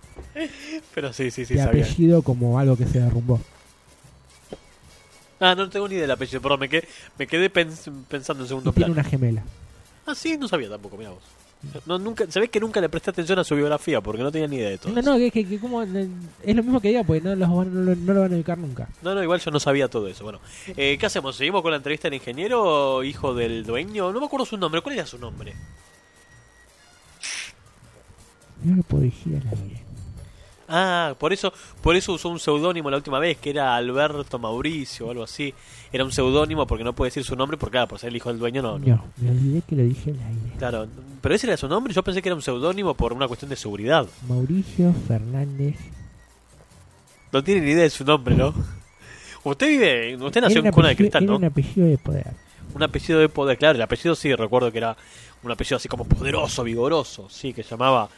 Pero sí, sí, sí,
De
sabía.
apellido como algo que se derrumbó.
Ah, no tengo ni idea del apellido, perdón, me quedé, me quedé pens- pensando en
Y
segundo
tiene
plano.
una gemela.
Ah, sí, no sabía tampoco, mira vos. No, nunca, ¿Sabés que nunca le presté atención a su biografía? Porque no tenía ni idea de todo.
No,
eso.
no, que, que, que como, eh, es lo mismo que digo, porque no, los van- no lo- no lo van a ubicar nunca.
No, no, igual yo no sabía todo eso. Bueno, eh, ¿qué hacemos? ¿Seguimos con la entrevista del ingeniero, hijo del dueño? No me acuerdo su nombre. ¿Cuál era su nombre?
Mirá la poesía la vida.
Ah, por eso, por eso usó un seudónimo la última vez, que era Alberto Mauricio o algo así. Era un seudónimo porque no puede decir su nombre, porque claro, por ser el hijo del dueño no. no.
No, me olvidé que lo dije al aire.
Claro, pero ese era su nombre. Yo pensé que era un seudónimo por una cuestión de seguridad.
Mauricio Fernández.
No tiene ni idea de su nombre, ¿no? <laughs> Usted vive, usted
Era
nació
un
en cuna de
apellido-
cristal,
era
¿no?
un apellido de poder.
Un apellido de poder, claro, el apellido sí, recuerdo que era un apellido así como poderoso, vigoroso, sí, que llamaba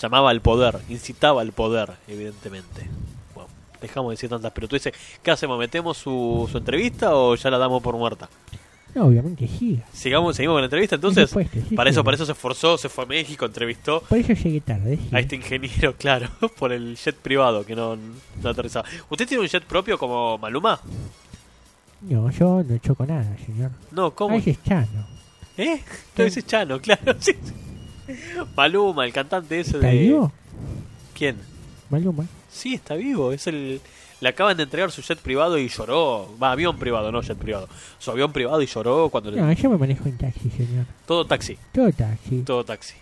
llamaba al poder, incitaba al poder, evidentemente. Bueno, dejamos de decir tantas pelotudeces. ¿Qué hacemos? ¿Metemos su, su entrevista o ya la damos por muerta?
No, obviamente giga.
Sigamos, seguimos con la entrevista, entonces.
Por supuesto, sí,
Para eso,
sí.
para eso se esforzó, se fue a México, entrevistó
Por eso llegué tarde. giga.
a este ingeniero, <laughs> claro, por el jet privado que no, no aterrizaba. ¿Usted tiene un jet propio como Maluma?
No, yo no choco nada, señor.
No,
Ah,
¿cómo?
ese es Chano.
¿Eh? No, ese es Chano, <laughs> claro. sí, sí. Maluma, el cantante ese
¿Está
de.
vivo?
¿Quién?
Maluma.
Sí, está vivo. Es el. Le acaban de entregar su jet privado y lloró. Va, avión privado, no jet privado. Su avión privado y lloró cuando le.
No, yo me manejo en taxi, señor.
Todo taxi,
Todo taxi.
todo taxi.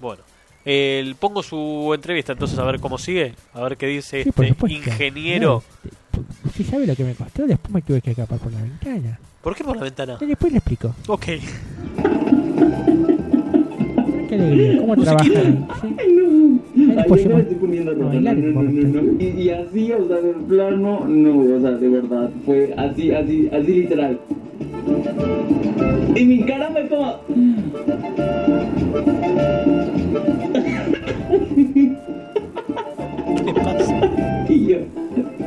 Bueno. El, pongo su entrevista entonces a ver cómo sigue, a ver qué dice
Sí, por
este
supuesto. este-
ingeniero.
Claro, ¿Usted sabe lo que me costó? Después me tuve que escapar por la ventana.
¿Por qué por la ventana?
Y Eh, después le explico.
Ok.
Qué alegría. ¿Cómo trabajan ahí? ¿Sí? Ahí
Ay,
después
yo
yo
me
más-
estoy poniendo
Pues, no,
rojo, no,
bailar en
no, no,
momento.
no, no. Y, y así, o sea, de plano, no, o sea, de verdad, fue así, así, así literal. Y mi cara fue como...
¿Qué le pasa?
Y yo,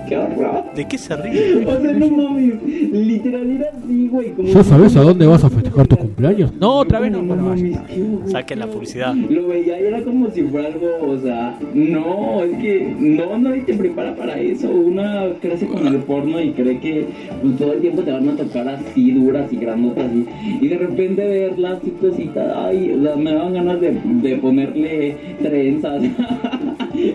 qué horror.
¿De qué se ríe?
O sea, no mames, literalidad sí, güey. como-
¿Ya sabes a dónde vas a festejar tu cumpleaños?
No, otra vez no.
No
Bueno, vaya.
mames, qué horror.
Saquen la publicidad.
Lo veía y era como si fuera algo, o sea, no, es que no, nadie te prepara para eso. Una crece con el porno y cree que pues, todo el tiempo te van a tocar así, duras y grandotas y, y de repente verlas y cositas, ay, o sea, me daban ganas de, de ponerle trenzas. <laughs>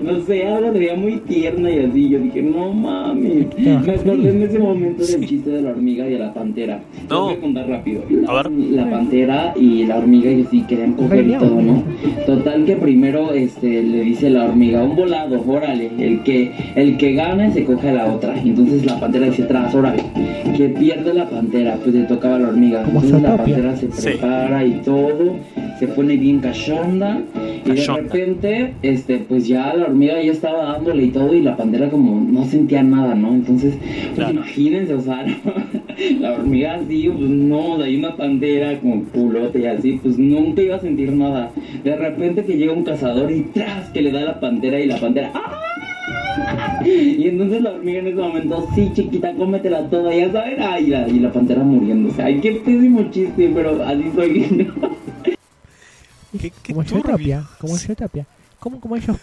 No sé, algo sería muy tierna y así. Yo dije, no mami. Me acordé en ese momento del chiste de la hormiga y de la pantera.
No.
Lo voy a contar rápido.
A ver.
La pantera y la hormiga y así querían coger y todo, ¿no? Total que primero este le dice la hormiga, un volado, órale, el que el que gane se coge a la otra. Entonces la pantera dice atrás, órale, que pierde la pantera, pues le tocaba a la hormiga.
Como
Entonces la
Zootopia.
pantera se
Sí.
prepara y todo, se pone bien cachonda y de
Cachonda.
repente, este, pues ya la hormiga ya estaba dándole y todo y la pantera como no sentía nada, ¿no? Entonces, pues
Claro.
imagínense, o sea, <laughs> la hormiga así, pues no, de ahí una pantera con culote y así, pues nunca iba a sentir nada. De repente que llega un cazador y tras que le da la pantera y la pantera, ¡ah! Y entonces la hormiga en ese momento, sí, chiquita, cómetela toda, ya saben, ay, la- y la pantera muriéndose. Ay, qué pésimo chiste, pero así soy. <laughs>
¿Qué, qué
Como yo
turbio?
tapia. Como yo tapia. Como, como ellos
Como su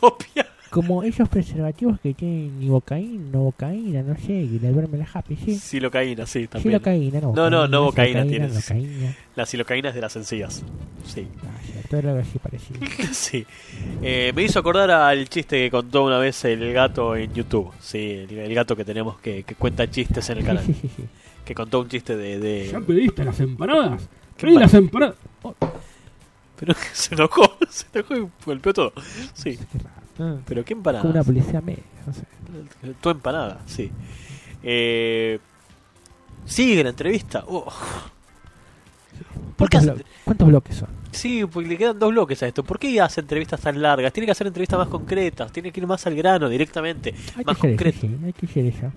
<laughs> topia.
Como ellos preservativos que tienen ibocaína, no bocaína, no sé, y la duerme la happy, sí.
Silocaína, sí, también.
Silocaína, no.
No, no, no
bocaína,
bocaína tienes.
locaína.
La silocaína es de las sencillas. Sí.
Vaya, todo lo
<laughs>
así parecido.
Sí. Eh, me hizo acordar al chiste que contó una vez el gato en YouTube. Sí, el, el gato que tenemos que, que cuenta chistes en el
Sí, <laughs>
canal.
sí, sí, sí.
Que contó un chiste de.
¿Ya
de...
pediste las empanadas?
¿Qué
Pedí las empanadas?
Pero <laughs> que se enojó, se enojó y golpeó todo. Sí,
Qué raro.
pero qué
Como una
empanada.
policía media, no sé.
Tu empanada, sí. Eh, sigue la entrevista. Oh, ¿Por qué
¿Cuántos,
hace-
blo- cuántos bloques son?
Sí, porque le quedan dos bloques a esto. ¿Por qué hace entrevistas tan largas? Tiene que hacer entrevistas más concretas, tiene que ir más al grano directamente,
Hay
más
que ser eso,
concreto.
sí, hay que ser eso.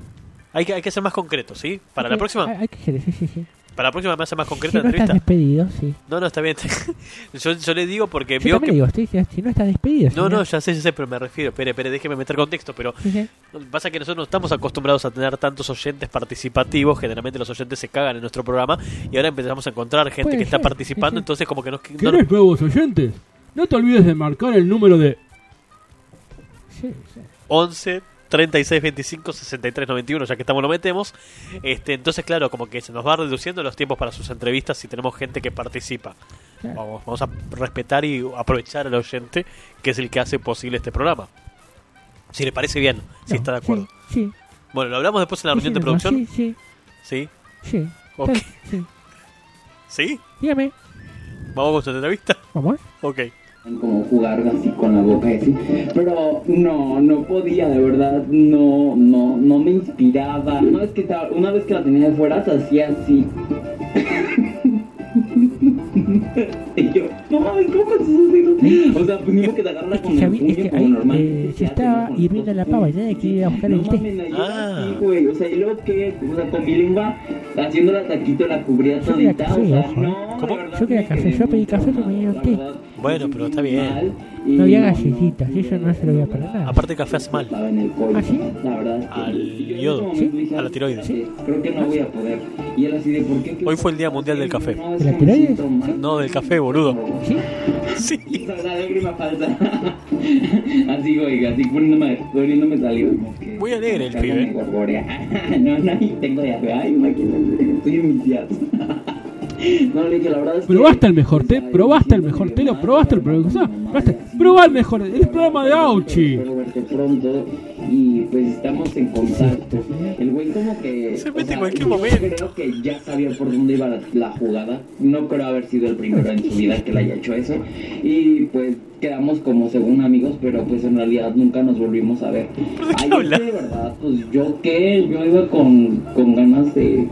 Hay que, hay que ser más concreto, ¿sí? Para
Hay
la
que-
próxima,
Hay, hay que ser eso, sí, sí.
para la próxima me hace más concreta
Si
la
no estás
entrevista.
despedido, sí.
No, no, está bien. <laughs> yo, yo le digo porque
Yo
vio
también le
que...
digo, estoy, si no estás despedido.
No,
señor.
no, ya sé, ya sé, pero me refiero. Espere, espere, déjeme meter contexto, pero...
Sí, sí.
Lo que pasa es que nosotros no estamos acostumbrados a tener tantos oyentes participativos. Generalmente los oyentes se cagan en nuestro programa y ahora empezamos a encontrar gente
Puede
que está
ser, sí,
participando.
sí.
Entonces, como que nos. no nos-
¿Querés nuevos oyentes? No te olvides de marcar el número de...
Sí, sí.
11 36, 25, 63, 91, ya que estamos lo metemos. Este, entonces, claro, como que se nos va reduciendo los tiempos para sus entrevistas si tenemos gente que participa.
Claro.
Vamos, vamos a respetar y aprovechar al oyente, que es el que hace posible este programa. Si le parece bien, si
No,
está de acuerdo.
Sí, sí.
Bueno, lo hablamos después en la reunión de
Decime,
producción.
Sí, sí,
Sí,
sí.
Ok.
Tal- sí.
sí.
Dígame.
Vamos con su entrevista.
Vamos.
Ok.
como jugar así con la boca y así. Pero no, no podía, de verdad, no, no, no me inspiraba. Una vez que, estaba- una vez que la tenía de fuera, se hacía así. y yo, no mames, ¿cómo haces eso? O sea, pues ni modo que te agarra
Es
con
que,
el
Javi, es
puño
que
como
ahí,
normal.
eh, se
Ya te
estaba
digo, con
hirviendo
los
la pava y nadie
puños.
quería ir a buscar el
No
té.
mames, la
Ah.
llevaba así, güey. O sea, y luego que, o sea, con mi lengua, haciendo la taquito, la cubría
Yo quería
todita.
café,
o sea,
ojo, eh.
no,
¿Cómo?
de verdad,
Yo quería
me
café,
quedé
yo pedí
muy
café, pero me dieron
traumado,
té.
la verdad.
Bueno, pero está bien.
No había galletitas, eso no se lo voy a perder nada.
Aparte, el café hace mal.
Estaba en el colon,
¿Ah, sí?
La verdad.
Al
Y yo en ese
yodo,
momento
¿sí?
dije,
a la tiroides.
"Espérate, Creo que no voy a poder. Y él así de, ¿por qué?
Hoy fue el Día Mundial del Café.
No, es
¿De la
que me
tiroides?
siento mal.
No, del café, boludo.
Sí.
<laughs> Sí.
<laughs> La lágrima falsa. <laughs> así, güey, así poniéndome, poniéndome saliva. como que-
Muy alegre el
como que
pibe.
me gorgorea. <laughs> no, no, y tengo diarrea. Ay, imagínate, estoy en mis días. No, le dije, la verdad es que-
Probaste el mejor té,
Ay,
probaste el
siento
mejor
que
té, lo
mal,
probaste el
la verdad,
producto.
mamá,
probaste-
así.
Probá el mejor, el programa de Auchi.
Espero verte pronto y pues estamos en contacto. El güey como que...
Se
o
mete en
sea,
cualquier
yo
momento.
Creo que ya sabía por dónde iba la, la jugada. No creo haber sido el primero en su vida que le haya hecho eso. Y pues quedamos como según amigos, pero pues en realidad nunca nos volvimos a ver.
de qué
Ay, es
habla?
que de verdad, pues yo qué, yo iba con, con ganas de,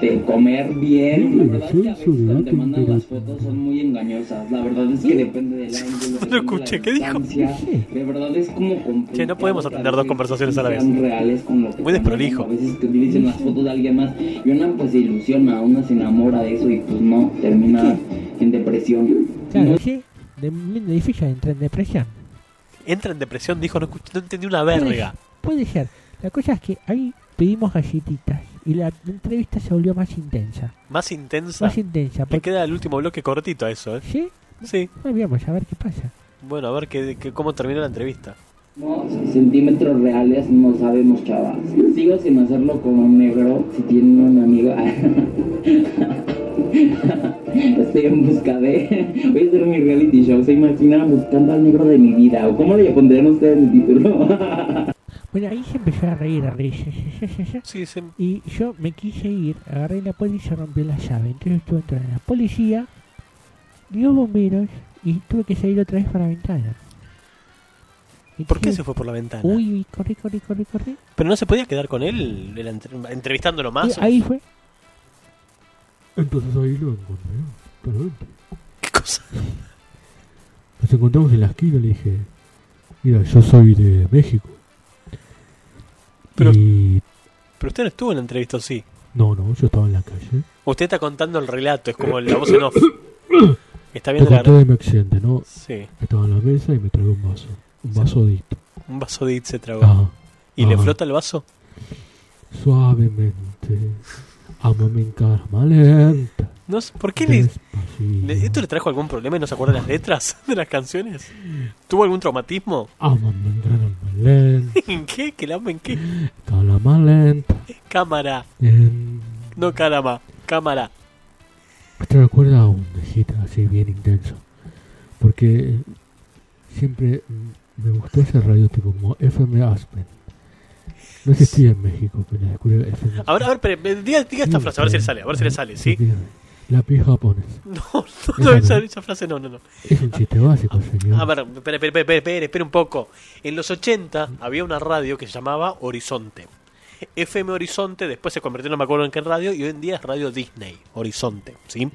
de comer bien. La verdad es que a veces cuando te mandan las fotos son muy engañosas. La verdad es que depende del ángulo.
<laughs> No escuché, ¿qué dijo?
De verdad es como complicado.
Che, no podemos atender dos conversaciones a la vez.
Sean reales con lo que
Muy desprolijo.
A veces que utilicen las fotos de alguien más y una pues se ilusiona, una se enamora de eso y pues no, termina en depresión.
Claro, sí. De muy difícil entrar en depresión.
Entra en depresión, dijo, no, escuch- no entendí una
Puede-
verga.
Puede ser. La cosa es que ahí pedimos galletitas y la entrevista se volvió más intensa.
Más intensa.
Más intensa.
Me
Porque,
queda el último bloque cortito a eso, ¿eh?
¿Sí?
Sí.
No, veamos, a ver qué pasa.
Bueno, a ver qué, qué- cómo terminó la entrevista.
No, centímetros reales no sabemos, chavas. Sigo sin hacerlo con un negro si tienen una amiga. <laughs> Estoy en busca de. Voy a hacer mi reality show. ¿Se imaginan buscando al negro de mi vida? ¿O cómo le pondrían ustedes el título? <laughs>
Bueno, ahí se empezó a reír, a reír. <laughs> ya, ya, ya, ya, ya.
Sí, se-
Y yo me quise ir, agarré la puerta y se rompió la llave. Entonces tuve que entrar a la policía, los bomberos y tuve que salir otra vez para la ventana.
¿Por qué
Entonces,
se fue por la ventana?
Uy, uy, corrí, corrí, corrí, corrí.
Pero no se podía quedar con él, el entre- entrevistándolo
Y
más. ¿o?
ahí fue.
Entonces ahí lo encontré. claramente.
¿Qué cosa?
Nos encontramos en la esquina, le dije, mira, yo soy de México.
Pero-
Y...
Pero usted no estuvo en la entrevista, ¿o sí.
No, no, yo estaba en la calle.
Usted está contando el relato, es como la voz en off. Está
Te
viendo
conté
la.
de mi accidente, ¿no?
Sí,
Estaba en la mesa y me traigo un vaso. Un vasodito.
un vaso de it se tragó.
Ajá.
¿Y le
ajá.
flota el vaso?
Suavemente. Amame en calma lenta.
No sé, ¿Por qué le,
despacito.
le- ¿Esto le trajo algún problema y no se acuerda las letras <laughs> de las canciones? ¿Tuvo algún traumatismo?
Ámame en calma lenta.
<laughs> ¿En qué? ¿Que la ama en qué?
Calma lenta.
Cámara,
En-
no calama, cámara.
Te recuerda a un hit así bien intenso. Porque siempre mm, me gustó esa radio tipo como FM Aspen. No existía en México, pero la descubrí FM
A ver, a ver, espere, me- diga, diga esta
Sí,
frase, a ver si
eh,
le sale, a ver si le sale, ¿sí?
dígame. La pija japonesa.
<laughs> No, no, no, esa, esa frase no, no, no.
Es un chiste básico, señor.
A ver, espere, espere, espere, espere, espere un poco. En los 80 había una radio que se llamaba Horizonte. FM Horizonte después se convirtió, no me acuerdo en qué radio, y hoy en día es Radio Disney, Horizonte, ¿sí?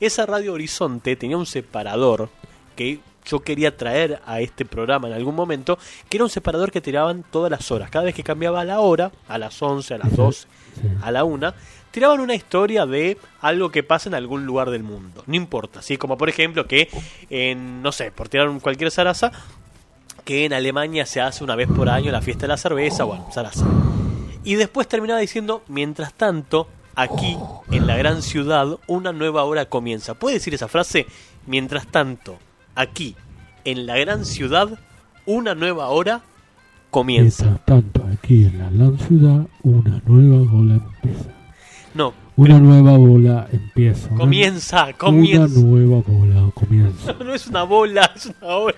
Esa radio Horizonte tenía un separador que yo quería traer a este programa en algún momento, que era un separador que tiraban todas las horas. Cada vez que cambiaba la hora, a las 11, a las 12,
Sí.
a la una, tiraban una historia de algo que pasa en algún lugar del mundo. No importa, ¿sí? Como por ejemplo que, en, no sé, por tirar un cualquier zaraza, que en Alemania se hace una vez por año la fiesta de la cerveza, bueno, zaraza. Y después terminaba diciendo, mientras tanto, aquí, en la gran ciudad, una nueva hora comienza. ¿Puede decir esa frase? Mientras tanto, aquí, en la gran ciudad, una nueva hora comienza.
Mientras tanto, Tranquila, la ciudad, una nueva ola empieza.
No,
Una nueva ola empieza. una-
comienza,
Una
comienza.
nueva ola comienza.
<laughs> No es una bola, es una hora.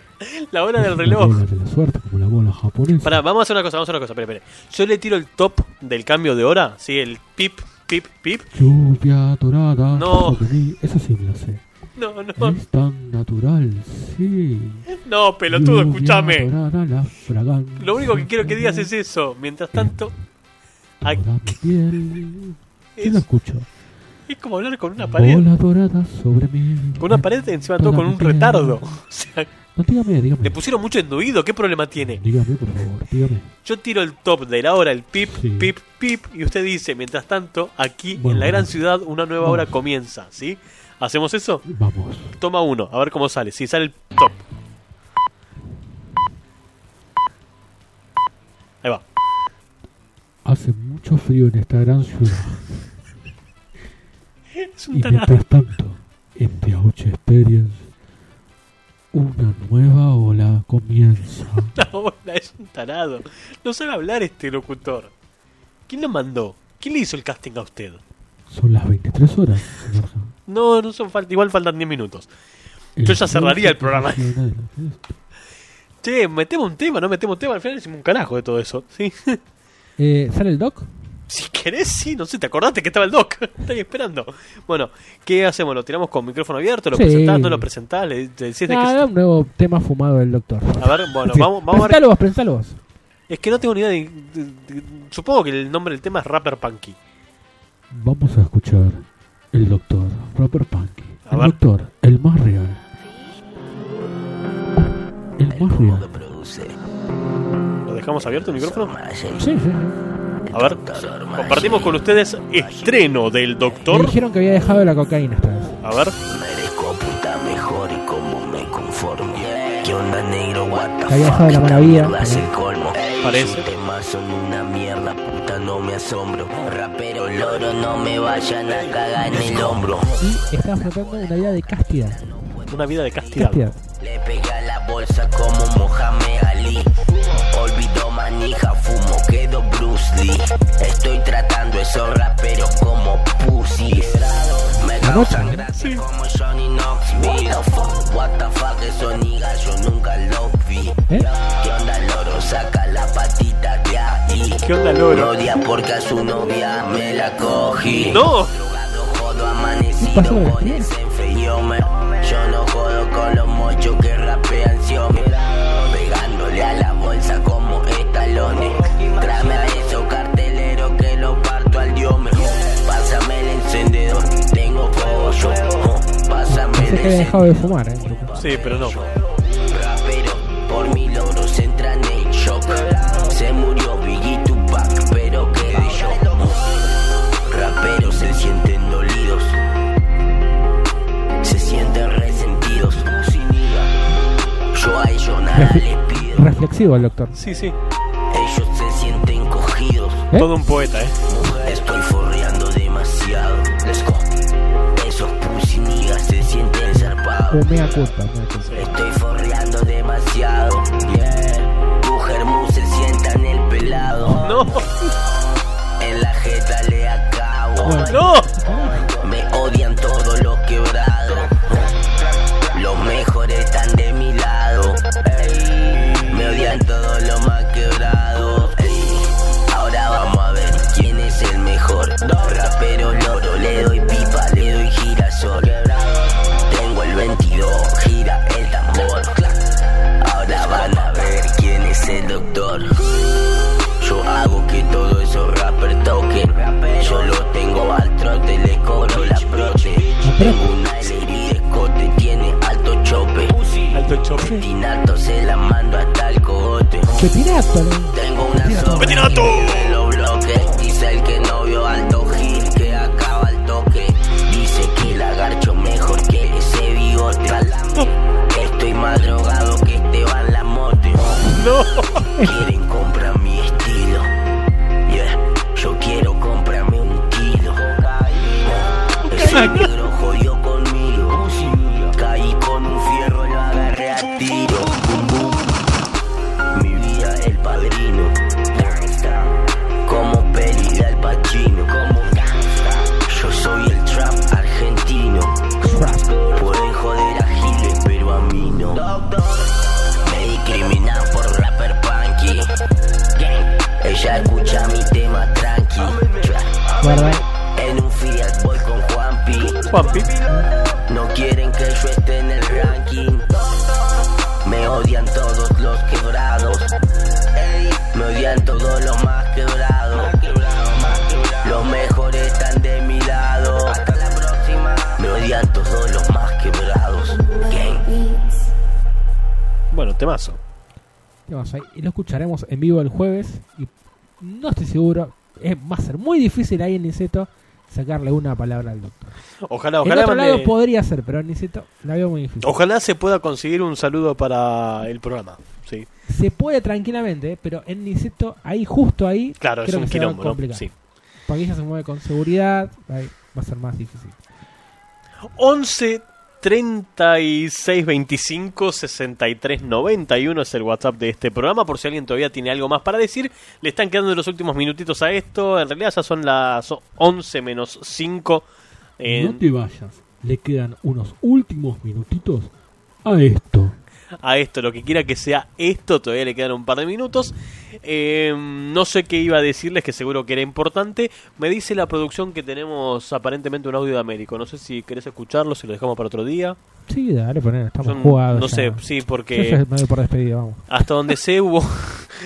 La hora del
Una
reloj.
bola de la suerte, como la bola japonesa.
Pará, vamos a hacer una cosa, vamos a hacer una cosa. Espera, espera. Yo le tiro el top del cambio de hora, sí, el pip, pip, pip.
Lluvia dorada.
No.
pasa de mí. Eso sí me lo sé.
No, no,
Es tan natural, sí.
no, pelotudo,
Lluvia
escúchame.
dorada, la fragancia
Lo único que quiero que digas es eso. Mientras tanto,
dorada
Ay.
mi piel. Yo
Es-
lo escucho.
<laughs> es como hablar con una pared.
Bola dorada sobre mí.
Con una pared encima todo con un retardo. <laughs> O sea,
No, dígame, dígame.
le pusieron mucho enduido, ¿qué problema tiene?
Dígame, por favor, dígame.
Yo tiro el top de la hora, el pip,
Sí.
pip, pip, y usted dice, mientras tanto, aquí en
Bueno.
la gran ciudad una nueva hora
Vamos.
comienza, ¿sí? ¿Hacemos eso?
Vamos.
Toma uno, a ver cómo sale. Si sale el top. <laughs> Ahí va.
Hace mucho frío en esta gran ciudad.
Es un
Y
tarado.
mientras tanto, en The Ouch Experience, una nueva ola comienza.
una bola, es un tarado. No sabe hablar este locutor. ¿Quién lo mandó? ¿Quién le hizo el casting a usted?
Son las 23 horas, señor Ham.
No, no son falta. Igual faltan 10 minutos. Yo ya cerraría el
<laughs>
programa. Che, metemos un tema, no metemos un tema. Al final hicimos un carajo de todo eso. ¿sí? <laughs>
Eh, ¿Sale el doc?
Si querés, sí, no sé, te acordaste que estaba el doc. <laughs> Estaba ahí esperando. Bueno, ¿qué hacemos? ¿Lo tiramos con micrófono abierto? ¿Lo
Sí.
presentás? ¿No lo presentás? ¿Le, le decís de
Ah,
qué
era un nuevo tema fumado del doctor.
se- A ver, bueno,
Sí.
vamos, vamos a ver.
Presentalo vos, presentalo vos.
Es que no tengo ni idea de, de- de- Supongo que el nombre del tema es Rapper Punky.
Vamos a escuchar el doctor Robert Punky.
A
El
ver.
doctor, el más real. El más real.
¿Lo dejamos abierto el micrófono?
Sí, sí, sí.
A ver, compartimos con ustedes estreno del
Me
Doctor.
dijeron que había dejado la cocaína esta vez.
A ver,
Merezco puta mejor y como me conformo. ¿Qué onda negro? What the
Que había dejado la maravilla.
mierda es el colmo.
parece.
Temas son una mierda, puta, no me asombro. Rapero loro, no me vayan a cagar en el hombro.
Y estaba flotando una vida de castidad.
Una vida de castidad.
Castidad.
Le pega la bolsa como Mohamed Ali. Olvido manija, fumo, quedo Bruce Lee. Estoy tratando esos raperos como pussies. Me causan gracia como Johnny Knoxville. What the fuck, esos niggas yo nunca los vi.
¿Eh?
¿Qué onda, loro? Saca la patita de ahí.
¿Qué onda, loro?
Odia porque a su novia me la cogí.
¡No!
Drogado, jodo, amanecido
Pasó de
con
vestir.
el Senfe y Homer. Yo no jodo con los mochos que rapean siome Pegándole a la bolsa como estalones Tráeme a esos carteleros que lo parto al diome Pásame el encendedor, tengo fuego yo Oh, Pásame
Pensé
el
que <laughs> había
encendedor
dejado de fumar, eh.
Sí, pero no.
Rapero, por mi logro se entra en el shock Se murió Biggie Tupac, pero quedé yo Raperos se sienten dolidos Se sienten resentidos Yo a ellos nada les pido
Reflexivo el doctor.
Sí, sí.
Ellos se sienten cogidos
¿Eh?
Todo un poeta, ¿eh?
Estoy forreando demasiado Let's go Esos pusinigas se sienten zarpados
Fumea culpa, mea culpa.
Estoy forreando demasiado. Yeah. Tu germú se sienta en el pelado.
¡No!
En la jeta le acabo.
¡No!
Me odian todos los quebrados. Los mejores están de mi lado. Ey. Me odian todos los más quebrados. Ey. Ahora vamos a ver quién es el mejor. Rapero loro, le doy pipa, le doy girasol. Tengo el 22, gira el tambor. Ahora van a ver quién es el doctor. Yo hago que todo eso rapper toquen. Yo lo tengo al trote, le cobro la prote. Tengo una LD de escote, tiene alto chope.
Alto choque.
Tinato se la mando hasta el cogote.
Pepinato, ¿no?
Tengo una zorra que
Pepinato.
vive en los bloques. Dice el que no vio alto gil que acaba el toque. Dice que el agarcho mejor que ese bigote. Estoy más drogado que Esteban la
¡No!
<laughs> Quieren comprar mi estilo. Yeah. Yo quiero comprarme un kilo. Ese negro jodió conmigo. Caí con un fierro, lo agarré a tiro. Bum, bum. Mi vida, el padrino.
Juanpi.
No quieren que yo esté en el ranking. Me odian todos los quebrados. Ey, Me odian todos los más quebrados. Los mejores están de mi lado. Hasta la próxima. Me odian todos los más quebrados. Gang.
Bueno, temazo.
¿Qué más hay? Y lo escucharemos en vivo el jueves. Y no estoy seguro. Es, va a ser muy difícil ahí en Niceto sacarle una palabra al doctor.
Ojalá,
En
ojalá,
otro
mande-
lado podría ser, pero en Niceto la veo muy difícil.
ojalá se pueda conseguir un saludo para el programa. Sí,
Se puede tranquilamente, pero en Niceto, ahí justo ahí,
claro,
creo
es un
que se va a
quilombo, ¿no?
complicar.
Sí.
Porque ella se mueve con seguridad. ahí va a ser más difícil.
11 36 25 63 91 es el WhatsApp de este programa. Por si alguien todavía tiene algo más para decir, le están quedando los últimos minutitos a esto. En realidad ya son las 11 menos 5.
No te vayas. Le quedan unos últimos minutitos a esto.
a esto, lo que quiera que sea esto, todavía le quedan un par de minutos. Eh, no sé qué iba a decirles, que seguro que era importante. Me dice la producción que tenemos aparentemente un audio de Américo. No sé si querés escucharlo, si lo dejamos para otro día.
Sí, dale, poner, estamos
Yo
jugados.
no
ya.
sé, sí,
Yo ya
porque
me doy por despedido, vamos.
hasta donde sé hubo <laughs>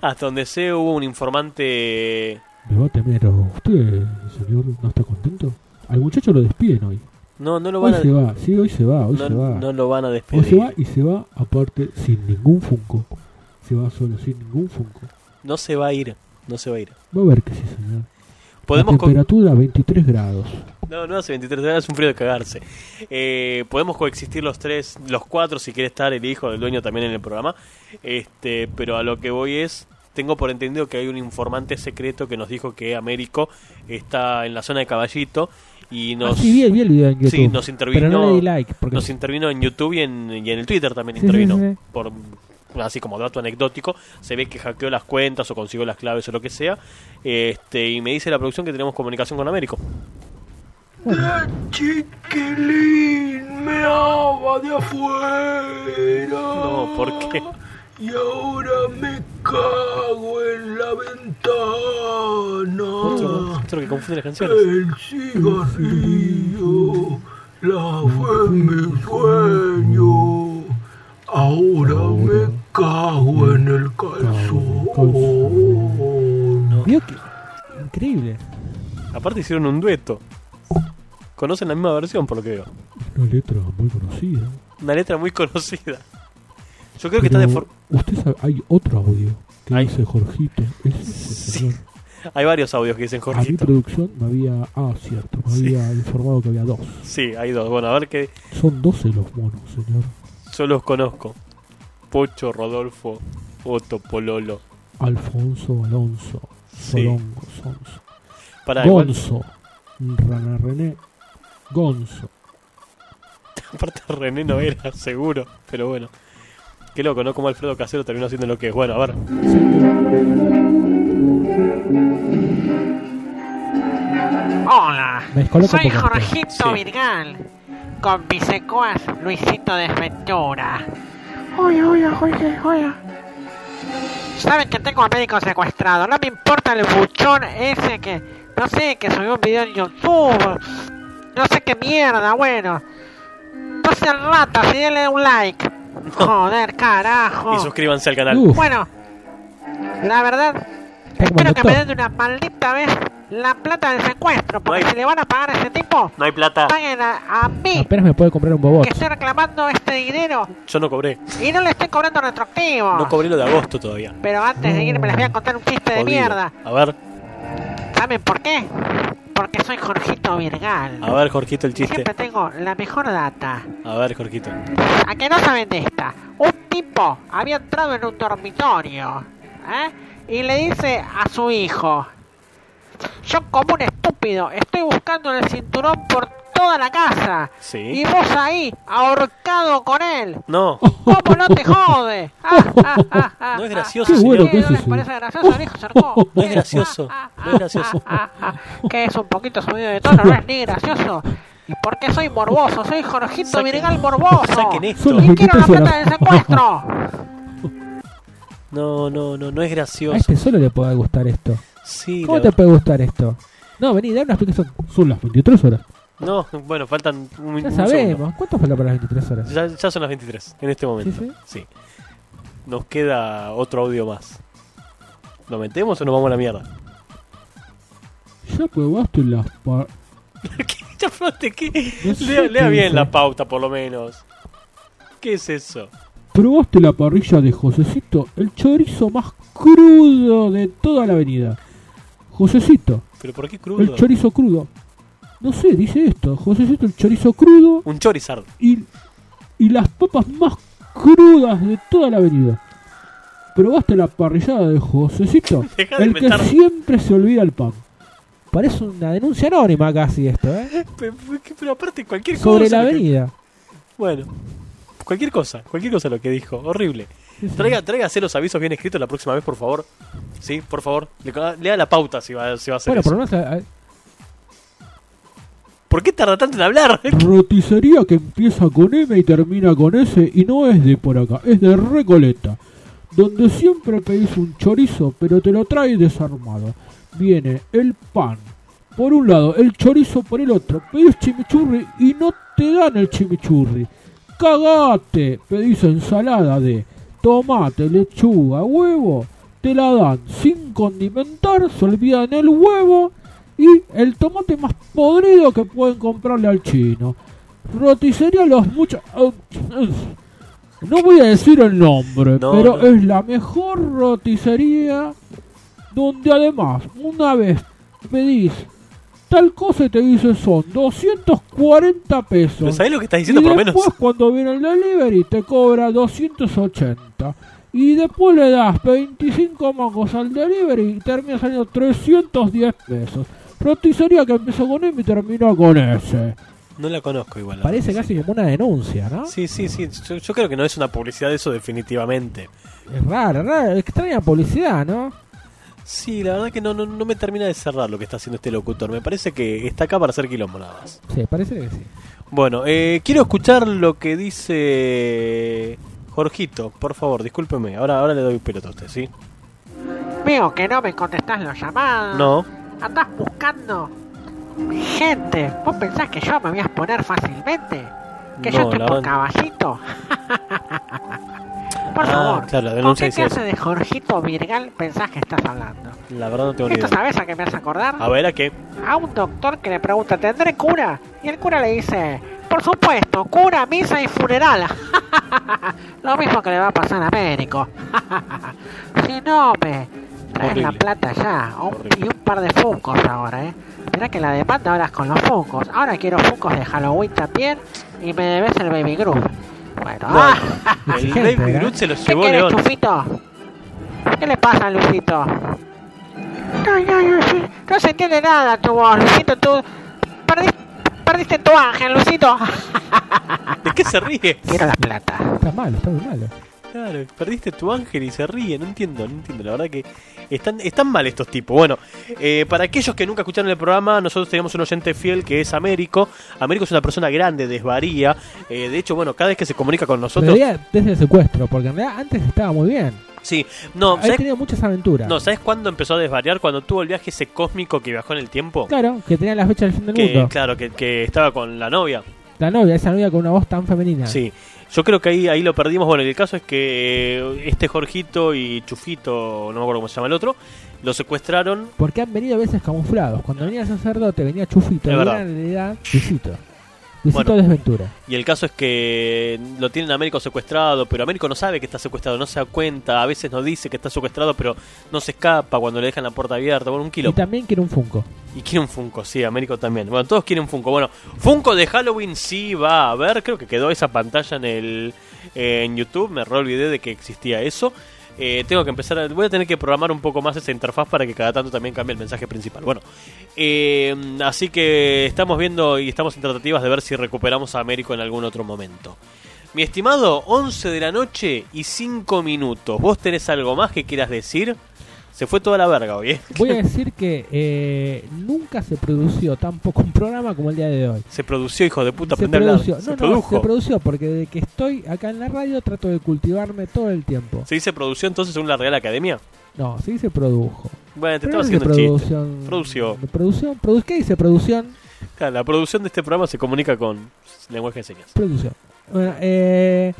hasta donde sé hubo un informante
Me va a temer a usted, señor. ¿No está contento? Al muchacho lo despiden hoy.
no no lo
Hoy
van a
se va. Sí, hoy se va. Hoy
no,
se va.
no lo van a
Hoy se va
despedir.
y se va aparte sin ningún Funko. Se va solo sin ningún Funko.
No se va a ir, no se va a ir.
Va a ver que sí, señor.
Podemos
La
con-
temperatura 23 grados.
No, no hace 23 horas, es un frío de cagarse. Eh, podemos coexistir los tres, los cuatro, si quiere estar el hijo del dueño también en el programa. Este, pero a lo que voy es, tengo por entendido que hay un informante secreto que nos dijo que Américo está en la zona de Caballito y
No
Ah,
nos,
Ah, sí, vi el, vi el video en YouTube.
sí, nos intervino,
Pero no le di like. Porque
nos intervino en YouTube y en, y en el Twitter también
Sí, sí,
intervino.
sí, sí.
Por así como dato anecdótico, se ve que hackeó las cuentas o consiguió las claves o lo que sea. Este, y me dice la producción que tenemos comunicación con Américo.
Chiquilín, me ama de afuera.
No, ¿por qué?
Y ahora me cago en la
Otro,
ventana.
otro que confunde las canciones.
El cigarrillo la fue mi sueño. Ahora me cago en el calzón.
Vio que. Increíble.
Aparte hicieron un dueto. Conocen la misma versión, por lo que veo.
Una letra muy conocida.
Una letra muy <laughs> conocida. Yo creo que está de
Pero
for-
Usted sabe, hay otro audio que
Hay-
dice Jorgito. Es ese
Sí,
señor.
Hay varios audios que dicen
A mi
Jorgito.
producción me había. Ah, cierto. Me
Sí.
había informado que había dos.
Sí, hay dos. Bueno, a ver qué.
Son 12 los monos, señor.
Yo los conozco. Pocho, Rodolfo, Otto, Pololo. <laughs>
Alfonso Alonso.
Sí.
Solongo, Sonso.
Para igual.
Gonzo. Rana René. Gonzo.
Aparte René no era, seguro. Pero bueno. Qué loco, ¿no? Como Alfredo Casero terminó haciendo lo que es. Bueno, a ver.
Hola,
Descoloco
soy
un poco.
Jorgito
Sí.
Virgal, con mi secuaz Luisito Desventura.
Oye, oye, oye, oye.
Saben que tengo a médico secuestrado, no me importa el buchón ese que, no sé, que subió un video en YouTube, no sé qué mierda, bueno. No sean ratas y denle
<laughs>
un like. Joder, carajo.
Y suscríbanse al canal.
Uf,
Bueno, la verdad,
Está como
espero que me
doctor.
den de una maldita vez la plata del secuestro, porque
Ay.
si le van a pagar a ese tipo,
No hay plata.
paguen a, a mí.
Apenas me puede comprar un bobot.
que estoy reclamando este dinero
Yo no cobré.
y no le estoy cobrando retroactivo.
No cobré lo de agosto todavía.
Pero antes Ah. de irme les voy a contar un chiste de
Mm. Jodido.
mierda.
A ver,
¿Saben por qué? Porque soy Jorgito Virgal.
a ver, Jorgito, el
Y
chiste.
Siempre tengo la mejor data.
A ver, Jorgito.
¿A que no saben de esta? Un tipo había entrado en un dormitorio ¿eh? y le dice a su hijo: Yo, como un estúpido, estoy buscando el cinturón por toda la casa.
Sí.
Y vos ahí, ahorcado con él.
No,
¿Cómo no te
<laughs>
jode? Ah, ah, ah, ah,
no es
ah.
gracioso,
Qué bueno
señor.
Sí,
que eso
no les
sí.
parece gracioso, viejo Sarcó.
No es gracioso, no es gracioso.
Ah, ah, ah, <laughs> Que es un poquito subido de tono, no es ni
<laughs>
gracioso. ¿Y por qué soy morboso? Soy Jorgito
Saquen-
Virgal morboso.
Saquen esto.
Son
Y
las
quiero la
23
plata
horas.
del secuestro.
No, no, no, no es
A
gracioso.
este solo le puede gustar esto.
Sí,
¿Cómo
la
te
verdad.
puede gustar esto? No, vení, dame una explicación.
Son las 23 horas.
No, bueno, faltan un,
Ya
un
sabemos.
segundo.
¿Cuánto fue para las 23 horas?
Ya, ya son las 23 en este momento.
Sí,
sí. Nos queda otro audio más. ¿Lo metemos o nos vamos a la mierda?
Ya probaste las pa-
<laughs> Ya fíjate que-
No sé
Lea,
qué
lea bien
dice.
la pauta, por lo menos. ¿Qué es eso?
¿Probaste la parrilla de Josecito? El chorizo más crudo de toda la avenida. Josecito.
¿Pero por qué crudo?
El chorizo crudo. No sé, dice esto. Josecito, el chorizo crudo
Un chorizard.
y, y las papas más crudas de toda la avenida. ¿Probaste la parrillada de Josecito?
Dejá de
el que
inventar.
siempre se olvida el pan.
Parece una denuncia anónima casi esto, ¿eh?
<laughs> Pero, pero aparte, cualquier
Sobre
cosa.
la
lo que-
avenida.
Bueno, cualquier cosa, cualquier cosa lo que dijo. Horrible. Traiga, tráigase los avisos bien escritos la próxima vez, por favor. Sí, por favor. Le, lea la pauta si va, si va a hacer
Bueno,
eso.
por lo menos. eh,
¿Por qué tarda tanto en hablar? <laughs>
Roticería que empieza con M y termina con S y no es de por acá, es de Recoleta. Donde siempre pedís un chorizo, pero te lo trae desarmado. Viene el pan por un lado, el chorizo por el otro. Pedís chimichurri y no te dan el chimichurri. Cagate, pedís ensalada de tomate, lechuga, huevo. Te la dan sin condimentar, se olvidan el huevo y el tomate más podrido que pueden comprarle al chino. Roticería los muchos. No voy a decir el nombre,
No,
pero
no.
es la mejor roticería donde además una vez pedís tal cosa y te dice son 240 pesos.
¿Pero sabés lo que estás diciendo
y
por lo menos?
después cuando viene el delivery te cobra 280. Y después le das 25 mangos al delivery y termina saliendo 310 pesos. Roticería que empezó con M y terminó con S.
No la conozco igual.
Parece casi como una denuncia, ¿no?
Sí, sí, sí. Yo, yo creo que no es una publicidad eso definitivamente.
Es rara, rara. Extraña publicidad, ¿no?
Sí, la verdad que no, no, no me termina de cerrar lo que está haciendo este locutor. Me parece que está acá para hacer quilombo nada más.
Sí, parece que sí.
Bueno, eh, quiero escuchar lo que dice Jorgito. Por favor, discúlpeme. Ahora, ahora le doy pelota a usted, ¿sí?
Veo que no me contestás los llamados.
No.
Andás buscando gente. ¿Vos pensás que yo me voy a exponer fácilmente? Que yo
No,
estoy
la
por
van- <laughs>
caballito. por
Ah,
favor.
claro, la
¿Con
denuncia
qué
dice
clase
eso.
de Jorgito Virgal pensás que estás hablando?
La verdad no tengo ni
¿Esto
idea.
sabes a qué me hace acordar?
A ver, ¿a qué?
a un doctor que le pregunta, ¿tendré cura? Y el cura le dice, por supuesto, cura, misa y funeral. <laughs> Lo mismo que le va a pasar a médico. <laughs> si no, me traes la
Horrible.
plata ya. o un- y un par de funcos ahora, ¿eh? Mirá que la demanda ahora es con los funcos. Ahora quiero funcos de Halloween también y me debes el Baby Group. Bueno, ah,
El Baby Groot se lo
¿qué
llevó
querés,
León.
Chufito? ¿Qué le pasa, Lucito? No, no, no, sí. No se entiende nada tu voz, Lucito, tú... Perdiste, perdiste tu ángel, Lucito.
¿De qué se ríe?
Quiero la plata.
Está malo, está muy malo.
Claro, perdiste tu ángel y se ríe. No entiendo, no entiendo. La verdad que están, están mal estos tipos. Bueno, eh, para aquellos que nunca escucharon el programa, nosotros tenemos un oyente fiel que es Américo. Américo es una persona grande, desvaría. Eh, de hecho, bueno, cada vez que se comunica con
Pero
nosotros...
ya desde el secuestro, porque en realidad antes estaba muy bien.
Sí, no,
Ha
¿sabés
tenido muchas aventuras.
No, ¿sabes cuándo empezó a desvariar? Cuando tuvo el viaje ese cósmico que viajó en el tiempo.
Claro, que tenía la fecha del fin del
Que,
mundo.
claro, que, que estaba con la novia.
La novia, esa novia con una voz tan femenina.
Sí. Yo creo que ahí, ahí lo perdimos. Bueno, el caso es que eh, este Jorgito y Chufito, no me acuerdo cómo se llama el otro, lo secuestraron.
Porque han venido a veces camuflados. Cuando venía el sacerdote, venía Chufito.
Es
y
verdad.
era en realidad Luisito. Luisito
Bueno.
Desventura.
Y el caso es que lo tienen a Américo secuestrado, pero Américo no sabe que está secuestrado, no se da cuenta. A veces nos dice que está secuestrado, pero no se escapa cuando le dejan la puerta abierta. Bueno, un kilo.
Y también quiere un Funko.
Y quiere un Funko, sí, Américo también. Bueno, todos quieren Funko. Bueno, Funko de Halloween sí va a haber. Creo que quedó esa pantalla en el eh, en YouTube. Me re olvidé de que existía eso. Eh, tengo que empezar. a- voy a tener que programar un poco más esa interfaz para que cada tanto también cambie el mensaje principal. Bueno, eh, así que estamos viendo y estamos en tratativas de ver si recuperamos a Américo en algún otro momento. Mi estimado, 11 de la noche y 5 minutos. ¿Vos tenés algo más que quieras decir? Se fue toda la verga hoy, ¿eh? <laughs>
Voy a decir que eh, nunca se produció tan poco un programa como el día de hoy.
Se produció, hijo de puta,
se
aprende a hablar.
produjo.
se
no, no,
produjo.
se produció porque desde que estoy acá en la radio trato de cultivarme todo el tiempo.
¿Se dice produció entonces según la Real Academia?
No, sí se produjo.
Bueno, te
Pero
estaba
no dice
haciendo un chiste.
producción.
Produció.
Producción, produ- ¿qué dice producción?
Claro, La producción de este programa se comunica con lenguaje de señas.
Producción. Bueno, eh,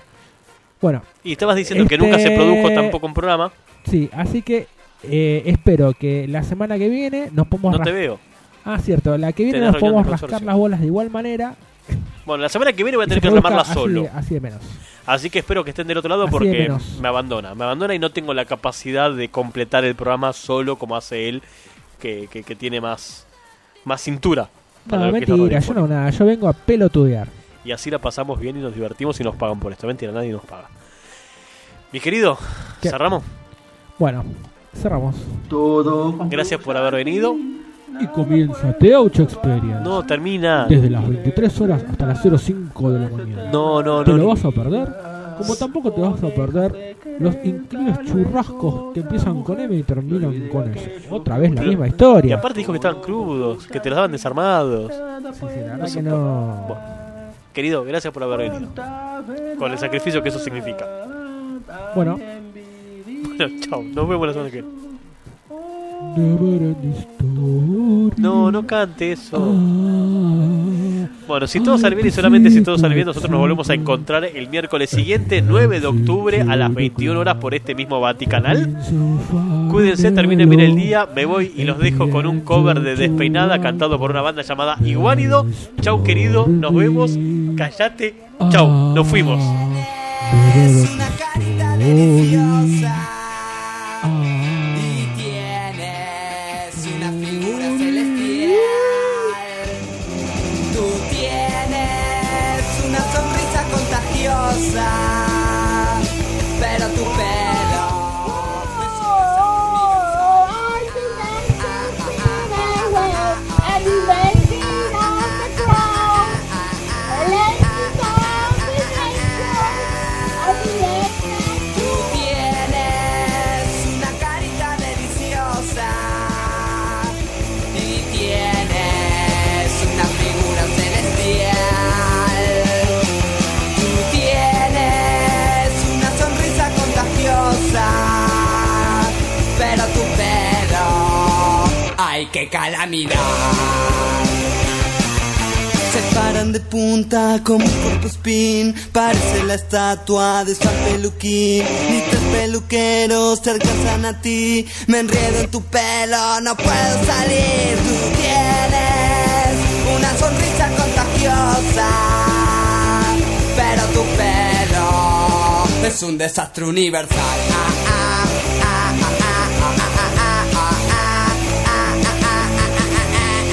bueno. Este,
Y estabas diciendo que nunca se produjo tampoco un programa.
Sí, así que eh, espero que la semana que viene nos podamos
No te
ras-
veo.
Ah, cierto, la que viene
Tenés
nos
reunión
podemos
de
rascar
consorcio.
las bolas de igual manera.
Bueno, la semana que viene voy a
y
tener
se
que programarla
produzca así
solo.
de- Así de menos.
Así que espero que estén del otro lado
Así de
porque
menos.
me abandona. Me abandona y no tengo la capacidad de completar el programa solo como hace él, que, que- que tiene más, más cintura. para
No,
lo que es la
mentira, yo
radiofonía.
no nada, yo vengo a pelotudear.
Y así la pasamos bien y nos divertimos y nos pagan por esto. Mentira, nadie nos paga. Mi querido,
¿Qué?
cerramos.
Bueno, cerramos.
Todo. Gracias por haber venido.
Y comienza The Aucho Experience.
No, termina.
Desde las 23 horas hasta las 05 de la mañana.
No, no,
¿Te
no.
lo vas a perder? Como tampoco te vas a perder los increíbles churrascos que empiezan con M y terminan con S. Otra vez la
Pero-
misma
Y
historia.
aparte dijo que estaban crudos, que te los daban desarmados.
La verdad que no.
Querido, gracias por haber venido. Con el sacrificio que eso significa.
Bueno.
<laughs> Bueno, chao. Nos vemos la semana que viene.
No,
no cante eso.
Ah.
Bueno, si todo sale bien y solamente si todo sale bien, nosotros nos volvemos a encontrar el miércoles siguiente, 9 de octubre, a las 21 horas por este mismo Vaticanal. Cuídense, terminen bien el día, me voy y los dejo con un cover de Despeinada cantado por una banda llamada Iguánido. Chau querido, nos vemos, callate, chau, nos fuimos.
Es una carita deliciosa y tienes una figura celestial. Tú tienes una sonrisa contagiosa, pero tu pelo es una Tú tienes una carita deliciosa y tienes una figura celestial. Tú tienes una sonrisa contagiosa, pero tu pelo, ay, qué calamidad.
Se paran de punta como un cuerpo spin Parece la estatua de San Peluquín Ni tres peluqueros se alcanzan a ti Me enredo en tu pelo, no puedo salir Tú tienes
una sonrisa contagiosa, pero tu pelo es un desastre universal. Ah, ah, ah, ah, ah, ah, ah, ah, ah, ah, ah, ah, ah,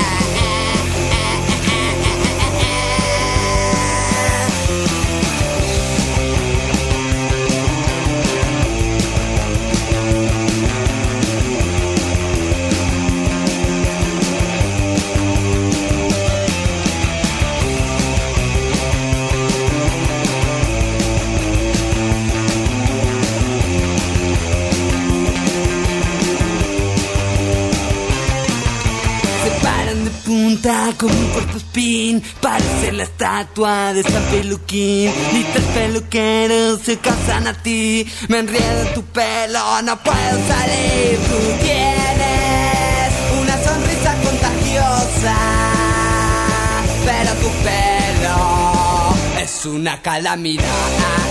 Se paran de punta como un cuerpo spin Parece la estatua de San Peluquín Ni tres peluqueros se casan a ti Me enredo en tu pelo, no puedo salir Tú
tienes una sonrisa contagiosa, pero tu pelo es una calamidad.
ah,